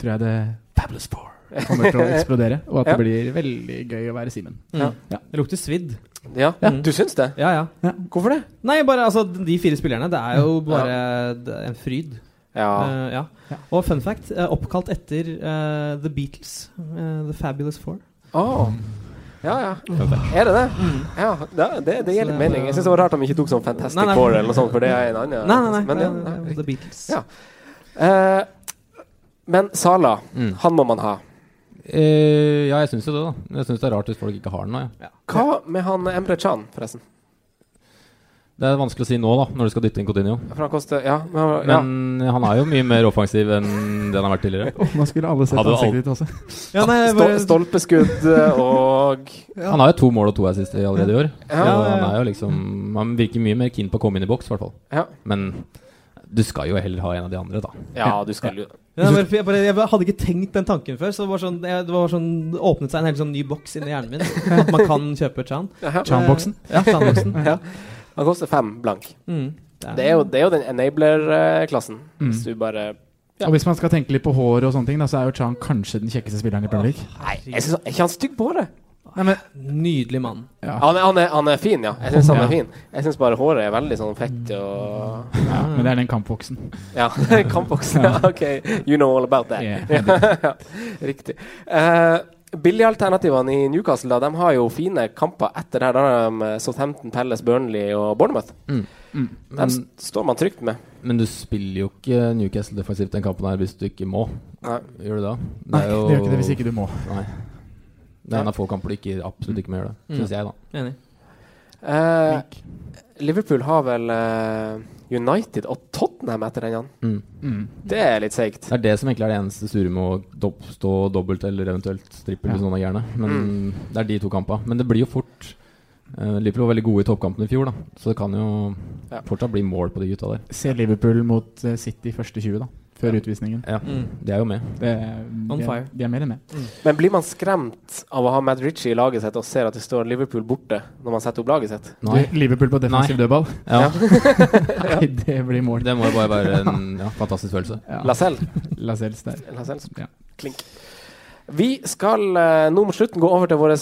Speaker 2: tror jeg det Fabulous Four kommer til å eksplodere. Og at
Speaker 3: Ja.
Speaker 2: det blir veldig gøy å være Simen.
Speaker 5: Mm. Det lukter svidd.
Speaker 3: eh, Ja,
Speaker 5: Ja.
Speaker 3: du syns det?
Speaker 5: Ja, ja.
Speaker 3: Hvorfor det?
Speaker 5: Nei, bare altså de fire spillerne. Det er jo bare det er en fryd.
Speaker 3: Ja.
Speaker 5: Eh, ja. Og fun fact, eh, oppkalt etter eh, The Beatles. eh, the Fabulous Four.
Speaker 3: Åh. Ja, ja. Er det det?
Speaker 5: Mm.
Speaker 3: Ja, det, det, det gir litt mening. Jeg syns det var rart de ikke tok sånn Fantastic
Speaker 5: Nei, nei.
Speaker 3: Four eller noe sånt, for det er en annen.
Speaker 5: nei, nei, nei.
Speaker 3: Men, ja,
Speaker 5: det er
Speaker 3: ja.
Speaker 5: jo The Beatles.
Speaker 3: Ja. Eh, men Sala,
Speaker 1: Mm.
Speaker 3: han må man ha.
Speaker 1: Eh, Ja, jeg syns jo det, da. Jeg syns det er rart hvis folk ikke har den nå, jeg.
Speaker 3: Hva med han Emre Chan, forresten?
Speaker 1: Det er vanskelig å si nå, da, når du skal dytte inn Coutinho.
Speaker 3: For han koster Ja. Men, han- ja.
Speaker 1: Men han er jo mye mer offensiv enn det han har vært tidligere.
Speaker 2: Åh, nå skulle alle sett
Speaker 1: Hadde jo
Speaker 2: ansiktet
Speaker 1: alt-
Speaker 2: ditt også.
Speaker 5: Ja, nei, jeg
Speaker 3: Stol-
Speaker 5: Eh, bare-
Speaker 3: Stolpeskudd eh, og
Speaker 1: Han har jo to mål og to assist i allerede i år. Så
Speaker 3: Ja, ja, ja.
Speaker 1: han er jo liksom Han virker mye mer keen på å komme inn i boks, i hvert fall.
Speaker 3: Ja.
Speaker 1: Men du skal jo heller ha en av de andre, da.
Speaker 3: Ja, du skal jo
Speaker 5: Ja, men jeg, bare, jeg hadde ikke tenkt den tanken før. Så det, var sånn, jeg, det var sånn, det åpnet seg en helt sånn ny boks inni hjernen min. At man kan kjøpe Chan.
Speaker 3: Ja.
Speaker 2: Chan-boksen?
Speaker 5: Eh, Ja, Chan-boksen.
Speaker 3: ja. Han koster fem blank.
Speaker 5: Mm.
Speaker 3: Det, er jo, det er jo den enabler-klassen.
Speaker 2: Mm.
Speaker 3: Hvis du bare Ja.
Speaker 2: Og hvis man skal tenke litt på hår og sånne ting, da, så er jo Chan kanskje den kjekkeste spilleren i Premier League.
Speaker 3: Nei, jeg synes, er ikke han stygg på håret?
Speaker 5: Nydelig mann.
Speaker 2: Ja.
Speaker 3: Han, er- han, er, han er fin, ja. Jeg syns han
Speaker 2: Ja.
Speaker 3: er fin. Jeg syns bare håret er veldig sånn fett og
Speaker 2: Men det er den kampvoksen.
Speaker 3: Ja. Kampboks. Ja, OK. You know all about that.
Speaker 2: Yeah.
Speaker 3: Ja, Riktig. Eh, Billigalternativene i Newcastle da, de har jo fine kamper etter det her. Da har de eh, Southampton, Palace, Burnley og Bournemouth.
Speaker 2: Mm.
Speaker 3: Dem
Speaker 1: Men,
Speaker 3: s- står man trygt med.
Speaker 1: men du spiller jo ikke Newcastle defensivt den kampen her hvis du ikke må.
Speaker 3: Nei.
Speaker 1: Gjør du det?
Speaker 2: Nei, det gjør ikke det hvis ikke du må.
Speaker 1: Nei. Det er en av få kamper du ikke, absolutt ikke må gjøre
Speaker 2: Mm.
Speaker 1: det, syns jeg, da.
Speaker 5: Enig.
Speaker 3: Eh, Liverpool har vel eh, United og Tottenham etter den, Jan.
Speaker 2: Mm.
Speaker 3: Det er litt seigt.
Speaker 1: Det er det som egentlig er det eneste sure med å dob stå dobbelt eller eventuelt trippel hvis
Speaker 2: Ja. Mm.
Speaker 1: noen er gærne. Men det er de to kampene. Men det blir jo fort eh, Liverpool var veldig gode i toppkampen i fjor, da. Så det kan jo
Speaker 3: Ja.
Speaker 1: fortsatt bli mål på de gutta der.
Speaker 2: Se Liverpool mot eh, City første 20, da. Før utvisningen.
Speaker 1: Ja,
Speaker 5: Mm.
Speaker 1: De er jo med.
Speaker 2: Det, de, er-
Speaker 5: fire.
Speaker 2: de er mer enn med.
Speaker 3: Men blir man skremt av å ha Matt Ritchie i laget sitt og ser at det står Liverpool borte når man setter opp laget sitt?
Speaker 1: Nei.
Speaker 2: Du, Liverpool på defensiv dødball.
Speaker 1: Ja.
Speaker 2: Nei, det blir mål.
Speaker 1: Det må jo bare være en ja, fantastisk følelse.
Speaker 2: Ja.
Speaker 3: Lacelle.
Speaker 2: Lascelles der.
Speaker 3: Lacelle.
Speaker 2: Ja.
Speaker 3: Klink. Vi skal eh, nå mot slutten gå over til vår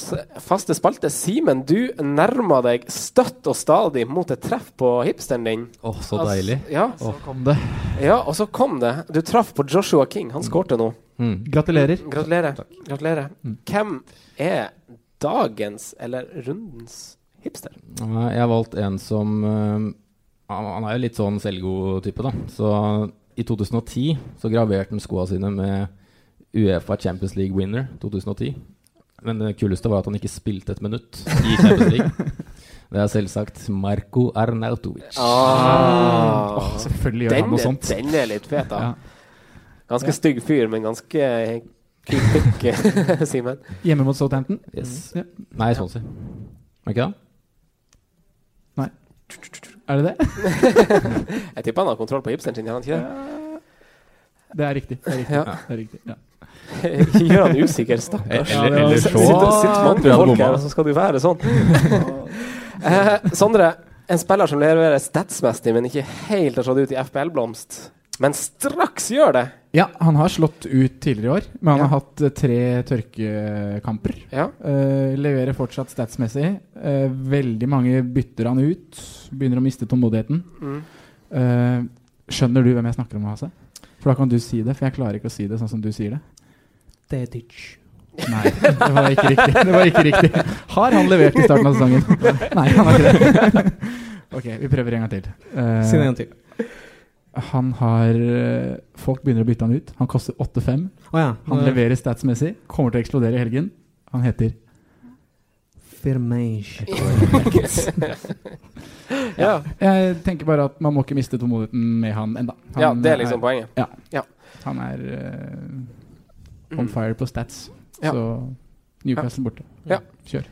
Speaker 3: faste spalte. Simen, du nærmer deg støtt og stadig mot et treff på hipsteren din.
Speaker 1: Åh, så deilig.
Speaker 3: Altså, ja,
Speaker 2: Så kom det.
Speaker 3: ja, og så kom det. Du traff på Joshua King. Han skårte nå.
Speaker 1: Mm.
Speaker 2: Gratulerer.
Speaker 3: Gratulerer. Gratulerer. Hvem er dagens, eller rundens, hipster?
Speaker 1: Nei, Jeg har valgt en som eh, Han han er jo litt sånn selvgod type, da. Så i 2010 så graverte han skoa sine med Uefa Champions League winner 2010. Men det kuleste var at han ikke spilte et minutt i Champions League. Det er selvsagt Marko Arnautovic.
Speaker 3: Ah.
Speaker 2: Åh, selvfølgelig gjør han
Speaker 3: Den,
Speaker 2: noe
Speaker 3: er-
Speaker 2: sånt.
Speaker 3: den er litt fet, da.
Speaker 2: Ja.
Speaker 3: Ganske stygg fyr, men ganske kul pikk, Simen.
Speaker 2: Hjemme mot Southampton.
Speaker 1: Yes.
Speaker 2: Ja.
Speaker 1: Nei, sånn si. Er ikke det?
Speaker 2: Er det det?
Speaker 3: Jeg tipper han har kontroll på hipsteren sin, gjør han ikke det?
Speaker 2: Det er riktig. Det er riktig.
Speaker 3: Ja.
Speaker 2: Det er riktig. Ja.
Speaker 3: Gjør han usikker, stakkars.
Speaker 1: Eller,
Speaker 2: det var-
Speaker 1: eller
Speaker 3: Sitter,
Speaker 1: så
Speaker 3: sitter
Speaker 1: tror jeg
Speaker 3: mange
Speaker 1: han
Speaker 3: folk
Speaker 1: bomma.
Speaker 3: her, og så skal du være sånn. eh, Sondre, en spiller som leverer statsmessig, men ikke helt har slått ut i FPL-blomst. Men straks gjør det!
Speaker 2: Ja, han har slått ut tidligere i år, men han
Speaker 3: Ja.
Speaker 2: har hatt eh, tre tørkekamper.
Speaker 3: Ja.
Speaker 2: Eh, leverer fortsatt statsmessig. Eh, veldig mange bytter han ut. Begynner å miste tålmodigheten.
Speaker 3: Mm.
Speaker 2: Eh, skjønner du hvem jeg snakker om, Hase? For da kan du si det, for jeg klarer ikke å si det sånn som du sier det.
Speaker 5: Det er ditch.
Speaker 2: Nei, det var ikke riktig. Det var ikke riktig. Har han levert i starten av sesongen? Nei, han har ikke det. Ok, vi prøver en gang til. Eh,
Speaker 5: Si det en gang til.
Speaker 2: han har eh, Folk begynner å bytte han ut. Han koster 8-5.
Speaker 5: Å ja.
Speaker 2: Han leverer statsmessig. Kommer til å eksplodere i helgen. Han heter
Speaker 5: Firmage.
Speaker 3: Ja.
Speaker 2: Jeg tenker bare at man må ikke miste tålmodigheten med han enda. Han eh,
Speaker 3: ja, det er liksom poenget.
Speaker 2: Han er eh, on fire på stats.
Speaker 3: Mm. Ja.
Speaker 2: Så Newcastle borte.
Speaker 3: Ja.
Speaker 2: Kjør.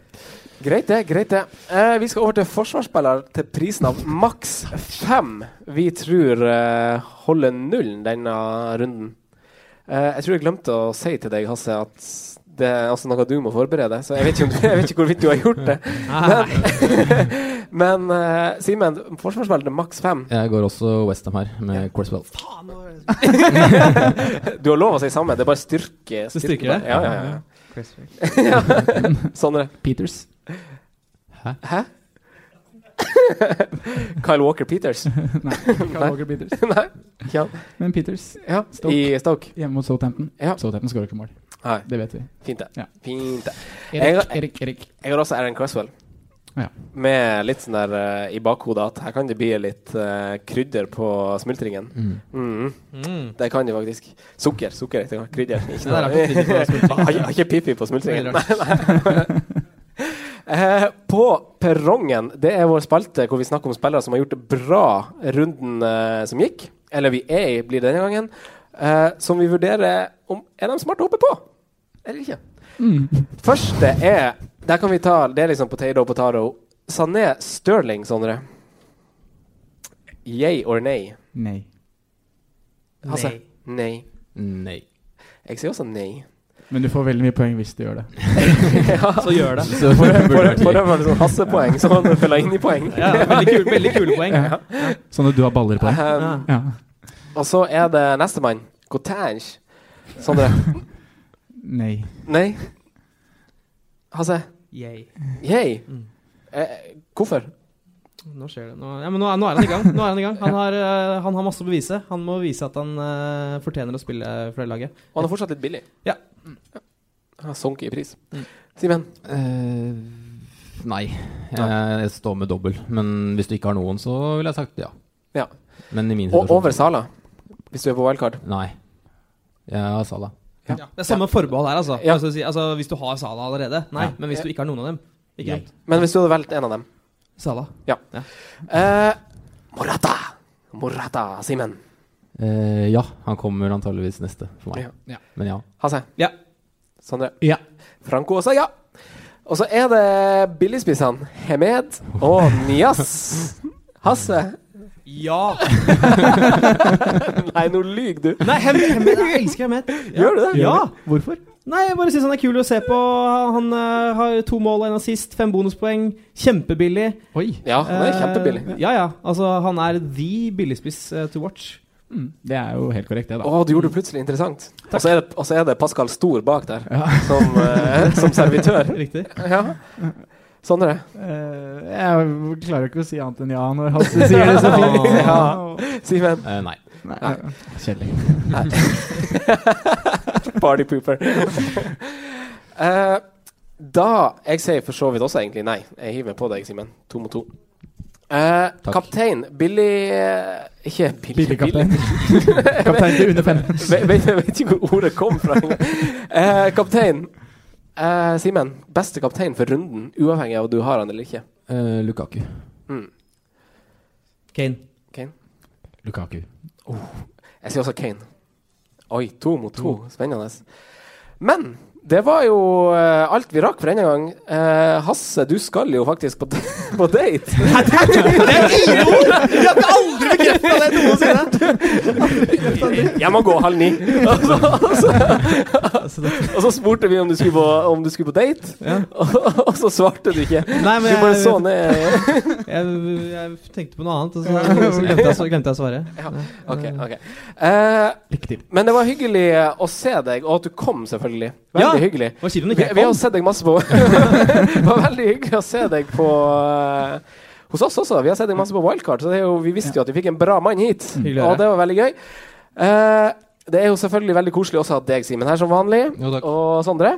Speaker 3: Greit det, greit det. Eh, vi skal over til forsvarsspiller til prisen av maks fem. Vi tror eh, holder nullen denne runden. Eh, jeg tror jeg glemte å si til deg, Hasse, at det er altså noe du må forberede. Så jeg vet ikke, om du, jeg vet ikke hvorvidt du har gjort det. Men, men eh, Simen, forsvarsspiller til maks fem.
Speaker 1: Jeg går også Westham her, med Corswell.
Speaker 3: Du har lov å si samme, det er bare styrke.
Speaker 5: Det styrker det?
Speaker 3: Ja, ja, ja. Sondre.
Speaker 2: Peters.
Speaker 3: Hæ? Kyle Walker Peters. Nei.
Speaker 2: Walker Peters.
Speaker 3: Nei. Ja.
Speaker 2: Men Peters
Speaker 3: ja.
Speaker 2: Stoke.
Speaker 3: I Stoke.
Speaker 2: hjemme mot Southampton.
Speaker 3: Ja.
Speaker 2: Southampton skårer ikke mål.
Speaker 3: Nei.
Speaker 2: Det vet vi.
Speaker 3: Fint, det.
Speaker 2: Ja.
Speaker 3: Fint det. Jeg,
Speaker 2: Erik, Erik, Erik.
Speaker 3: jeg har også Aaron Cresswell.
Speaker 2: Ja.
Speaker 3: Med litt sånn der eh, i bakhodet at her kan det bli litt eh, krydder på smultringen. Mhm.
Speaker 5: Mm.
Speaker 3: Det kan det faktisk. Sukker. sukker heter det. Krydder. Ikke
Speaker 5: Det er rart
Speaker 3: noe.
Speaker 5: å krydder på smultring.
Speaker 3: Har ikke- Har ikke pipi på smultringen.
Speaker 5: Det
Speaker 3: Nei, nei. Eh, på perrongen, det er vår spalte hvor vi snakker om spillere som har gjort det bra runden eh, som gikk. Eller vi er i, blir det denne gangen. Eh, som vi vurderer om er de smarte å hoppe på eller ikke.
Speaker 2: Mm.
Speaker 3: Første er Der kan vi ta Det er liksom potato og potato. Sané Stirling, Sondre. Yay or nay?
Speaker 2: Nei.
Speaker 3: Hasse? Nei.
Speaker 1: Nei.
Speaker 3: Jeg sier også nei.
Speaker 2: Men du får veldig mye poeng hvis du gjør det.
Speaker 3: Ja. For, for, for det var det sånn hassepoeng, så man fyller inn i poeng.
Speaker 5: Ja, veldig kul- veldig kule poeng.
Speaker 2: Ja. Sånn at du har baller på deg.
Speaker 3: Um,
Speaker 2: Ja.
Speaker 3: Og så er det nestemann. Cotange. Sondre.
Speaker 2: Nei.
Speaker 3: Nei. Hasse.
Speaker 5: Yay.
Speaker 3: Yay.
Speaker 5: Mm.
Speaker 3: Eh, hvorfor?
Speaker 5: Nå skjer det. Nå, ja, men nå, er- nå er han i gang. Nå er Han i gang Han har, eh, han har masse å bevise. Han må vise at han eh, fortjener å spille for det laget.
Speaker 3: Og han er fortsatt litt billig.
Speaker 5: Ja.
Speaker 3: Han har sunket i pris.
Speaker 5: Mm.
Speaker 3: Simen.
Speaker 1: Eh, nei. Jeg, jeg står med dobbel. Men hvis du ikke har noen, så ville jeg sagt ja.
Speaker 3: Ja.
Speaker 1: Men i min
Speaker 3: Og
Speaker 1: situasjon
Speaker 3: over Sala, hvis du er på wildcard.
Speaker 1: Nei. Jeg har Salah.
Speaker 3: Ja.
Speaker 5: Det er samme forbehold her, altså.
Speaker 3: Ja.
Speaker 5: Altså, si- altså. Hvis du har Sala allerede. Nei,
Speaker 1: Ja.
Speaker 5: men hvis du ikke har noen av dem. Ikke
Speaker 1: Nei.
Speaker 5: sant?
Speaker 3: Men hvis du hadde valgt en av dem
Speaker 5: Sala.
Speaker 3: eh, Morata! Morata, Simen.
Speaker 1: Eh, ja, han kommer antageligvis neste for meg.
Speaker 5: Ja.
Speaker 1: Men ja.
Speaker 3: Hasse.
Speaker 5: Ja.
Speaker 3: Sondre.
Speaker 2: Ja.
Speaker 3: Franco også, ja. Og så er det billigspissene Hemed og Nias. Hasse.
Speaker 5: Ja!
Speaker 3: Nei, nå lyver du.
Speaker 5: Nei, Hem- Hemet jeg elsker Hemet. Ja.
Speaker 3: Gjør du det?
Speaker 5: Ja!
Speaker 2: Hvorfor?
Speaker 5: Nei, jeg bare syns han er kul å se på. Han eh, har to mål og en assist, fem bonuspoeng. Kjempebillig.
Speaker 2: Oi.
Speaker 3: Ja, Ah, han er
Speaker 5: Eh,
Speaker 3: kjempebillig.
Speaker 5: Ja, ja. Altså, han er the billigspiss eh, to watch.
Speaker 2: Mm. Det er jo helt korrekt, det,
Speaker 3: Å,
Speaker 2: da.
Speaker 3: du gjorde det plutselig interessant. Og så er, det- og så er det Pascal Stor bak der,
Speaker 2: Ja.
Speaker 3: som, eh, som servitør.
Speaker 5: Riktig.
Speaker 3: Ja. Sondre.
Speaker 2: Eh, jeg klarer ikke å si annet enn ja når Hasse sier det så fint.
Speaker 3: Ja. Simen.
Speaker 1: Eh, nei.
Speaker 2: Nei. Kjedelig.
Speaker 3: Party pooper. Eh, da Jeg sier for så vidt også egentlig nei. Jeg hiver meg på deg, Simen. To mot to. Eh,
Speaker 1: Takk.
Speaker 3: kaptein Billy eh, Ikke Billy,
Speaker 2: Billigkaptein. Kaptein til under fem.
Speaker 3: Vet, vet, jeg vet ikke hvor ordet kom fra. engang. Eh, kaptein eh, Simen. Beste kaptein for runden, uavhengig av om du har han eller ikke.
Speaker 1: Eh, Lukaku.
Speaker 3: Mm.
Speaker 5: Kane.
Speaker 1: Lukaku.
Speaker 3: Jeg sier også Kane. Oi, to mot to. Spennende. Men det var jo eh, alt vi rakk for denne gang. Eh, Hasse, du skal jo faktisk på, d- på date. Jeg må gå halv ni. Og så, og så, og så spurte vi om du skulle på, om du skulle på date, og, og så svarte du ikke.
Speaker 5: Nei,
Speaker 3: Du
Speaker 5: men
Speaker 3: bare
Speaker 5: jeg,
Speaker 3: så ned.
Speaker 5: jeg, jeg tenkte på noe annet, og så, så glemte jeg, så glemte jeg å svare.
Speaker 3: Ok, ok. Eh,
Speaker 2: Riktig.
Speaker 3: men det var hyggelig eh, å se deg, og at du kom, selvfølgelig. Veldig
Speaker 5: Ja.
Speaker 3: hyggelig.
Speaker 5: Hva sier du
Speaker 3: Vi,
Speaker 5: når ikke jeg
Speaker 3: vi har jo
Speaker 5: kom?
Speaker 3: sett deg masse på Det var veldig hyggelig å se deg på eh, Hos oss også. Vi har sett deg masse på Wildcard, så det er jo, vi visste jo at vi fikk en bra mann hit.
Speaker 5: Hyggelig å
Speaker 3: Og
Speaker 5: høre.
Speaker 3: det var veldig gøy. Eh, det er jo selvfølgelig veldig koselig også at deg, Simen, her som vanlig.
Speaker 1: Jo, takk.
Speaker 3: Og Sondre.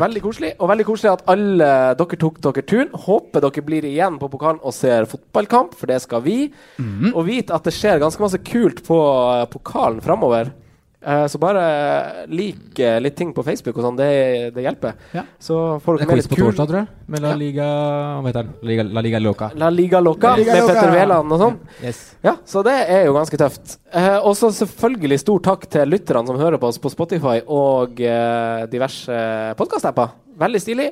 Speaker 3: Veldig koselig. Og veldig koselig at alle dere tok dere turen. Håper dere blir igjen på pokalen og ser fotballkamp, for det skal vi.
Speaker 1: Mhm.
Speaker 3: Og vit at det skjer ganske masse kult på eh, pokalen framover. Eh, så bare lik eh, litt ting på Facebook og sånn. Det, det hjelper.
Speaker 2: Ja.
Speaker 3: Så får
Speaker 1: Det
Speaker 3: dere med
Speaker 1: er quiz
Speaker 3: litt
Speaker 1: på
Speaker 3: kul
Speaker 1: torsdag, tror jeg. Med La Liga Hva heter den? Liga, La Liga Loca.
Speaker 3: La Liga Loca
Speaker 2: Liga
Speaker 3: med
Speaker 2: Loca.
Speaker 3: Petter Wæland og sånn.
Speaker 1: Yes.
Speaker 3: Ja, så det er jo ganske tøft. Eh, og så selvfølgelig stor takk til lytterne som hører på oss på Spotify og eh, diverse podkast-apper. Veldig stilig.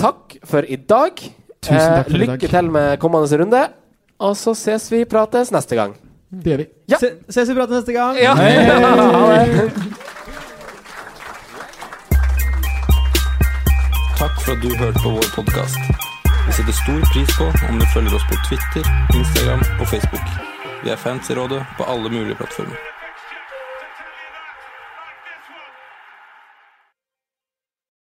Speaker 3: Takk for i dag. Eh,
Speaker 2: Tusen takk for i dag.
Speaker 3: lykke til med kommende runde. Og så ses vi prates neste gang.
Speaker 2: Det gjør vi.
Speaker 3: Ja.
Speaker 5: Se, ses vi prater neste gang.
Speaker 3: Ha det.
Speaker 11: Takk for at du hørte på vår podkast. Vi setter stor pris på om du følger oss på Twitter, Instagram og Facebook. Vi er fans i rådet på alle mulige plattformer.